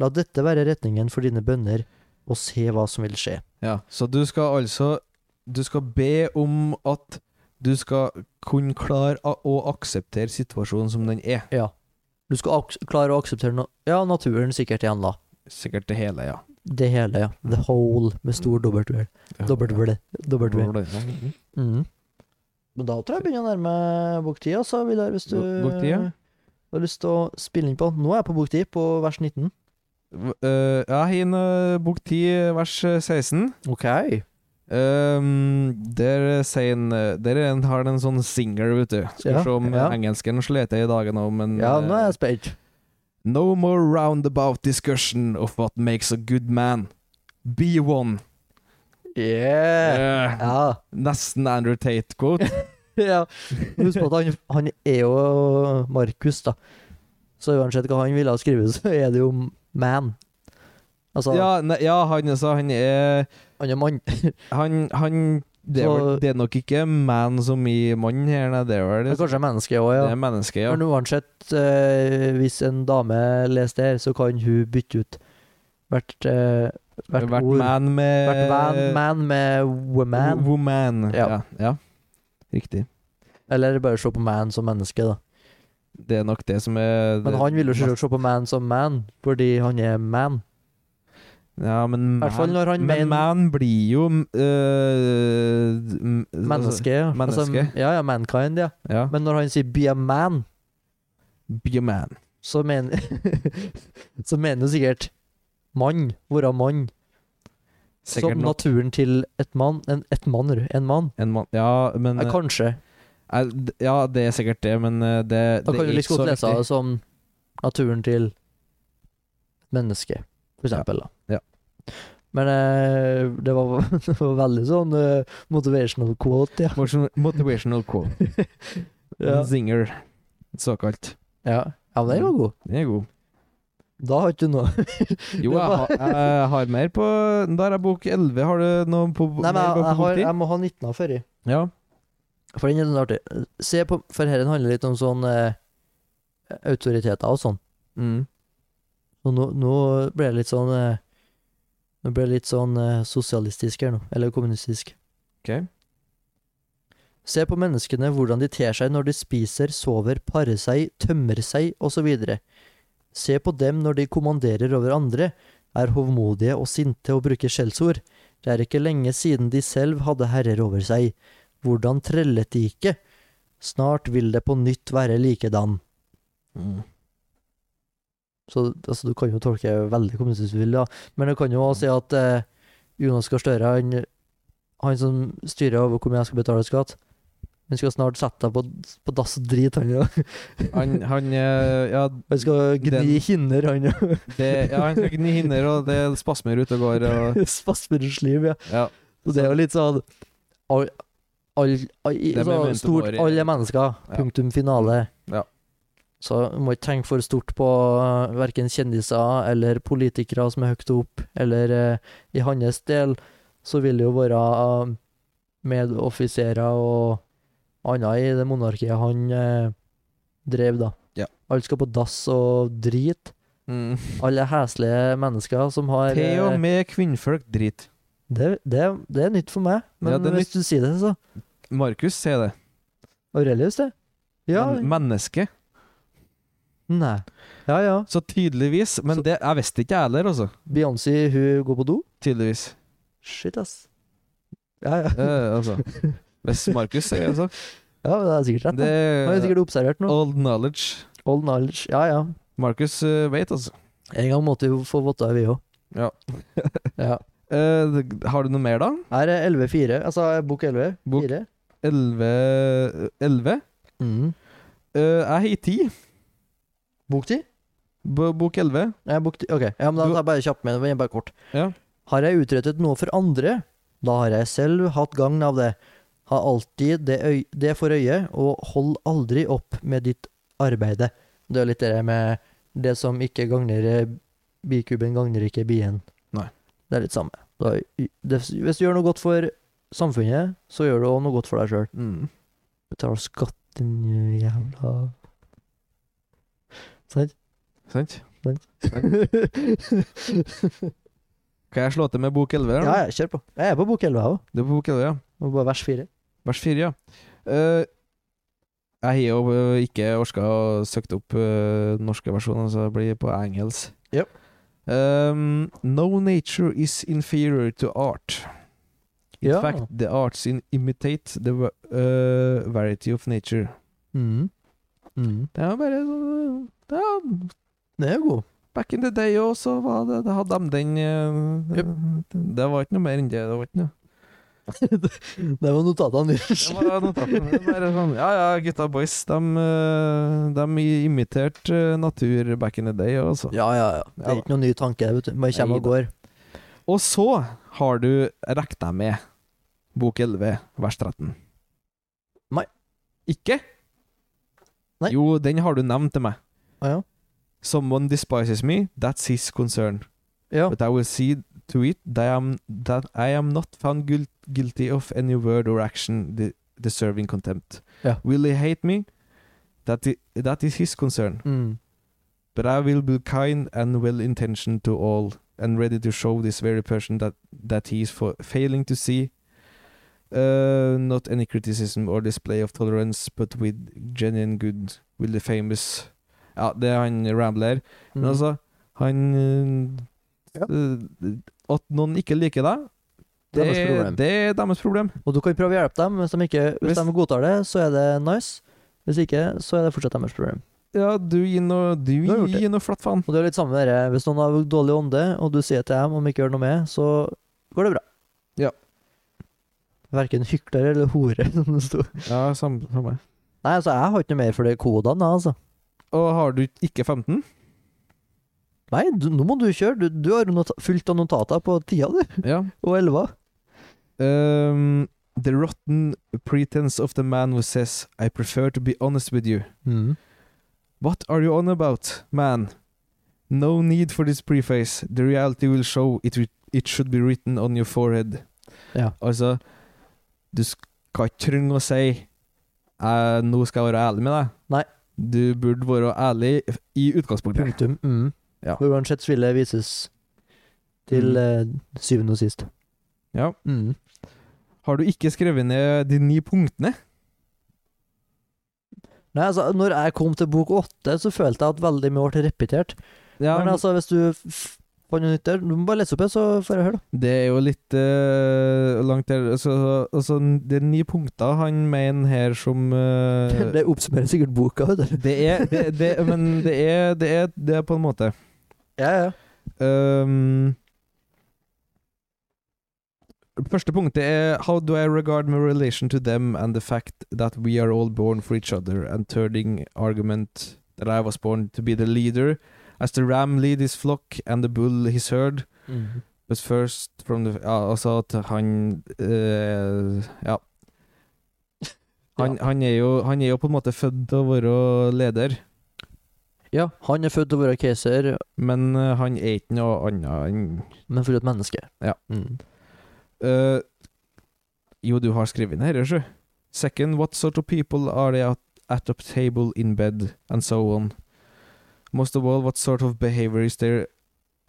A: La dette være retningen for dine bønner, og se hva som vil skje.
B: Ja, så du skal altså Du skal be om at du skal kunne klare a- å akseptere situasjonen som den er.
A: Du skal ak klare å akseptere no ja, naturen sikkert igjen, da.
B: Sikkert det hele, ja.
A: Det hele, ja. The whole, med stor W. W. W.
B: Mhm.
A: Mm. Men da tror jeg jeg begynner å nærme bok 10, altså, Vidar, hvis du
B: Bo- bok 10, ja.
A: har lyst til å spille inn på. Nå er jeg på bok 10, på vers 19.
B: V- eh, ja, hin eh, bok 10, vers eh, 16.
A: Ok.
B: Ehm, der sier han eh, Der er en- har han en sånn singer, vet du. Skal
A: Ja,
B: se om eh,
A: ja.
B: engelsken sleter i dagen òg, men
A: Ja, nå er
B: eh,
A: jeg spent.
B: No more roundabout discussion of what makes a good man. Be one.
A: Yeah!
B: Eh,
A: Ja.
B: Nesten Andrew Tate-quote.
A: [laughs] ja. Husk på at han, han er jo Markus, da. Så uansett hva han ville ha skrevet, så er det jo man. Altså,
B: ja, ne, ja, han altså, han er
A: han er mann.
B: Han, han det, er vel,
A: Så-
B: det er nok ikke man som i mann her, nei, det er vel
A: Men
B: det,
A: Kanskje menneske òg,
B: det
A: ja.
B: er menneske, ja.
A: Men uansett, eh, hvis en dame leser det her, så kan hun bytte ut hvert, eh, hvert,
B: Vært
A: ord.
B: man eh, med
A: Vært van, man med woman.
B: Woman.
A: Ja.
B: Ja. Ja, Riktig.
A: Eller bare se på man som menneske, da.
B: Det er nok det som er
A: Men han vil jo selvsagt se på man som man, fordi han er man.
B: Altså, Ja, men
A: hvert fall
B: man-
A: når han mener-
B: Men man blir jo øh, m-
A: Menneske, ja. Altså,
B: menneske.
A: ja, ja, mankind, ja.
B: Altså, ja.
A: Men når han sier 'be a man',
B: Be a man.
A: så mener [laughs] Så mener han sikkert mann. Være mann.
B: Sikkert
A: som
B: nok
A: naturen til et mann. En, et mann, er du. En mann.
B: en mann. Ja, men
A: Ja, kanskje.
B: eh, d- Ja, det er sikkert det, men eh, det,
A: Da
B: det
A: kan
B: er
A: du like
B: ikke
A: godt
B: så
A: lese
B: viktig.
A: det som naturen til mennesket, for eksempel. Da.
B: Ja.
A: Men eh, det, var, [laughs] det var veldig sånn eh, motivational quote, ja.
B: Motion- Motivational quote.
A: [laughs]
B: En
A: Ja,
B: Zinger, såkalt.
A: ja. ja men den var god.
B: Den er god.
A: Da har ikke du noe
B: Jo, jeg, har- jeg har mer på Der er bok 11. Har du noe på
A: Nei, men
B: mer
A: jeg,
B: på
A: jeg,
B: bok
A: har,
B: 10?
A: jeg må ha 19 av førri.
B: Ja.
A: For den er litt artig. Se på, for herren handler litt om sånn eh, autoriteter og sånn.
B: Mm.
A: Og nå, nå ble det litt sånn eh, Nå ble det litt sånn eh, sosialistisk her nå. Eller kommunistisk.
B: Ok.
A: Se på menneskene hvordan de ter seg når de spiser, sover, parer seg, tømmer seg osv. Se på dem når de kommanderer over andre, er hovmodige og sinte og bruker skjellsord. Det er ikke lenge siden de selv hadde herrer over seg. Hvordan trellet de ikke? Snart vil det på nytt være likedan.
B: Mm.
A: Så altså, du kan jo tolke veldig kommunistisk hvis du vil, da. Men du kan jo også si at eh, Jonas Gahr Støre, han, han som styrer over hvor mye jeg skal betale skatt, han skal snart sette deg på, på dass og drite, han jo.
B: Han, han eh, Ja,
A: Han skal gni
B: Den-
A: kinner, han jo.
B: det, ja, han skal gni hinner, og det er spasmer ute og går. Og,
A: [laughs] Spasmerens liv, ja.
B: ja.
A: Så det er jo litt sånn all, all, all,
B: er
A: så,
B: memento
A: sånn Stort
B: mori.
A: alle mennesker.
B: Ja.
A: Punktum finale. Så du må ikke tenke for stort på eh, verken kjendiser eller politikere som er høyt opp, eller eh, i hans del så vil det jo være eh, medoffiserer og annet i det monarkiet han eh, drev, da.
B: Ja.
A: Alt skal på dass og drit. Alle heslige mennesker som har
B: Mm. Til og
A: eh,
B: med kvinnfolk drit.
A: det, det, det er nytt for meg, men
B: Ja, det er
A: hvis du sier det, så
B: Markus sier det.
A: Aurelius, det. Ja,
B: Men- Menneske.
A: nei. Ja ja.
B: Så tydeligvis. Men
A: Så-
B: det, jeg visste ikke jeg heller, altså.
A: Beyoncé, hun går på do.
B: Tydeligvis.
A: Shit, ass. Ja ja.
B: Eh, altså. Hvis Markus sier det, så.
A: [laughs] Ja, men det er sikkert rett.
B: Det
A: Det har jeg
B: er
A: sikkert observert noe.
B: old knowledge.
A: Old knowledge. Ja, ja.
B: Markus eh, vet, altså.
A: En gang måtte vi få votter, vi òg.
B: Ja.
A: [laughs] ja.
B: Eh, det- har du noe mer, da?
A: Her er 11-4. Altså bok 11.
B: Bok-
A: 4.
B: 11? 11?
A: Mm.
B: Eh, jeg har 10.
A: Bok 10?
B: B bok 11.
A: Nei, bok 10. OK. Ja, men da
B: Du-
A: tar jeg bare kjapt med den. Bare kort.
B: Ja.
A: Har jeg utrettet noe for andre, da har jeg selv hatt gagn av det. Ha alltid det, øy det for øye, og hold aldri opp med ditt arbeide. Det er litt det der med det som ikke gagner eh, bikuben, gagner ikke bien.
B: Nei.
A: Det er litt samme. Da, i- det, hvis du gjør noe godt for samfunnet, så gjør du også noe godt for deg sjøl.
B: Mm.
A: Betaler skatt, din jævla Sant?
B: Sant?
A: [laughs] ja,
B: Kan jeg slå til med bok 11? eller?
A: ja, kjør på. Jeg er på bok 11, jeg òg.
B: Det er på bok 11, ja.
A: Må bare vers fire.
B: Vers 4, ja. Eh, jeg har jo eh, ikke orka å søke opp eh, norske versjoner, så det blir på engelsk.
A: Yep.
B: Um, no nature is inferior to art. In
A: Ja.
B: fact, the arts in imitate the va- eh, variety of nature.
A: Mm. Mm.
B: Det er bare sånn, eh, ja,
A: Den er jo god.
B: Back in the day òg, så var det, da hadde de den eh, det, det var ikke noe mer enn det. Det var ikke noe
A: Det var notatene
B: Det
A: dine.
B: var notatene. Det var sånn, ja ja, gutta boys, de, eh, de imiterte eh, natur back in the day, altså.
A: [laughs] Ja, ja, ja. Det er ikke noen ny tanke. Vet du. Bare kommer og går.
B: Og så har du regna med bok 11, vers 13.
A: Nei.
B: Ikke?
A: Nei.
B: Jo, den har du nevnt til meg.
A: Ah, ja.
B: Someone despises me, that's his concern.
A: Ja.
B: But I will see to it that I am, that I am not found guil- guilty of any word or action de deserving contempt.
A: Ja.
B: Will he hate me? That, i that is his concern.
A: Mm.
B: But I will be kind and well intentioned to all, and ready to show this very person that, that he is for failing to see uh, not any criticism or display of tolerance, but with genuine good, will the famous Ja, det er han Rambler. Men
A: Mm.
B: altså, han eh,
A: Ja.
B: eh, At noen ikke liker deg, det,
A: Deres problem.
B: det er deres problem.
A: Og du kan prøve å hjelpe dem. Hvis de, ikke, hvis
B: Hvis-
A: de godtar det, så er det nice. Hvis ikke, så er det fortsatt deres problem.
B: Ja, du gir noe Du
A: Du har gjort det.
B: gir noe flatt faen.
A: Og det er litt samme med dere. Hvis noen har dårlig ånde, og du sier til dem om ikke gjør noe med, så går det bra.
B: Ja.
A: Verken hykler eller hore, [laughs] som det sto.
B: Ja, samme, samme.
A: Nei, altså, jeg har ikke noe mer for de kodene, altså.
B: Og har du ikke 15? [laughs]
A: Nei, du, nå må du kjøre. Du, du har jo nota- fullt av notater på tida, du.
B: Ja.
A: Og elva.
B: Um, the rotten pretense of the man who says, I prefer to be honest with you.
A: Mm.
B: What are you on about, man? No need for this preface. The reality will show it, wi- it should be written on your forehead.
A: Ja.
B: Altså, du skal ikke trenge å si eh, Nå skal jeg være ærlig med deg.
A: Nei.
B: Du burde være ærlig i utgangspunktet.
A: Punktum. Mm.
B: Ja.
A: Og uansett så vil det vises til eh, syvende og sist.
B: Ja.
A: Mm.
B: Har du ikke skrevet ned de ni punktene?
A: Nei, altså, når jeg kom til bok åtte, så følte jeg at veldig mye ble repetert.
B: Ja,
A: Men altså, hvis du f- fant noe nytt der, du må bare lese opp det, så får jeg høre, da.
B: Det er jo litt eh, langt der altså, altså, Det er ni punkter han mener her som eh,
A: [laughs] Det oppsummerer sikkert boka, vet du.
B: Det er det, det, Men det er, det er det er på en måte.
A: Ja, ja.
B: Um, første punktet er How do I regard my relation to them and the fact that we are all born for each other and turning argument that I was born to be the leader as the ram lead his flock and the bull his herd
A: Mm.
B: But first from the Ja, altså at han eh, Ja. Han, han, er jo, han er jo på en måte født til å være leder,
A: Ja, han er født til å være keiser,
B: Men eh, han er ikke noe annet enn
A: men for et menneske.
B: Ja.
A: Mm.
B: Eh, Jo, du har skrevet ned dette, sjø. Second, what sort of people are they at, at a table in bed, and so on? Most of all, what sort of behavior is their,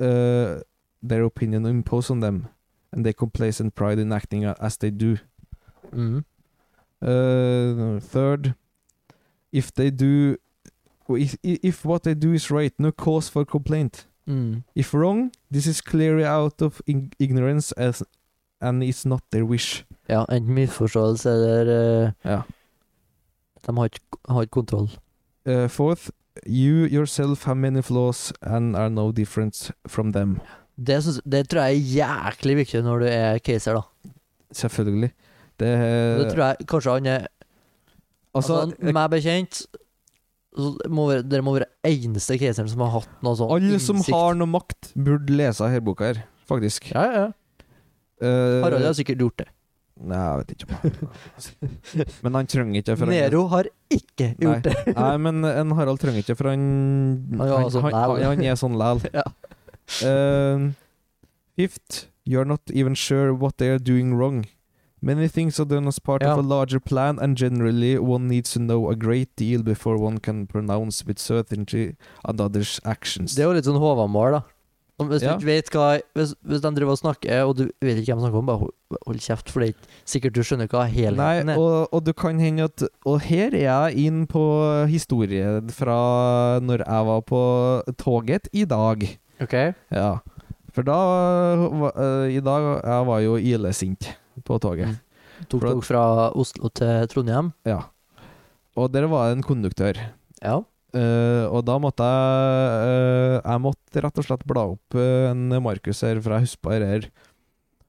B: eh, their opinion impose on them? And they complacent pride in acting a- as they do.
A: Mm.
B: Uh, third, if they do, if, if what they do is right, no cause for complaint.
A: Mm.
B: If wrong, this is clearly out of ig- ignorance as, and it's not their wish.
A: Ja, enten misforståelse eller eh,
B: Ja.
A: De har ikke, har ikke kontroll.
B: Uh, fourth, you yourself have many flaws and are no different from them.
A: Det, syns- det tror jeg er jæklig viktig når du er keiser, da.
B: Selvfølgelig. Det,
A: Det tror jeg kanskje han er
B: Eh, altså,
A: Altså, meg bekjent så må være, Dere må være eneste keiseren som har hatt noe sånn
B: alle som har noe makt, burde lese denne boka her, faktisk.
A: ja, ja.
B: Eh, Uh,
A: Harald har sikkert gjort det.
B: Nei, jeg vet ikke om han
A: [laughs]
B: Men han trenger ikke for han-
A: Nero har ikke
B: Nei.
A: gjort det. [laughs]
B: Nei, men en Harald trenger ikke, for han
A: Han er jo sånn
B: han, han,
A: læl.
B: han er sånn læl.
A: [laughs] Ja.
B: Eh, fifth, you're not even sure what they are doing wrong. Many things are done as part
A: Ja.
B: of a larger plan, and generally one needs to know a great deal before one can pronounce with certainty another's actions.
A: Det er jo litt sånn Håvamål, da. Om hvis,
B: Ja.
A: du ikke vet hva, hvis, hvis de driver og snakker, og du vet ikke hvem som snakker om, bare hold, hold kjeft, for det er ikke sikkert du skjønner hva helheten
B: Nei,
A: er.
B: og, og du kan hende at Og her er jeg inn på historie fra når jeg var på toget i dag.
A: Ok.
B: Ja. For da var- eh, I dag Jeg var jo ilesint på toget.
A: Tok
B: For at-
A: dere fra Oslo til Trondheim?
B: Ja. Og der var det en konduktør.
A: Ja.
B: Eh, og da måtte jeg eh, Jeg måtte rett og slett bla opp eh, en Markus her, for jeg huspa det her.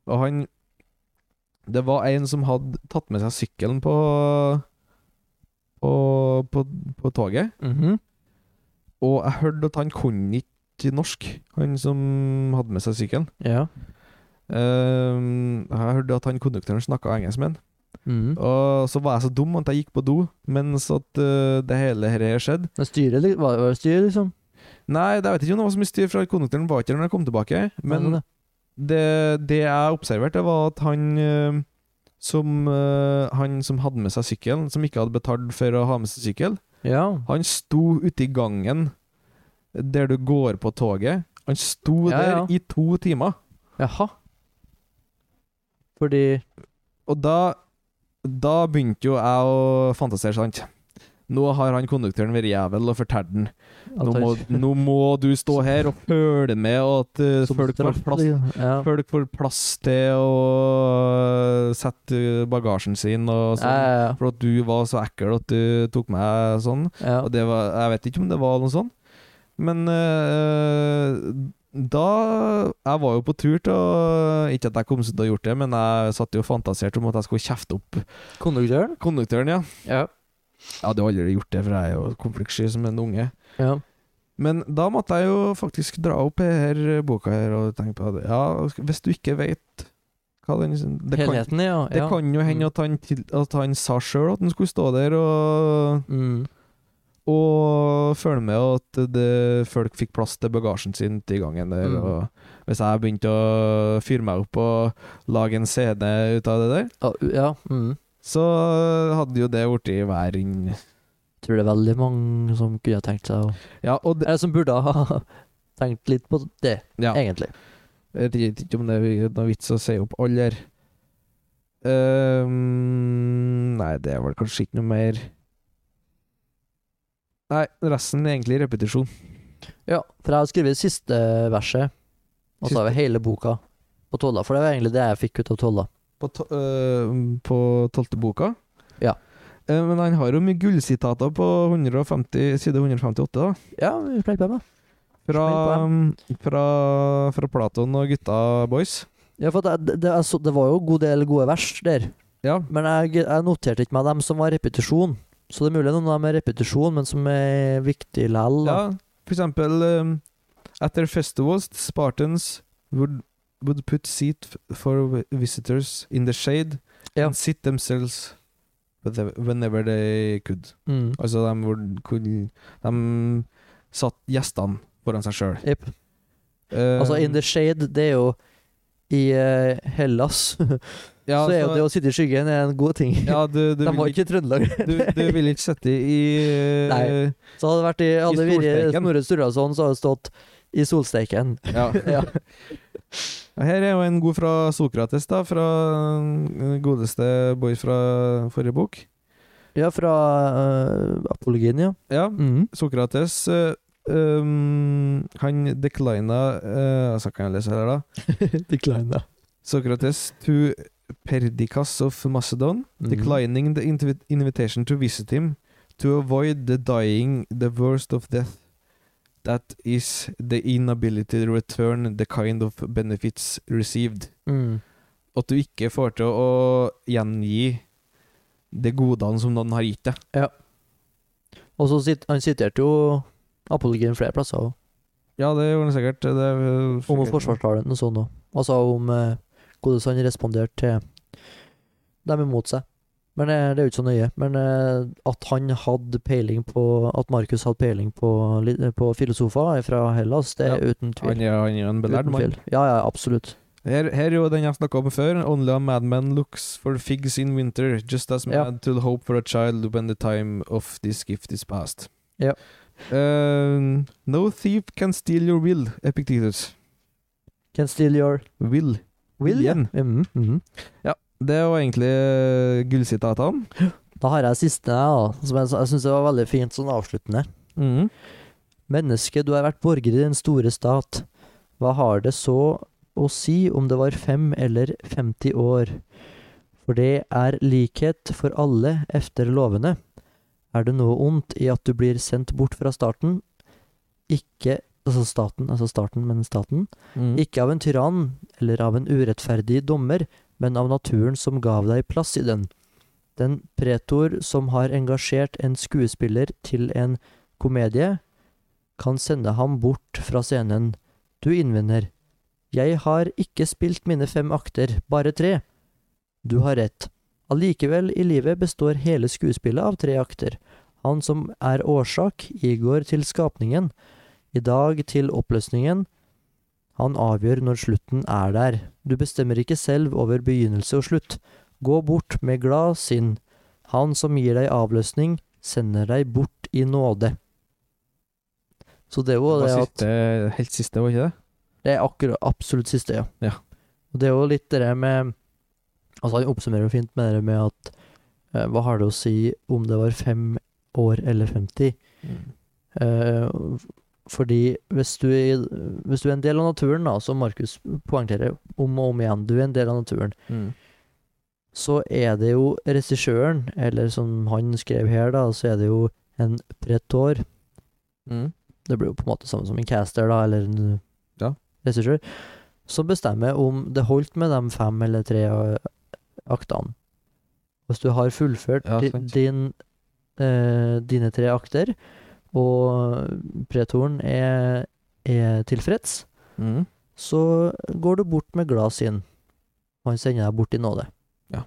B: Og han Det var en som hadde tatt med seg sykkelen på på, på, på toget.
A: Mhm.
B: Og jeg hørte at han kunne ikke norsk, han som hadde med seg sykkelen.
A: Ja.
B: Ehm, jeg hørte at han konduktøren snakka engelsk med han.
A: Mhm.
B: Og så var jeg så dum at jeg gikk på do mens at eh, det hele her her skjedde.
A: Men styret, li- var var det styret, liksom?
B: Nei, det jeg vet ikke om det var så mye styr, for konduktøren var ikke der når jeg kom tilbake. Men
A: Nei,
B: det, det jeg observerte, var at han eh, som, eh, han som hadde med seg sykkelen, som ikke hadde betalt for å ha med seg sykkel,
A: det- Ja.
B: han sto ute i gangen der du går på toget. Han sto
A: Ja, ja.
B: der i to timer.
A: Jaha. Fordi
B: Og da Da begynte jo jeg å fantasere, sant. Nå har han konduktøren vært jævel og fortalt den. Nå
A: at
B: må,
A: han-
B: nå må du stå her og følge med, og at eh,
A: [laughs] som
B: folk får
A: straff,
B: plass
A: liksom. Ja.
B: Folk får plass til å sette bagasjen sin og
A: Ja,
B: sånn.
A: ja,
B: For at du var så ekkel at du tok meg sånn.
A: ja.
B: Og det var, jeg vet ikke om det var noe sånn. Men eh, da Jeg var jo på tur til å Ikke at jeg kom til å ha gjort det, men jeg satt jo og fantaserte om at jeg skulle kjefte opp
A: Konduktøren?
B: konduktøren, ja.
A: Ja.
B: Jeg hadde jo aldri gjort det, for jeg er jo konfliktsky som en unge.
A: ja.
B: Men da måtte jeg jo faktisk dra opp her eh, boka her og tenke på det. Ja, hvis du ikke vet hva den Det kan,
A: Helheten, ja.
B: det
A: ja.
B: kan jo hende at han, til, at han sa sjøl at han skulle stå der og,
A: Mm.
B: og følge med, og at det, folk fikk plass til bagasjen sin til gangen der.
A: Mm.
B: Og hvis jeg begynte å fyre meg opp og lage en scene ut av det der,
A: Ja, u- ja. Mm.
B: så hadde jo det blitt hver inn
A: Tror det er veldig mange som kunne ha tenkt seg å
B: Ja, og det,
A: Eller som burde ha [laughs] tenkt litt på det,
B: ja.
A: egentlig.
B: Jeg vet ikke om det er noe vits å si opp alle her. Ehm, nei, det er vel kanskje ikke noe mer Nei, resten er egentlig repetisjon.
A: Ja, for jeg har skrevet siste verset, og så har vi hele boka på Tolla. For det var egentlig det jeg fikk ut av Tolla.
B: På, to øh, på tolvte boka.
A: Ja.
B: Eh, men han har jo mye gullsitater på 150, side 158, da.
A: Ja, vi pleier på med.
B: Fra, mm, fra, fra Platon og gutta boys.
A: Ja, for at jeg, det, jeg så, det var jo en god del gode vers der,
B: Ja.
A: men jeg, jeg noterte ikke meg dem som var repetisjon. Så det er mulig noen av dem er repetisjon, men som er viktig likevel. da.
B: Ja, for eksempel um, At their festivals, the Spartans would, would put seat f- for wi- visitors in the shade
A: Ja.
B: and sit themselves whethe- whenever they could.
A: Mm.
B: Altså, de would, could De satt gjestene foran seg Eh, sjøl.
A: Jepp. Altså, In the shade, det er jo I eh, Hellas [laughs] så er jo det å sitte i skyggen er en [laughs] god ting.
B: ja, du, du,
A: De var
B: vil ikke,
A: ikke i Trøndelag.
B: du, du vil ikke sitte i eh,
A: Nei. [laughs] Så hadde det vært i, hadde det vært i
B: solsteken.
A: Snorre Sturlason, så hadde det stått 'I solsteiken'.
B: Ja.
A: [laughs] Ja.
B: Og Her er jo en god fra Sokrates, da. Fra den godeste boy fra forrige bok.
A: Ja, fra uh, apologien, ja.
B: Ja, [laughs]
A: Mhm.
B: Sokrates eh, um, Han declina uh, Så kan jeg lese her, da. Sokrates to Perdikas of Macedon,
A: Mhm.
B: declining the invi- invitation to visit him, to avoid the dying the worst of death. That is the inability to return the kind of benefits received.
A: Mm.
B: At du ikke får til å gjengi de godene som noen har gitt deg.
A: Og så sit, han siterte jo apologien flere plasser. også.
B: Ja, det gjorde han sikkert. Det er-
A: Om forsvarstalen og sånn òg. Altså om eh, hvordan han responderte til dem imot seg. Men eh, det er jo ikke så nøye. Men eh, at han hadde peiling på At Markus hadde peiling på, li- på filosofer fra Hellas, det er
B: Han
A: uten tvil.
B: er, han er en belærd
A: Uten
B: mann.
A: tvil. Ja, ja, absolutt.
B: Her, her er jo den jeg snakka om før. Only a madman looks for figs in winter, just as
A: Ja.
B: mad to hope for a child when the time of this gift is past.
A: Ja.
B: Eh, no thief can steal your will, Epictetus.
A: Can steal your
B: Will.
A: will. ja.
B: Viljen.
A: Mhm, mhm.
B: Det var egentlig eh, gullsitatene.
A: Da har jeg siste, jeg, da, som jeg, jeg syns var veldig fint sånn avsluttende.
B: Mhm.
A: Menneske, du har vært borger i den store stat. Hva har det så å si om det var fem eller 50 år? For det er likhet for alle efter lovene. Er det noe ondt i at du blir sendt bort fra staten? Ikke altså staten, altså starten, men staten.
B: Mhm.
A: Ikke av en tyrann eller av en urettferdig dommer, men av naturen som gav deg plass i den. Den pretor som har engasjert en skuespiller til en komedie, kan sende ham bort fra scenen. Du innvender. Jeg har ikke spilt mine fem akter, bare tre. Du har rett. Allikevel, i livet består hele skuespillet av tre akter. Han som er årsak, i går til skapningen, i dag til oppløsningen, han avgjør når slutten er der. Du bestemmer ikke selv over begynnelse og slutt. Gå bort med glad sinn. Han som gir deg avløsning, sender deg bort i nåde. Så det var
B: det
A: det
B: var
A: at
B: siste, helt siste, var ikke det?
A: det er akkurat absolutt siste, ja.
B: Ja.
A: Og det er jo litt det der med Altså, han oppsummerer jo fint med det der med at eh, Hva har det å si om det var fem år eller 50?
B: Mm.
A: Eh, fordi hvis du, er, hvis du er en del av naturen, da, som Markus poengterer om og om igjen, du er en del av naturen,
B: Mhm.
A: så er det jo regissøren, eller som han skrev her, da, så er det jo en pretor,
B: Mhm.
A: det blir jo på en måte samme som en caster, da, eller en
B: Ja.
A: regissør, som bestemmer om det holdt med de fem eller tre eh, aktene. Hvis du har fullført
B: Ja,
A: di-
B: sant.
A: din, eh, dine tre akter, og pretoren er, er tilfreds,
B: Mhm.
A: så går du bort med glad sinn. Og han sender deg bort i nåde.
B: Ja.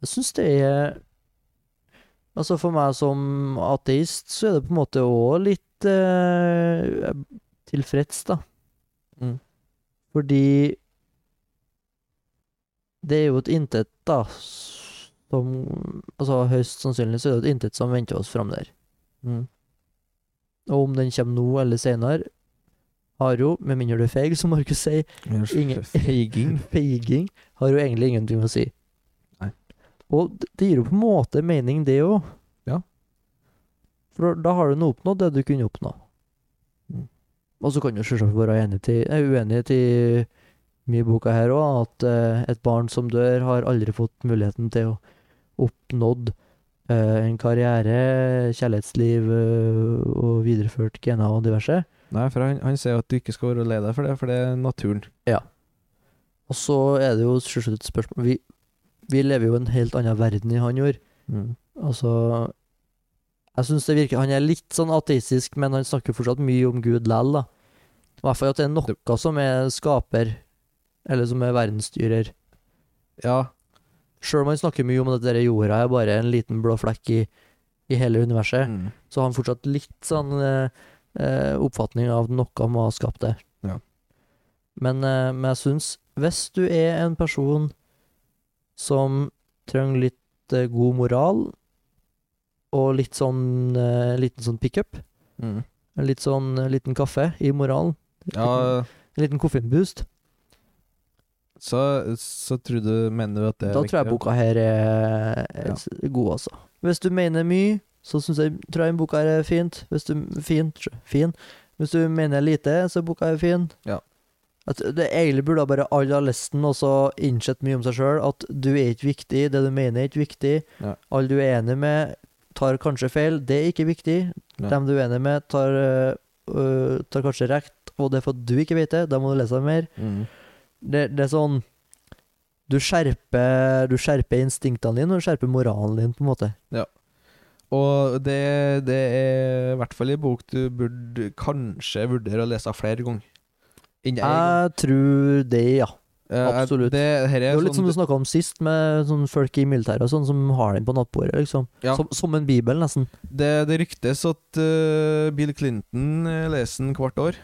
A: Jeg syns det er Altså For meg som ateist, så er det på en måte òg litt eh, tilfreds, da.
B: Mm.
A: Fordi det er jo et intet, da, som Altså høyst sannsynlig så er det et intet som venter oss fram der.
B: Mhm.
A: Og om den kommer nå eller senere, har jo, med mindre du er feig, som Markus sier, Ingen-
B: Feiging.
A: feiging har jo egentlig ingenting å si.
B: Nei.
A: Og d- det gir jo på en måte mening, det òg.
B: Ja.
A: For da- da har du nå oppnådd det du kunne oppnå.
B: Mm.
A: Og så kan du selvsagt være enig til, eh, uenighet i mye i boka her òg, at eh, et barn som dør, har aldri fått muligheten til å oppnådd eh, en karriere, kjærlighetsliv eh, og videreført gener og diverse.
B: Nei, for han, han sier at du ikke skal være lei deg for det, for det er naturen.
A: Og så er det jo selvsagt et spørsmål vi, vi lever jo i en helt annen verden enn han gjorde.
B: Mhm.
A: Altså Jeg syns det virker Han er litt sånn ateistisk, men han snakker fortsatt mye om Gud lell, da. I hvert fall at det er noe som er skaper, eller som er verdensstyrer.
B: Ja.
A: Sjøl om han snakker mye om at denne jorda er bare en liten blå flekk i, i hele universet,
B: Mhm.
A: så har han fortsatt litt sånn eh, eh, oppfatning av at noe må ha skapt det.
B: Ja.
A: Men, eh, men jeg syns Hvis du er en person som trenger litt eh, god moral, og litt sånn eh, liten sånn pickup, en litt sånn eh, liten kaffe i moralen,
B: Mm. Ja,
A: en liten koffeinboost,
B: så, så tror du Mener du at det er
A: da tror jeg
B: viktig?
A: boka her er, er
B: Ja.
A: s- god, altså. Hvis du mener mye, så syns jeg tror jeg boka her er fint. Hvis du, fint, sjø, fin. Hvis du mener lite, så er boka her fin.
B: Ja.
A: At det egentlig burde bare alle ha lest den og så innsett mye om seg sjøl. At du er ikke viktig, det du mener er ikke viktig.
B: Ja.
A: Alle du er enig med, tar kanskje feil. Det er ikke viktig.
B: Ja.
A: Dem du er enig med, tar, øh, øh, tar kanskje rett, og det er for at du ikke vet det. Da må du lese mer.
B: Mm.
A: Det, det er sånn du skjerper, du skjerper instinktene dine, og du skjerper moralen din, på en måte.
B: Og det, det er i hvert fall en bok du burde kanskje vurdere å lese flere ganger. Enn en gang.
A: Jeg tror det, ja.
B: Eh, jeg-
A: absolutt.
B: Det, her
A: Det
B: er
A: er jo litt som
B: sånn,
A: du snakka om sist, med sånne folk i militæret og sånn, som har den på nattbordet, liksom.
B: Ja.
A: Som, som en bibel, nesten.
B: det, det ryktes at eh, Bill Clinton eh, leser den hvert år.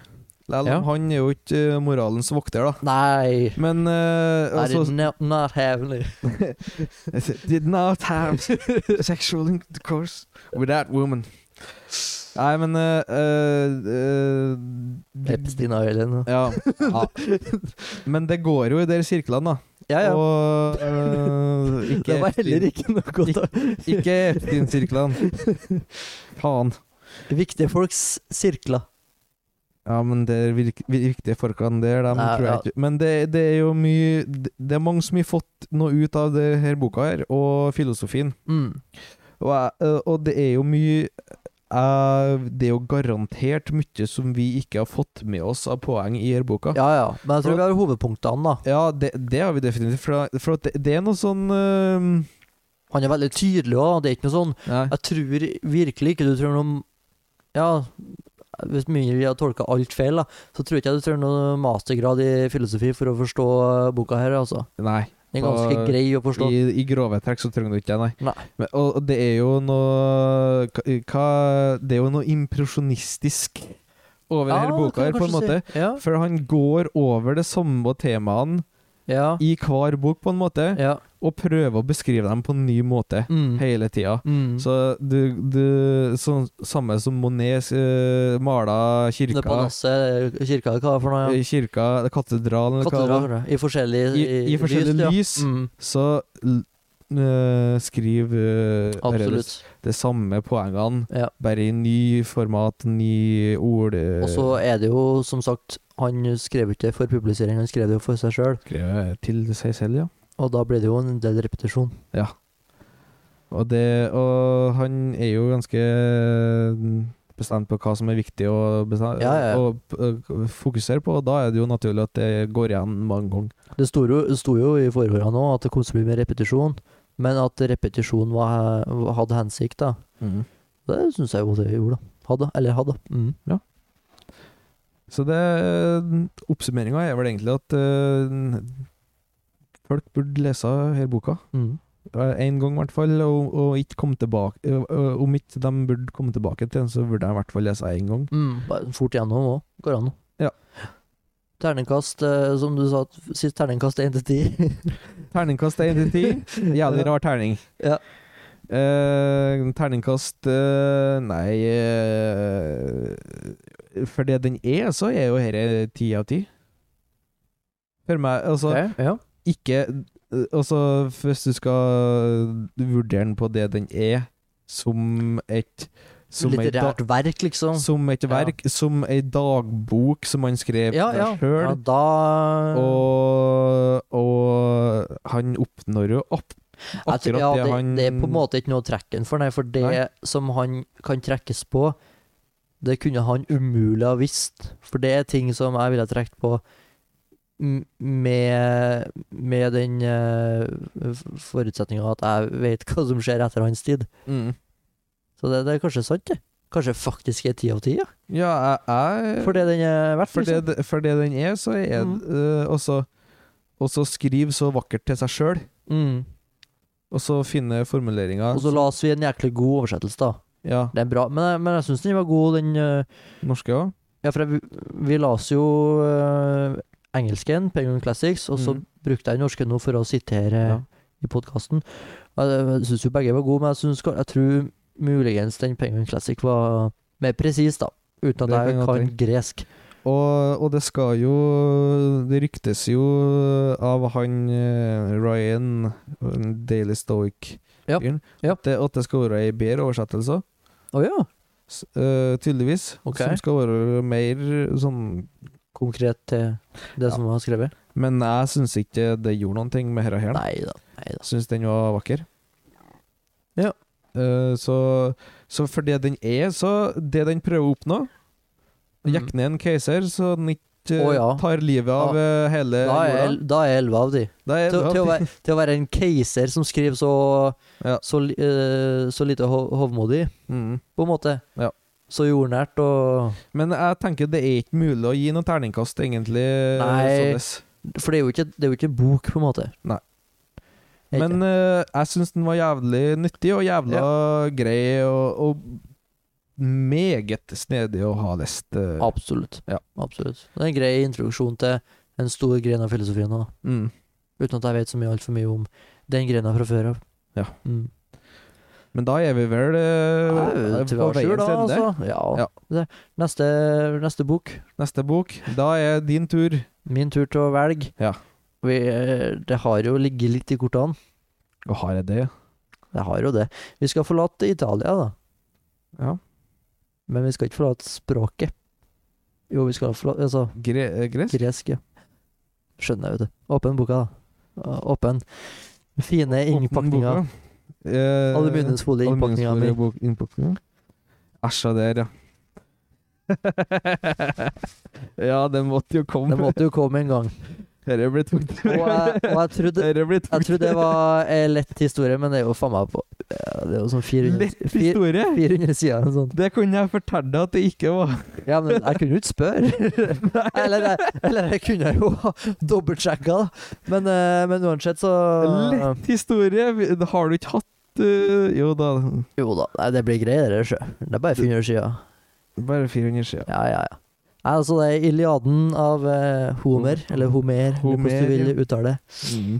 B: Lell om
A: Ja.
B: han er jo ikke eh, moralens vokter, da.
A: Nei!
B: Men eh,
A: Er
B: altså,
A: det not, not heavenly?
B: Did not have
A: [laughs]
B: sexual intercourse with that woman. Nei, men eh, eh, eh,
A: Epstein Island.
B: Ja, ja. Men det går jo i de sirklene, da.
A: Ja, ja.
B: Og
A: [laughs]
B: eh, ikke
A: Det var heller
B: Epstein-
A: ikke noe å ta
B: Ikke Epstein-sirklene. Faen.
A: [laughs] Viktige folks sirkler.
B: Ja, men det er virk- vi- viktige folkene der, dem
A: Nei,
B: tror jeg
A: ja.
B: ikke Men det, det er jo mye Det det er mange som har fått noe ut av det her boka her, og filosofien.
A: Mm.
B: Og, jeg, eh, og det er jo mye eh, Det er jo garantert mye som vi ikke har fått med oss av poeng i her boka.
A: Ja, ja. Men jeg tror vi har hovedpunktene, da.
B: Ja, det, det har vi definitivt. For, for at det, det er noe sånn eh,
A: Han er veldig tydelig òg, det er ikke noe sånn
B: Nei.
A: Jeg tror virkelig ikke du trenger noe Ja, hvis mye vi har tolka alt feil, da, så tror ikke jeg du trenger noe mastergrad i filosofi for å forstå eh, boka her, altså.
B: Nei.
A: Den er
B: På-
A: ganske grei å forstå.
B: I, I grove trekk så trenger du ikke det, nei.
A: Nei.
B: Men, og, og det er jo noe hva- hva, Det er jo noe impresjonistisk over
A: Ja,
B: denne boka
A: kan
B: her,
A: du
B: på en måte.
A: kanskje si. Ja.
B: For han går over det samme temaene
A: Ja.
B: i hver bok, på en måte,
A: ja.
B: og prøver å beskrive dem på en ny måte
A: Mm.
B: hele tida.
A: Mm.
B: Så du, du sånn- Samme som Monet uh, mala
A: Det
B: kirka
A: palasset, eh, kirka, hva var det for noe?
B: eh, Kirka, katedralen, eller hva det var.
A: Katedraler, I forskjellige
B: I, i forskjellige lys,
A: Ja. Mm.
B: så uh, skriv eh,
A: Absolutt.
B: det samme poengene,
A: Ja.
B: bare i ny format, ny ord eh,
A: Og så er det jo, som sagt, han skrev ikke det for publisering, han skrev det jo for seg sjøl,
B: skrevet til seg selv, ja.
A: og da blir det jo en del repetisjon.
B: Og, det, og han er jo ganske mm, bestemt på hva som er viktig å, bestem-
A: Ja, ja, ja.
B: å p- å fokusere på, og da er det jo naturlig at det går igjen mange ganger.
A: Det sto jo, det sto jo i forhånda nå at det kom til å bli mer repetisjon, men at repetisjon var, hadde hensikt, da. Det syns jeg jo det gjorde, da. Hadde, eller hadde. Mm.
B: Så det Oppsummeringa er vel egentlig at eh, folk burde lese her boka. Eh,
A: Mm.
B: En gang i hvert fall, og, og ikke komme tilbake ø- ø- Om ikke de burde komme tilbake til den, så burde jeg i hvert fall lese én gang.
A: Mm. Bare Fort gjennom òg, går an.
B: Ja.
A: Terningkast, eh, som du sa, sist terningkast 1 til 10.
B: Terningkast 1
A: [laughs]
B: til 10. Jævlig rar terning.
A: Ja.
B: Eh, terningkast eh, Nei eh, For det den er, så er jo dette ti av ti. For meg, altså
A: [laughs] ja.
B: ikke eh, Altså, hvis du skal vurdere den på det den er, som et som ei da-
A: Litterært verk, liksom.
B: Som et verk, som ei dagbok som han skrev
A: Ja, ja.
B: seg
A: ja,
B: sjøl.
A: da
B: Og, og han oppnår jo opp,
A: Jeg tror-
B: akkurat
A: ja,
B: det,
A: det,
B: han
A: det er på en måte ikke noe å trekke den for, nei, for det
B: Nei.
A: som han kan trekkes på, det kunne han umulig ha visst. For det er ting som jeg ville ha trukket på m- med, med den uh, forutsetninga at jeg vet hva som skjer etter hans tid.
B: Mm.
A: Så det, det er kanskje sant, det. Kanskje faktisk er ti av ti, ja.
B: Ja, jeg, jeg
A: For det den er verdt.
B: Eh, for,
A: liksom.
B: det, for det den er, så er
A: Mm.
B: eh, også Og så skrive så vakkert til seg sjøl,
A: mm.
B: og så finne formuleringer
A: Og så la oss vi en jæklig god oversettelse, da.
B: Ja.
A: Det er bra, men, jeg- men jeg syns den var god, den eh,
B: Norske òg?
A: Ja, for jeg, vi leste jo eh, engelsken, Penguin Classics, og så
B: Mm.
A: brukte jeg norsken nå for å sitere
B: Ja.
A: i podkasten. Jeg syns jo begge var gode, men jeg, synes, ka- jeg tror muligens den Penguin Classic var mer presis, da. Uten
B: Det
A: at jeg
B: kan godt
A: kan gresk.
B: Og, og det skal jo Det ryktes jo av han eh, Ryan eh, Daily Stoic
A: Ja,
B: fyren,
A: ja.
B: At, det, at det skal være ei bedre oversettelse,
A: Å ja!
B: s- eh, tydeligvis.
A: Ok.
B: Som skal være mer sånn
A: Konkret til
B: Ja.
A: det som var skrevet?
B: Men jeg syns ikke det gjorde noen ting med dette her.
A: Nei da. Nei da.
B: Syns den var vakker.
A: Ja.
B: Eh, så, så for det den er, så Det den prøver å oppnå
A: Mm.
B: Jekke ned en keiser, så den ikke eh,
A: Å ja.
B: tar livet av eh, hele
A: Da er,
B: jorda.
A: el- da er elleve av de.
B: Da er
A: Til,
B: det
A: til, å
B: at-
A: være, til å være en keiser som skriver så,
B: Ja.
A: så, li- eh, så lite ho- hovmodig,
B: Mm.
A: på en måte.
B: Ja.
A: Så jordnært og
B: Men jeg tenker det er ikke mulig å gi noe terningkast, egentlig.
A: Nei.
B: således.
A: For det er jo ikke, det er jo ikke en bok, på en måte.
B: Nei.
A: Det er ikke
B: Men
A: det.
B: eh, jeg syns den var jævlig nyttig og jævla grei, og, og meget snedig å ha lest. eh.
A: Absolutt.
B: ja.
A: Absolutt. Det er en grei introduksjon til en stor gren av filosofien òg,
B: Mm.
A: uten at jeg vet så mye altfor mye om den grena fra før av.
B: Ja.
A: Mm.
B: Men da er vi vel eh,
A: Nei,
B: på
A: tror jeg
B: veien
A: sju da,
B: til ende.
A: altså. Ja.
B: Ja.
A: Det- Neste, neste bok.
B: Neste bok. Da er din tur.
A: Min tur til å velge.
B: Ja.
A: Vi, eh, det har jo ligget litt i kortene.
B: Og har jeg det?
A: Det har jo det. Vi skal forlate Italia, da.
B: Ja.
A: Men vi skal ikke forlate språket. Jo, vi skal forlate Altså,
B: Gre eh, gress?
A: Gresk, ja. Skjønner jeg, vet du. Åpen boka, da. Å- Åpen. Fine innpakninger.
B: Eh,
A: Aluminiumsfolie i innpakninga mi.
B: aluminiumsfolie i bok- innpakninga. Æsja, der, ja. [laughs] ja, den måtte jo komme.
A: Det måtte jo komme en gang.
B: Dette blir tungt.
A: Og jeg, og jeg trodde
B: Dette blir
A: jeg
B: tungt.
A: trodde det var en lett historie, men det er jo faen meg på ja, Det er jo sånn 400,
B: Lett
A: fir-
B: historie!
A: 400 sider eller noe sånt.
B: Det kunne jeg fortalt deg at det ikke
A: [laughs]
B: var.
A: Ja, men jeg kunne jo ikke spørre. eller,
B: [laughs]
A: jeg- eller jeg kunne jo ha dobbeltsjekka, da. Men, eh, men uansett, så
B: Lett historie! Har du ikke hatt eh, Jo da,
A: Jo da. Nei, det blir greier, det, sjø. Det er bare 400 sider.
B: bare 400 sider.
A: Ja, ja, ja. Nei, altså det er Iliaden av eh, Homer, eller Homer, eller
B: Mm. Homer,
A: hvordan du
B: ja.
A: vil uttale det.
B: Mm.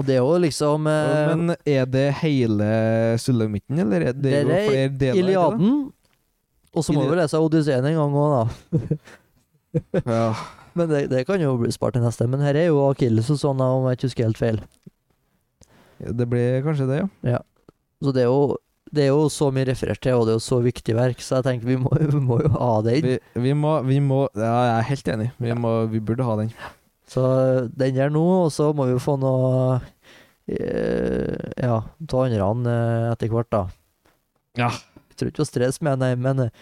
A: Og det er jo liksom eh,
B: Men er det hele sulamitten, eller er det,
A: Det er
B: jo flere deler? i det, da?
A: Iliaden. Og så må
B: Ili-
A: vi lese Odysseen en gang òg, da.
B: Ja.
A: Men det, det kan jo bli spart til neste. Men her er jo Akilles og sånn, om jeg ikke husker helt feil.
B: Det ble kanskje det, ja.
A: Så det er jo det er jo så mye referert til, og det er jo så viktig verk, så jeg tenker vi må, [laughs] vi må jo ha det inn.
B: Vi, vi må, vi må ja, Jeg er helt enig. Vi, må, vi burde ha den.
A: Så eh, den der nå, og så må vi jo få noe eh, Ja, ta andre an eh, etter hvert, da.
B: Ja.
A: Jeg tror ikke å stresse med, nei, men eh,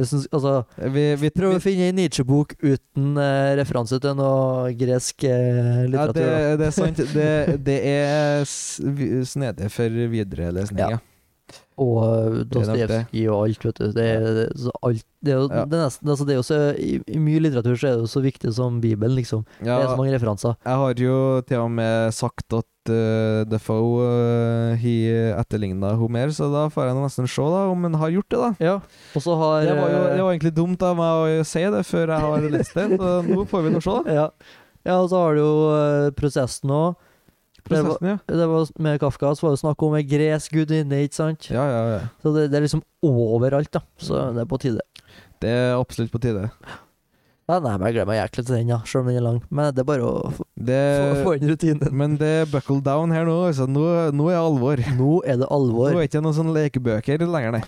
A: jeg synes, altså,
B: Vi, vi,
A: Prøv å finne en Nietzsche-bok uten eh, referanse til noe gresk eh,
B: ja,
A: litteratur.
B: det,
A: da.
B: det er
A: [laughs]
B: sant. Det, det er s- vi- snedig for viderelesning,
A: Ja.
B: ja.
A: Og eh,
B: det er nok det.
A: Dostojevskij og alt, vet du. Det, er- det, er så alt, det er jo
B: Ja.
A: det er nesten altså, det er jo så, i, I mye litteratur så er det jo så viktig som Bibelen, liksom.
B: ja.
A: Det er så mange referanser.
B: Jeg har jo til og med sagt at uh, Defoe uh, he etterligna Homer, så da får jeg nå nesten se da om han har gjort det, da.
A: Ja. Og så har
B: Det var jo
A: eh,
B: det var egentlig dumt av meg å si det før jeg
A: [laughs]
B: har lest det, så nå får vi nå se. da.
A: ja. ja, og så har du jo eh, prosessen òg. Det var,
B: Prosessen, ja.
A: det var med Kafka så var det snakk om ei gresk gudinne, ikke sant?
B: Ja, ja, ja.
A: Så det, det er liksom overalt, da. Så det er på tide.
B: Det er absolutt på tide.
A: Ja, nei, men jeg gleder meg jæklig til den, ja, selv om den er lang. Men det er bare å få, få,
B: Det,
A: få inn rutinen.
B: men det er buckle down her nå. Altså, nå, nå er det alvor.
A: Nå er det
B: Nå
A: alvor.
B: er det ikke noen sånne lekebøker lenger, nei.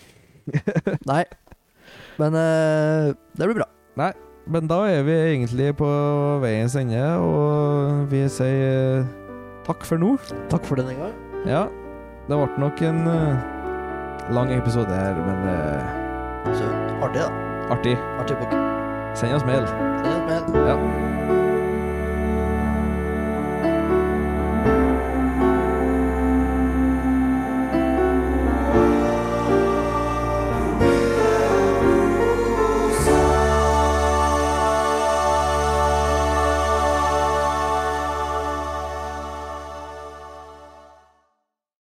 A: Nei. Men eh, det blir bra.
B: [laughs] Men da er vi egentlig på veiens ende, og vi sier eh, takk for nå.
A: Takk for denne gang.
B: Ja, det ble nok en eh, lang episode her, men eh,
A: Så artig, da.
B: artig.
A: Artig bok.
B: Send oss mail.
A: Send oss mail.
B: Ja.